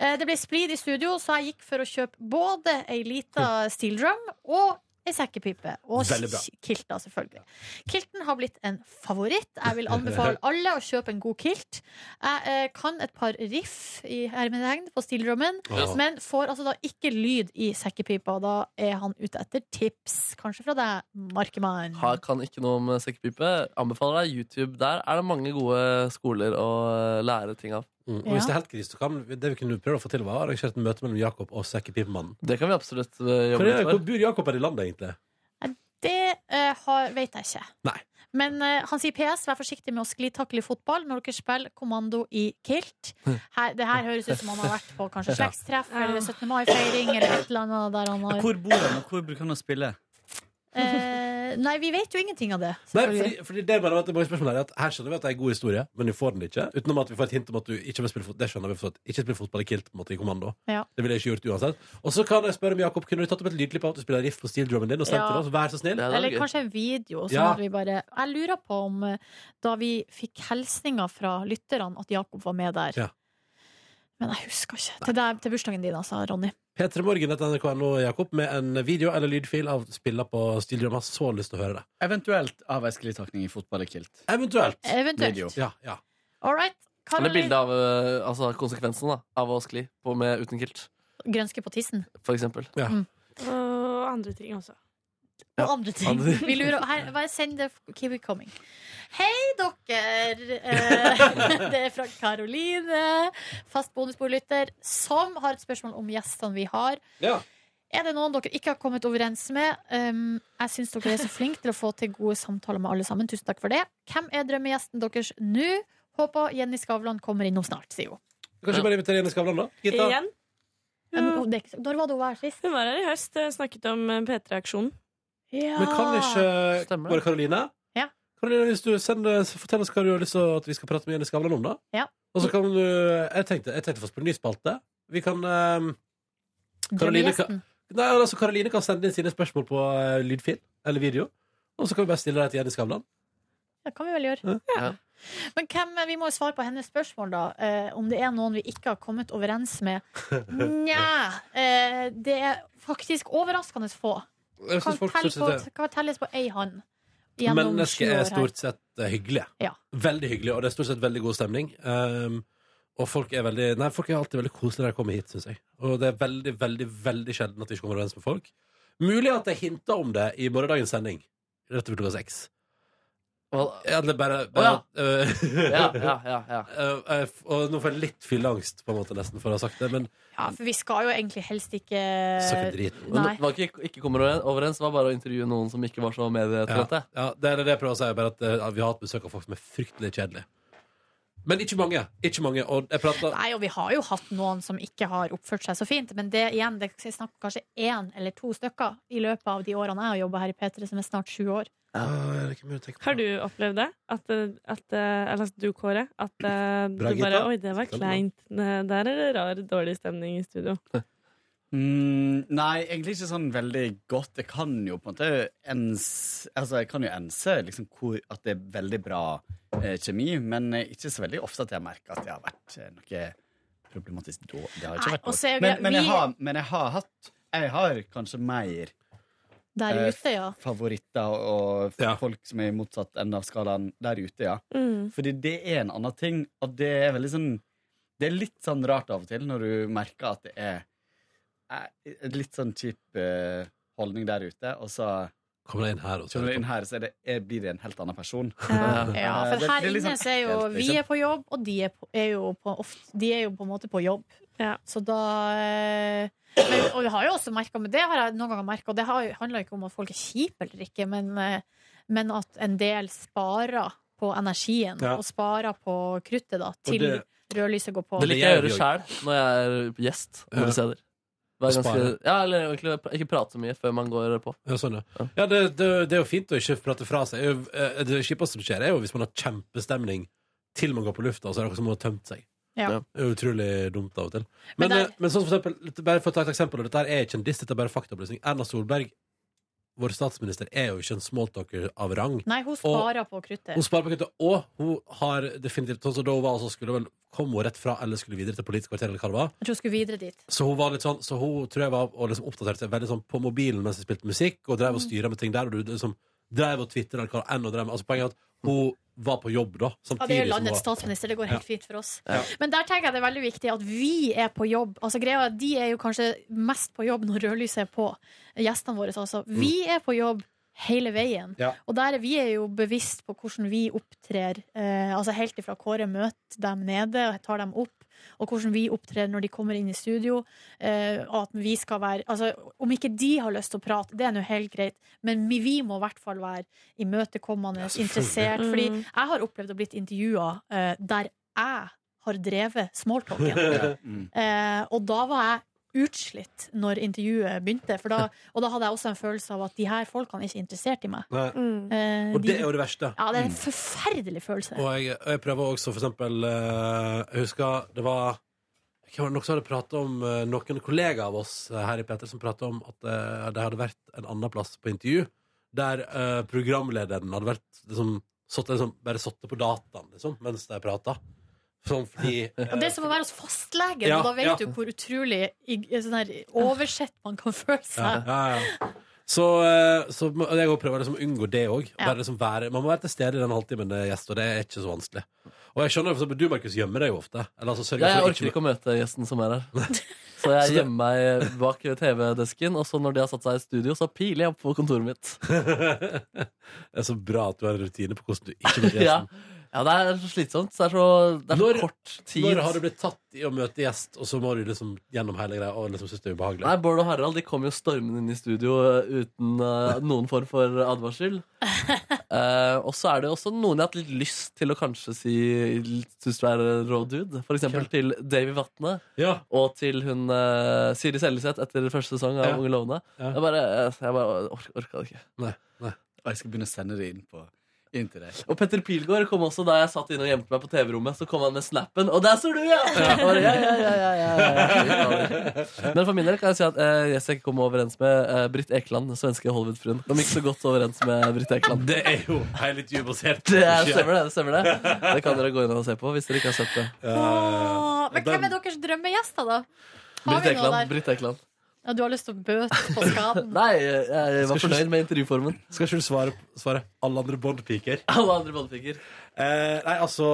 Eh, det ble splid i studio, så jeg gikk for å kjøpe både ei lita steel drum og ei sekkepipe. Og Mm. Veldig bra. ki- kilt, da, selvfølgelig. Kilten har blitt en favoritt. Jeg vil anbefale alle å kjøpe en god kilt. Jeg eh, kan et par riff i hermetegn på steel drummen, Ja. men får altså da ikke lyd i sekkepipa. og Da er han ute etter tips, kanskje fra deg, Markemann. Har, kan ikke noe om sekkepipe. Anbefaler deg YouTube. Der er det mange gode skoler å eh, lære ting av. Mm. Og hvis det er helt krise, så kan det vi kunne prøve å få til, var å arrangere et møte mellom Jakob og Sekkepipemannen. Det kan vi absolutt Hvor, eh, jobbe er, litt hvor for. bor Jakob her i landet, egentlig? Det eh, har, vet jeg ikke. Nei. Men eh, han sier PS, vær forsiktig med å sklitakle i fotball når dere spiller kommando i kilt. Her, det her høres ut som han har vært på kanskje Ja. slektstreff eller 17. mai-feiring eller et eller annet der han har Hvor bor han, og hvor bruker han å spille? eh, Nei, vi vet jo ingenting av det. Nei, selvfølgelig. fordi, fordi det er bare at det er mange spørsmål her er at Her skjønner vi at det er en god historie, men vi får den ikke. Utenom at vi får et hint om at du ikke vil spille fotball. Det skjønner vi forstått. Ikke spille fotball i kilt på en måte i kommando. Ja. Det ville jeg ikke gjort uansett. Og så kan jeg spørre om Jakob kunne du tatt opp et lydklipp av at du spiller riff på steel drummen din og sendt Ja. til oss? Vær så snill. Eller kanskje en video. Sånn Ja. at vi bare, jeg lurer på om eh, da vi fikk hilsninger fra lytterne, at Jakob var med der. Ja. Men jeg husker ikke. Til, deg, til bursdagen din, altså, Ronny. P3morgen.nrk.no, Jakob, med en video eller lydfil av spiller på steel drum. Jeg har så lyst til å høre det. Eventuelt av ei sklitakning i fotball og kilt. Eventuelt. Eventuelt. Video. Ja, ja. All right. Eller Karolin bilde av eh, altså, konsekvensen da, av å skli på med uten kilt, Grønske på tissen. for eksempel. Og andre ting også. Og andre ting. Andre ting. Vi lurer, her, bare send det Keep it coming. Hei, dere! Eh, Det er fra Karoline, fast bonusbordlytter, som har et spørsmål om gjestene vi har. Ja. Er det noen dere ikke har kommet overens med? Um, jeg syns dere er så flinke til å få til gode samtaler med alle sammen. Tusen takk for det. Hvem er drømmegjesten deres nå? Håper Jenny Skavlan kommer innom snart, sier hun. Kanskje bare invitere Jenny Skavlan, da? Gitta? Igjen. Men oh, det er ikke- Når var det hun var her sist? Hun var her i høst eh, snakket om eh, P3-aksjonen. Men kan ikke bare Karoline? Ah, Ja. Karoline, hvis du sender, fortell oss hva du har lyst til at vi skal prate med Jenny Skavlan om, da. Ja. Og så kan du Jeg tenkte, jeg tenkte faktisk på en ny spalte. Vi kan ehm, Karoline kan, Drømmegjesten. nei, altså Karoline kan sende inn sine spørsmål på eh, lydfil eller video. Og så kan vi bare stille deg til Jenny Skavlan. Det kan vi vel gjøre. Ja. Men hvem, vi må jo svare på hennes spørsmål, da. Eh, om det er noen vi ikke har kommet overens med. Nja. Eh, det er faktisk overraskende få. Jeg synes Kan, folk telle synes på, det. kan telles på ei hand. gjennom sju Mennesket år er her. stort sett eh, hyggelige. Ja. Veldig hyggelige, og det er stort sett veldig god stemning. Ehm, og folk er veldig Nei, folk er alltid veldig koselige når de kommer hit, syns jeg. Og det er veldig, veldig veldig sjelden at vi ikke kommer overens med folk. Mulig at jeg hinta om det i morgendagens sending. Rett over klokka seks. Egentlig bare, bare eh, Ja, ja, ja, ja. eh, eh, f- Og nå får jeg litt fylleangst, på en måte, nesten, for å ha sagt det, men Ja, for vi skal jo egentlig helst ikke Men Nei. det var ikke, ikke kommer overens, det var bare å intervjue noen som ikke var så medietrente. ja, ja, det er det jeg prøver å si, bare at eh, vi har hatt besøk av folk som er fryktelig kjedelige. Men ikke mange. Ikke mange. Og jeg prata Nei, og vi har jo hatt noen som ikke har oppført seg så fint, men det igjen, det er snakk om kanskje én eller to stykker i løpet av de årene jeg har jobba her i P3, som er snart sju år. Har du opplevd det? At, eh, at, eh, eller at du, Kåre, at eh, du Bra, bare Gitta. Oi, det var Skal du ha. kleint. Ne, Der er det rar, dårlig stemning i studio. Mm, nei, egentlig ikke sånn veldig godt. Jeg kan jo på en måte ens, altså jeg kan jo ense liksom, hvor, at det er veldig bra eh, kjemi, men eh, ikke så veldig ofte at jeg merker at det har vært eh, noe problematisk da. Det har Nei, ikke vært og noe. så er jo men, greia- men, jeg vi- har, men jeg har hatt Jeg har kanskje mer Der eh, ute, ja. favoritter og f- folk som er i motsatt ende av skalaen der ute, ja. Mm. Fordi det er en annen ting, og det er veldig sånn Det er litt sånn rart av og til når du merker at det er eh, en litt sånn kjip eh, holdning der ute, og så Kommer det inn her, og så, kommer det inn her, så er det, er, blir det en helt annen person. Ja, Eh, for det- her det er litt inne sånn så er jo ekkelt, vi liksom. er på jobb, og de er, på, er, jo, på, ofte, de er jo på en måte på jobb. Så da eh, men, Og vi har jo også merka, men det har jeg noen ganger merka, og det har, handler ikke om at folk er kjipe eller ikke, men, eh, men at en del sparer på energien, Ja. og sparer på kruttet, da, til det- rødlyset går på. Det liker jeg å gjøre sjæl når jeg er gjest Ja. andre steder. Være Og ganske, spare. ja, eller egentlig ikke prate så mye før man går på. Ja, sånn, ja. ja det, det, det er jo fint å ikke prate fra seg. Eh, Det kjipeste som skjer, er jo hvis man har kjempestemning til man går på lufta, og så er det noen som har tømt seg. Ja. Det er Utrolig dumt av og til. Men Men, der- eh, men sånn for eksempel, litt- bare for å ta et eksempel, og dette her er ikke en diss, dette er bare faktaopplysning. Erna Solberg, vår statsminister, er jo ikke en smalltalker av rang. Nei, hun Og- sparer på kruttet. Hun sparer på kuttet, og hun har definitivt sånn som da hun var, så skulle hun vel kom hun rett fra eller skulle videre til Politisk kvarter eller hva det var. Jeg tror hun skulle videre dit. Så hun var litt sånn, så hun tror jeg var og liksom oppdaterte seg veldig sånn på mobilen mens hun spilte musikk, og drev Mm. og styra med ting der, og du liksom drev og twittra eller hva enn hun drev med. Altså poenget er at hun var på jobb da, Ja, det samtidig er som hun landets var- statsminister. Det går Ja. helt fint for oss. Ja. Men der tenker jeg det er veldig viktig at vi er på jobb. Altså greia, er at De er jo kanskje mest på jobb når rødlyset er på. Gjestene våre, altså. Mm. Vi er på jobb hele veien. Ja. Og der er vi er jo bevisst på hvordan vi opptrer. Eh, altså helt ifra Kåre møter dem nede og tar dem opp. Og hvordan vi opptrer når de kommer inn i studio. Eh, og at vi skal være altså, Om ikke de har lyst til å prate, det er nå helt greit, men vi, vi må i hvert fall være imøtekommende, interessert. Fordi Mm. jeg har opplevd å blitt intervjua eh, der jeg har drevet smalltalken. Ja. Mm. eh, og da var jeg utslitt når intervjuet begynte. For da, og da hadde jeg også en følelse av at de her folkene er ikke interessert i meg. Nei. Eh, Og det er jo det verste. Mm. Ja, det er en forferdelig følelse. Og jeg, og jeg prøver også for eksempel eh, Jeg husker det var hvem var det Noen som hadde pratet om eh, Noen kollegaer av oss eh, her i Peter Som pratet om at eh, det hadde vært en annen plass på intervju Der eh, programlederen hadde vært liksom, satt, liksom, Bare satt på dataen liksom, Mens de pratet Sånn fordi Og det er som å være hos fastlegen, Ja, og da vet ja. du hvor utrolig i, sånn her, oversett man kan føle ja, seg. ja, ja. Så, eh, så må- og jeg også prøver liksom å unngå det òg. Ja. Liksom være- man må være til stede i den halvtimen det er gjest, og det er ikke så vanskelig. Og jeg skjønner for eksempel, Du, Markus, gjemmer deg jo ofte. Eller, altså, sørger Ja, jeg for orker ikke å møte gjesten som er her. Så jeg gjemmer meg eh, bak TV-desken, og så når de har satt seg i studio, så piler jeg opp på kontoret mitt. Det er så bra at du har en rutine på hvordan du ikke møter Ja. gjesten. ja, det er så slitsomt. så Det er så, det er så kort tid. Når har du blitt tatt i å møte gjest, og så må du liksom gjennom hele greia og liksom synes det er ubehagelig? Nei, Bård og Harald de kom jo stormende inn i studio eh, uten eh, noen form for advarsel. Eh, og så er det også noen jeg har hatt litt lyst til å kanskje si syns du er rå dude. For eksempel til Davy Vatne og til hun eh, Siri Seljeseth etter første sesong av Ja. Unge lovende. Ja. Jeg bare, eh, jeg bare ork, orka det ikke. Og jeg skal begynne å sende det inn på inn til deg. Og Petter Pilgaard kom også da jeg satt inne og gjemte meg på TV-rommet. Så kom han med snappen, og der står du, ja! Jeg bare, ja, ja, ja, ja, ja, ja. Men for min del kan jeg si at eh, jeg skal ikke komme overens med eh, Britt Ekeland, den svenske Hollywood-fruen. De gikk så godt overens med Britt Ekeland. Det er jo helt ubasert. Det er, stemmer det. det stemmer Det Det kan dere gå inn og se på hvis dere ikke har sett det. Åh, Men hvem er deres drømmegjester, da? Har Britt vi noe Ekeland. der? Britt Ekeland. Ja, du har lyst til å bøte på skaden? Nei, jeg, jeg var Skal ikke- fornøyd med intervjuformen. Skal ikke du svare, svare alle andre båndpiker? Alle andre båndpiker. Eh, nei, altså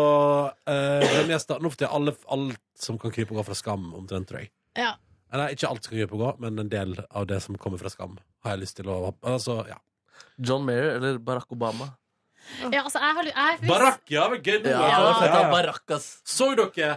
eh, Drømmegjester. Nå får jeg alle, alt som kan krype og gå fra Skam, omtrent, tror jeg. Eh, Ja. Nei, ikke alt som kan krype og gå, men en del av det som kommer fra Skam, har jeg lyst til å Altså, ja. John Mayer eller Barack Obama? Ja, altså, jeg har, jeg, hvis- Barakk, ja, men gøy! Ja, det var Barack, ass. Så dere?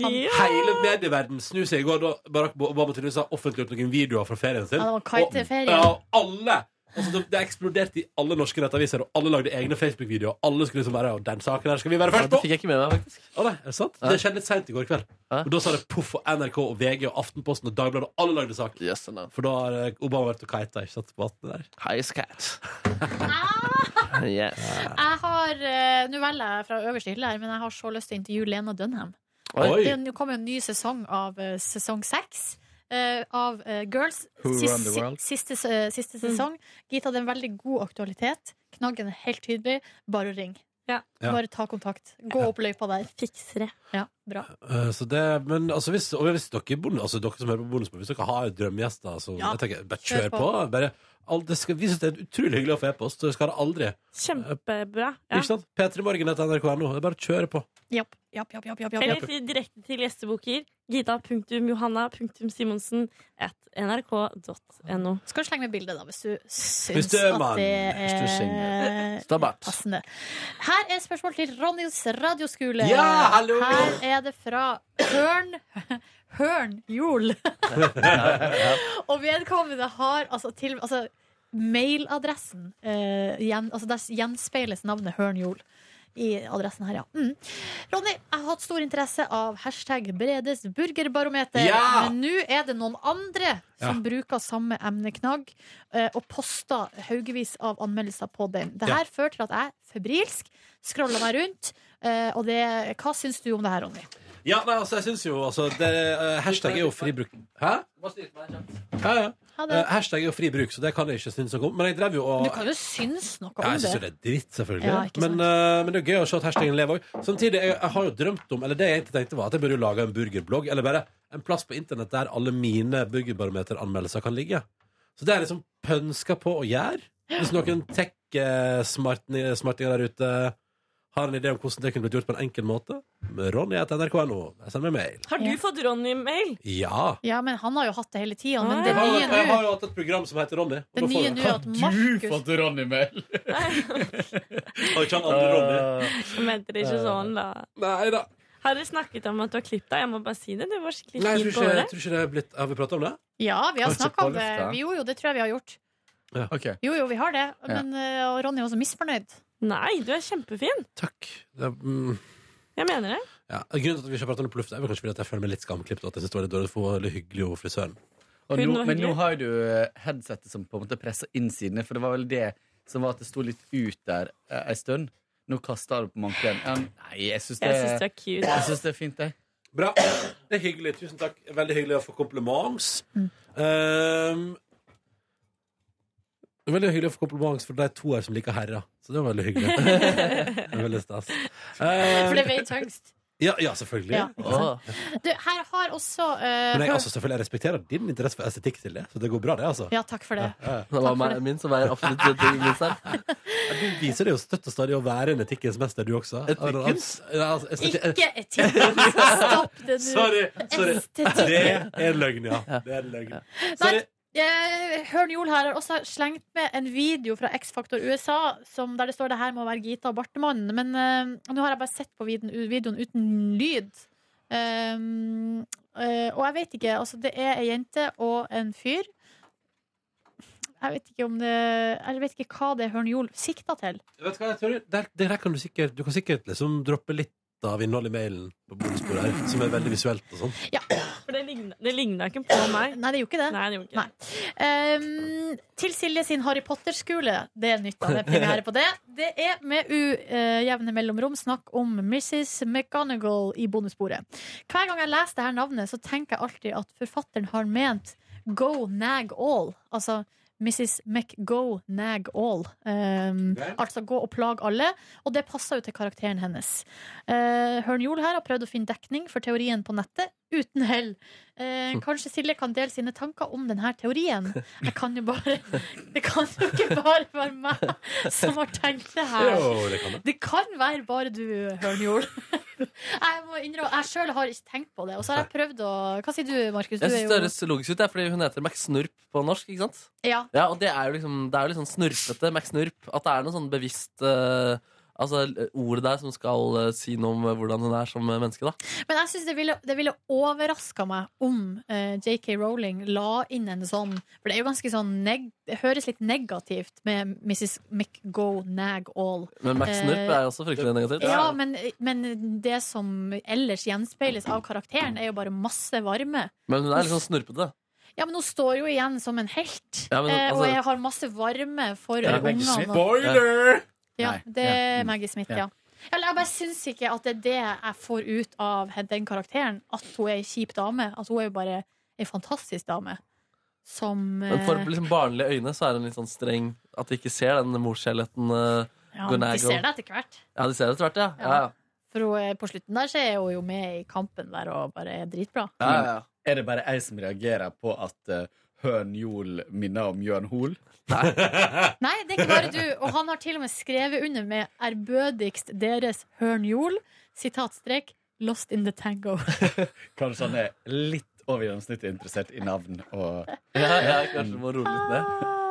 Ja. Hele medieverdenen snur seg i går da Barack Obama tydeligvis har offentliggjort noen videoer fra ferien sin. Ja, det var kiteferie. Og- Ja, og alle! Altså, det, det eksploderte i alle norske nettaviser, og alle lagde egne Facebook-videoer. Alle skulle liksom være «Ja, Den saken her skal vi være først på! Det fikk jeg ikke med meg, faktisk. Å, nei, er det sant? Det skjedde litt seint i går kveld. Og Da sa det poff, og NRK og VG og Aftenposten og Dagbladet og alle lagde sak. For da har eh, Obama vært og kita, ikke sant? På vannet der. Ah! jeg har eh, Nå velger jeg fra øverste hylle her, men jeg har så lyst til å intervjue Lena Dunham. Oi. Det er- Nå kommer jo en ny sesong av eh, sesong seks. eh, av eh, Girls. Who Sis- Run the World? Siste, eh, siste sesong. Gitt hadde en veldig god aktualitet. Knaggen er helt tydelig. Bare ring. Ja. Bare ta kontakt. Gå opp løypa der. Fiksere. Ja, bra. Eh, Så det, men altså hvis, og hvis dere, bonus, altså dere som hører på bonusbord, hvis dere har drømmegjester, så Ja. jeg tenker, bare Kjør kjør på. på. Bare, all, det skal, vi synes det er utrolig hyggelig å få e-post, så det skal det aldri. Kjempebra. Ja. Ikke sant? P3morgen etter nrk.no. Det er Bare kjør på. Japp, japp, japp, japp, japp, japp. Eller til- direkte til gjesteboker. Gita.johanna.simonsen at nrk.no. Skal du slenge med bilde, da, hvis du syns Hvis du er at mann, det hvis du er er single. Stabat. passende. Her er spørsmål til Ronnys radioskole. Ja, hallo! Her er det fra Hørn Hørn Jol. Mm. Og vedkommende har altså til altså, Mailadressen eh, gjen, altså Der gjenspeiles navnet Hørn Jol i adressen her, ja. Mm. Ronny, jeg har hatt stor interesse av hashtag Bredes burgerbarometer. Ja! Men nå er det noen andre som Ja. bruker samme emneknagg eh, og poster haugevis av anmeldelser på den. Det Ja. her fører til at jeg febrilsk scroller meg rundt. eh, og det, hva syns du om det her, Ronny? Ja, nei, altså, jeg syns jo altså, det, eh, Hashtag er jo fribruk. Hæ? Ja, ja. Ha det. Eh, hashtag er jo fri bruk, så det kan jeg ikke synes noe om. Men jeg drev jo og Du kan jo synes noe ja, om jeg synes jo det. det er dritt, selvfølgelig. Ja, ikke men, eh, men det er gøy å se at hashtagen lever òg. Samtidig, jeg, jeg har jo drømt om Eller det jeg egentlig tenkte, var at jeg burde jo lage en burgerblogg. Eller bare en plass på internett der alle mine burgerbarometeranmeldelser kan ligge. Så det er jeg liksom pønska på å gjøre. Hvis noen tech-smartinger der ute har en idé om hvordan det kunne blitt gjort på en enkel måte, Ronny etter nrk.no. Send meg mail. Har du fått Ronny-mail? Ja. Ja, men han har jo hatt det hele tida. Men Ah. det Jeg har, nye jo- jeg nå har jo hatt et program som heter Ronny. og Det da får nye jeg- nå er at Markus fått Ronny-mail? Og ikke han andre Ronny. Venter ikke sånn, da. Eh, Nei da. Har dere snakket om at du har klippet deg? Jeg må bare si det. Du var skikkelig Nei, jeg fin tror på ikke, jeg håret. tror ikke det er blitt Har vi prata om det? Ja, vi har Har ikke snakka på om det. lufta. Jo, jo, det tror jeg vi har gjort. Ja. Jo, jo, vi har det. Ja. Men eh, og Ronny er også misfornøyd. Nei, du er kjempefin. Det er, mm, Jeg mener det. ja. Grunnen til at vi ikke har pratet om det på lufta, er vel kanskje fordi at jeg føler meg litt skamklipt. og At jeg synes det var litt dårlig for litt hyggelig og frisøren. Og Hun nå, var men hyggelig. nå har jo du eh, headsetet som på en måte presser inn sidene, for det var vel det som var at det sto litt ut der eh, ei stund. Nå kaster du på mankelen. Ja, nei, jeg syns det, Jeg synes det er cute. Jeg synes det er fint, det. Bra. Det er hyggelig. Tusen takk. Veldig hyggelig å få kompliments. Mm. Um, det er veldig hyggelig å få kompliments for de to her som liker herrer. Så det var veldig hyggelig. det er veldig stas. Um, For det veier tyngst. ja, ja, selvfølgelig. Ja, ikke sant? Du, her har også eh, Men jeg, hør- altså, selvfølgelig, jeg respekterer din interesse for estetikk, Silje. Så det går bra, det, altså. Ja, takk for det. Det var meg, min som veier absolutt ting minst her. Du viser det jo støtt og stadig å være en etikkens mester, du også. Etikkens? Ja, altså, esteti- Ikke etikken! Stopp det nå. Sorry, sorry. Estetikk. Det er løgn, ja. Det er løgn. Nei, eh, Hørn Jol her har også slengt med en video fra X-Faktor USA som der det står det her må være Gita og Bartemann. Men eh, nå har jeg bare sett på viden- videoen uten lyd. Um, eh, og jeg vet ikke. Altså, det er ei jente og en fyr. Jeg vet ikke om det Jeg vet ikke hva det er Hørn Jol sikta til. Vet du hva, jeg tror der, det der kan du sikkert Du kan sikkert liksom droppe litt av innholdet i mailen på bonusbordet her, som er veldig visuelt og sånn. For det ligna, det ligna ikke på meg. Nei, det gjorde ikke det. Nei, det gjorde ikke det. Um, til Silje sin Harry Potter-skole. Det er nytt. da, Det er premiere på det. Det er med ujevne mellomrom snakk om Mrs. McGonagall i bonussporet. Hver gang jeg leser det her navnet, så tenker jeg alltid at forfatteren har ment Go nag all. Altså Mrs. McGo nag all. Um, altså gå og plag alle. Og det passer jo til karakteren hennes. Uh, Hørn Jol her har prøvd å finne dekning for teorien på nettet, uten hell. Eh, kanskje Silje kan dele sine tanker om denne teorien. Jeg kan jo bare, det kan jo ikke bare være meg som har tenkt det her. Jo, det kan det. Det kan være bare du, Hørnjol. Jeg må innrømme, jeg sjøl har ikke tenkt på det. Og så har jeg prøvd å Hva sier du, Markus? Du er Jeg synes det jo høres logisk ut, det er fordi hun heter McSnurp på norsk. ikke sant? Ja. Ja, og det er jo liksom, det er jo litt sånn snurpete McSnurp. At det er noe sånn bevisst eh, altså, ord der som skal eh, si noe om hvordan hun er som eh, menneske. da. Men jeg syns det ville, det ville overraska meg om eh, JK Rowling la inn en sånn For det er jo ganske sånn neg Det høres litt negativt med Mrs. McGo Nag All. Men McSnurp Eh, er også fryktelig negativt. Ja, men, men det som ellers gjenspeiles av karakteren, er jo bare masse varme. Men hun er litt sånn snurpete. Ja, men hun står jo igjen som en helt, Ja, men, eh, altså- og jeg har masse varme for Er det Maggie ungene. Smith? Spoiler! Ja, Nei, det ja. er Mm. Maggie Smith, Ja. ja. Eller jeg bare syns ikke at det er det jeg får ut av den karakteren, at hun er ei kjip dame. At hun er jo bare ei fantastisk dame. Som Men for eh, liksom barnlige øyne så er hun litt sånn streng. At de ikke ser den morskjærligheten. eh, Ja, gå de nær, gå- ser det etter hvert. Ja, de ser det etter hvert, ja. ja. ja. For hun er, på slutten der så er hun jo med i kampen der og bare er dritbra. Men Er det bare jeg som reagerer på at eh, Høn Jol minner om Jørn Hoel? Nei, det er ikke bare du. Og han har til og med skrevet under med 'ærbødigst deres hørnjol'. Sitatstrek 'Lost in the Tango'. Kanskje han er litt over gjennomsnittet interessert i navn og ja, kanskje må roe litt ned. Ah.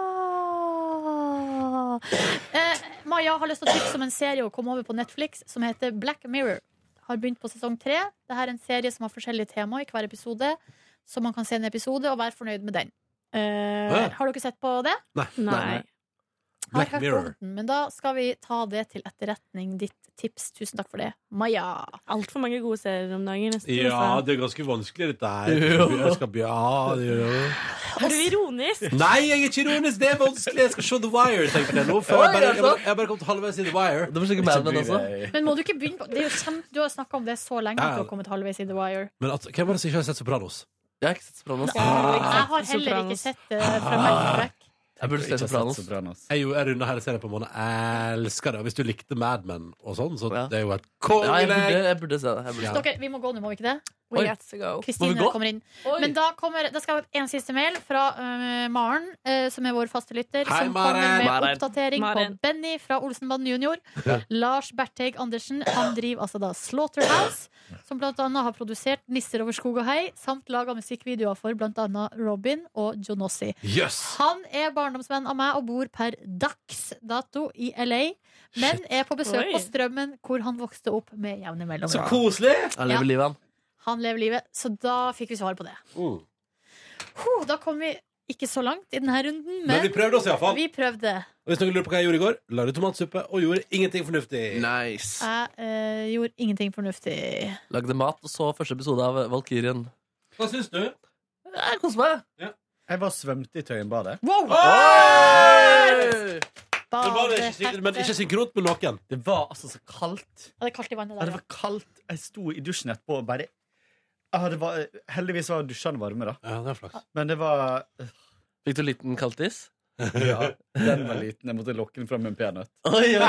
Eh, Maja har lyst til å tipse om en serie å komme over på Netflix som heter Black Mirror. Har begynt på sesong tre. Dette er en serie som har forskjellige tema i hver episode, så man kan se en episode og være fornøyd med den. Eh, Hæ? har dere sett på det? Nei. Nei. Har Black hørt Mirror. om den, Men da skal vi ta det til etterretning, ditt tips. Tusen takk for det, Maja. Altfor mange gode serier om dagen. nesten, Ja, altså. dessverre. det er ganske vanskelig, dette her. Jeg skal, ja, det gjør det. Er du ironisk? Nei, jeg er ikke ironisk! Det er vanskelig! Jeg skal se The Wire, tenkte jeg nå. Før Oi, jeg, bare, er det jeg, altså. bare, jeg bare kom til halvveis i The Wire. Det var sikkert Mad Men også. Men må du ikke begynne på det er jo kjempe, Du har snakka om det så lenge Ja, ja. at du har kommet halvveis i The Wire. Men at, hvem var det som ikke har sett Sopranos? Jeg har ikke sett Sopranos. Ah. Jeg har heller ikke sett eh, det fra Melkebæk. Jeg burde Ikke se sett Sopranos. Sopranos. Jeg, er jo- jeg runder hele serien på en måned. Jeg elsker det. Og hvis du likte Mad Men og sånn, så det er jo et Ja, jeg, kongelegg! burde, jeg burde se det. Jeg burde. Ja. Dere, vi må gå nå, må vi ikke det? We Oi. have to go. Må Kristine vi gå? kommer inn. Men da kommer det skal være en siste mail fra øh, Maren, øh, som er vår faste lytter, Hei, som kommer Maren. med Maren. oppdatering Maren. på Benny fra Olsenbanden junior. Ja. Lars Berteig Andersen han driver altså da Slaughterhouse, som blant annet har produsert Nisser over skog og hei, samt laga musikkvideoer for blant annet Robin og Jonossi. Jøss. Han er barndomsvenn av meg og bor per dags dato i LA, men er på besøk Oi. på Strømmen, hvor han vokste opp med jevne mellomrom. Så koselig! Jeg Ja. lever livet han. Han lever livet. Så da fikk vi svar på det. Mm. Huh, da kom vi ikke så langt i denne runden, men, Men vi prøvde oss i hvert fall. Vi prøvde. Og hvis noen lurer på hva jeg gjorde i går, lagde tomatsuppe og gjorde ingenting fornuftig. Nice. Jeg eh, gjorde ingenting fornuftig. Lagde mat og så første episode av Valkyrien. Hva syns du? Jeg koser meg. Jeg bare svømte i Tøyenbadet. Wow! Oi! Bade- Men var det ikke, syn- men ikke synkront med noen? Det var altså så kaldt. Ja, det er kaldt i vannet Ja, det der. var kaldt. Jeg sto i dusjen etterpå og bare ah, det var, Heldigvis var dusjene varme, da. Ja, det er flaks. Men det var Fikk du liten kaldtis? Ja, den var liten. Jeg måtte lokke den fram med en peanøtt. Oi, ja.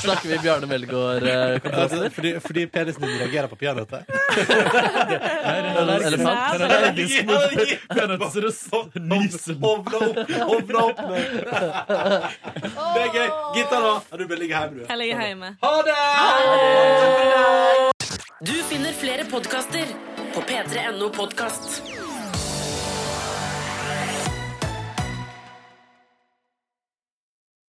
Snakker vi Bjarne eh, Melgaard-kontraster? altså, Fordi, fordi penisen din reagerer på peanøtter? Elefant? Den er allergisk mot peanøttsruss. Hovna opp, hovna opp med Det er gøy. Gitta, da? Ja, Du bør ligge hjemme, du. Jeg ligger hjemme. Ha det! Du finner flere podkaster på p3.no podkast.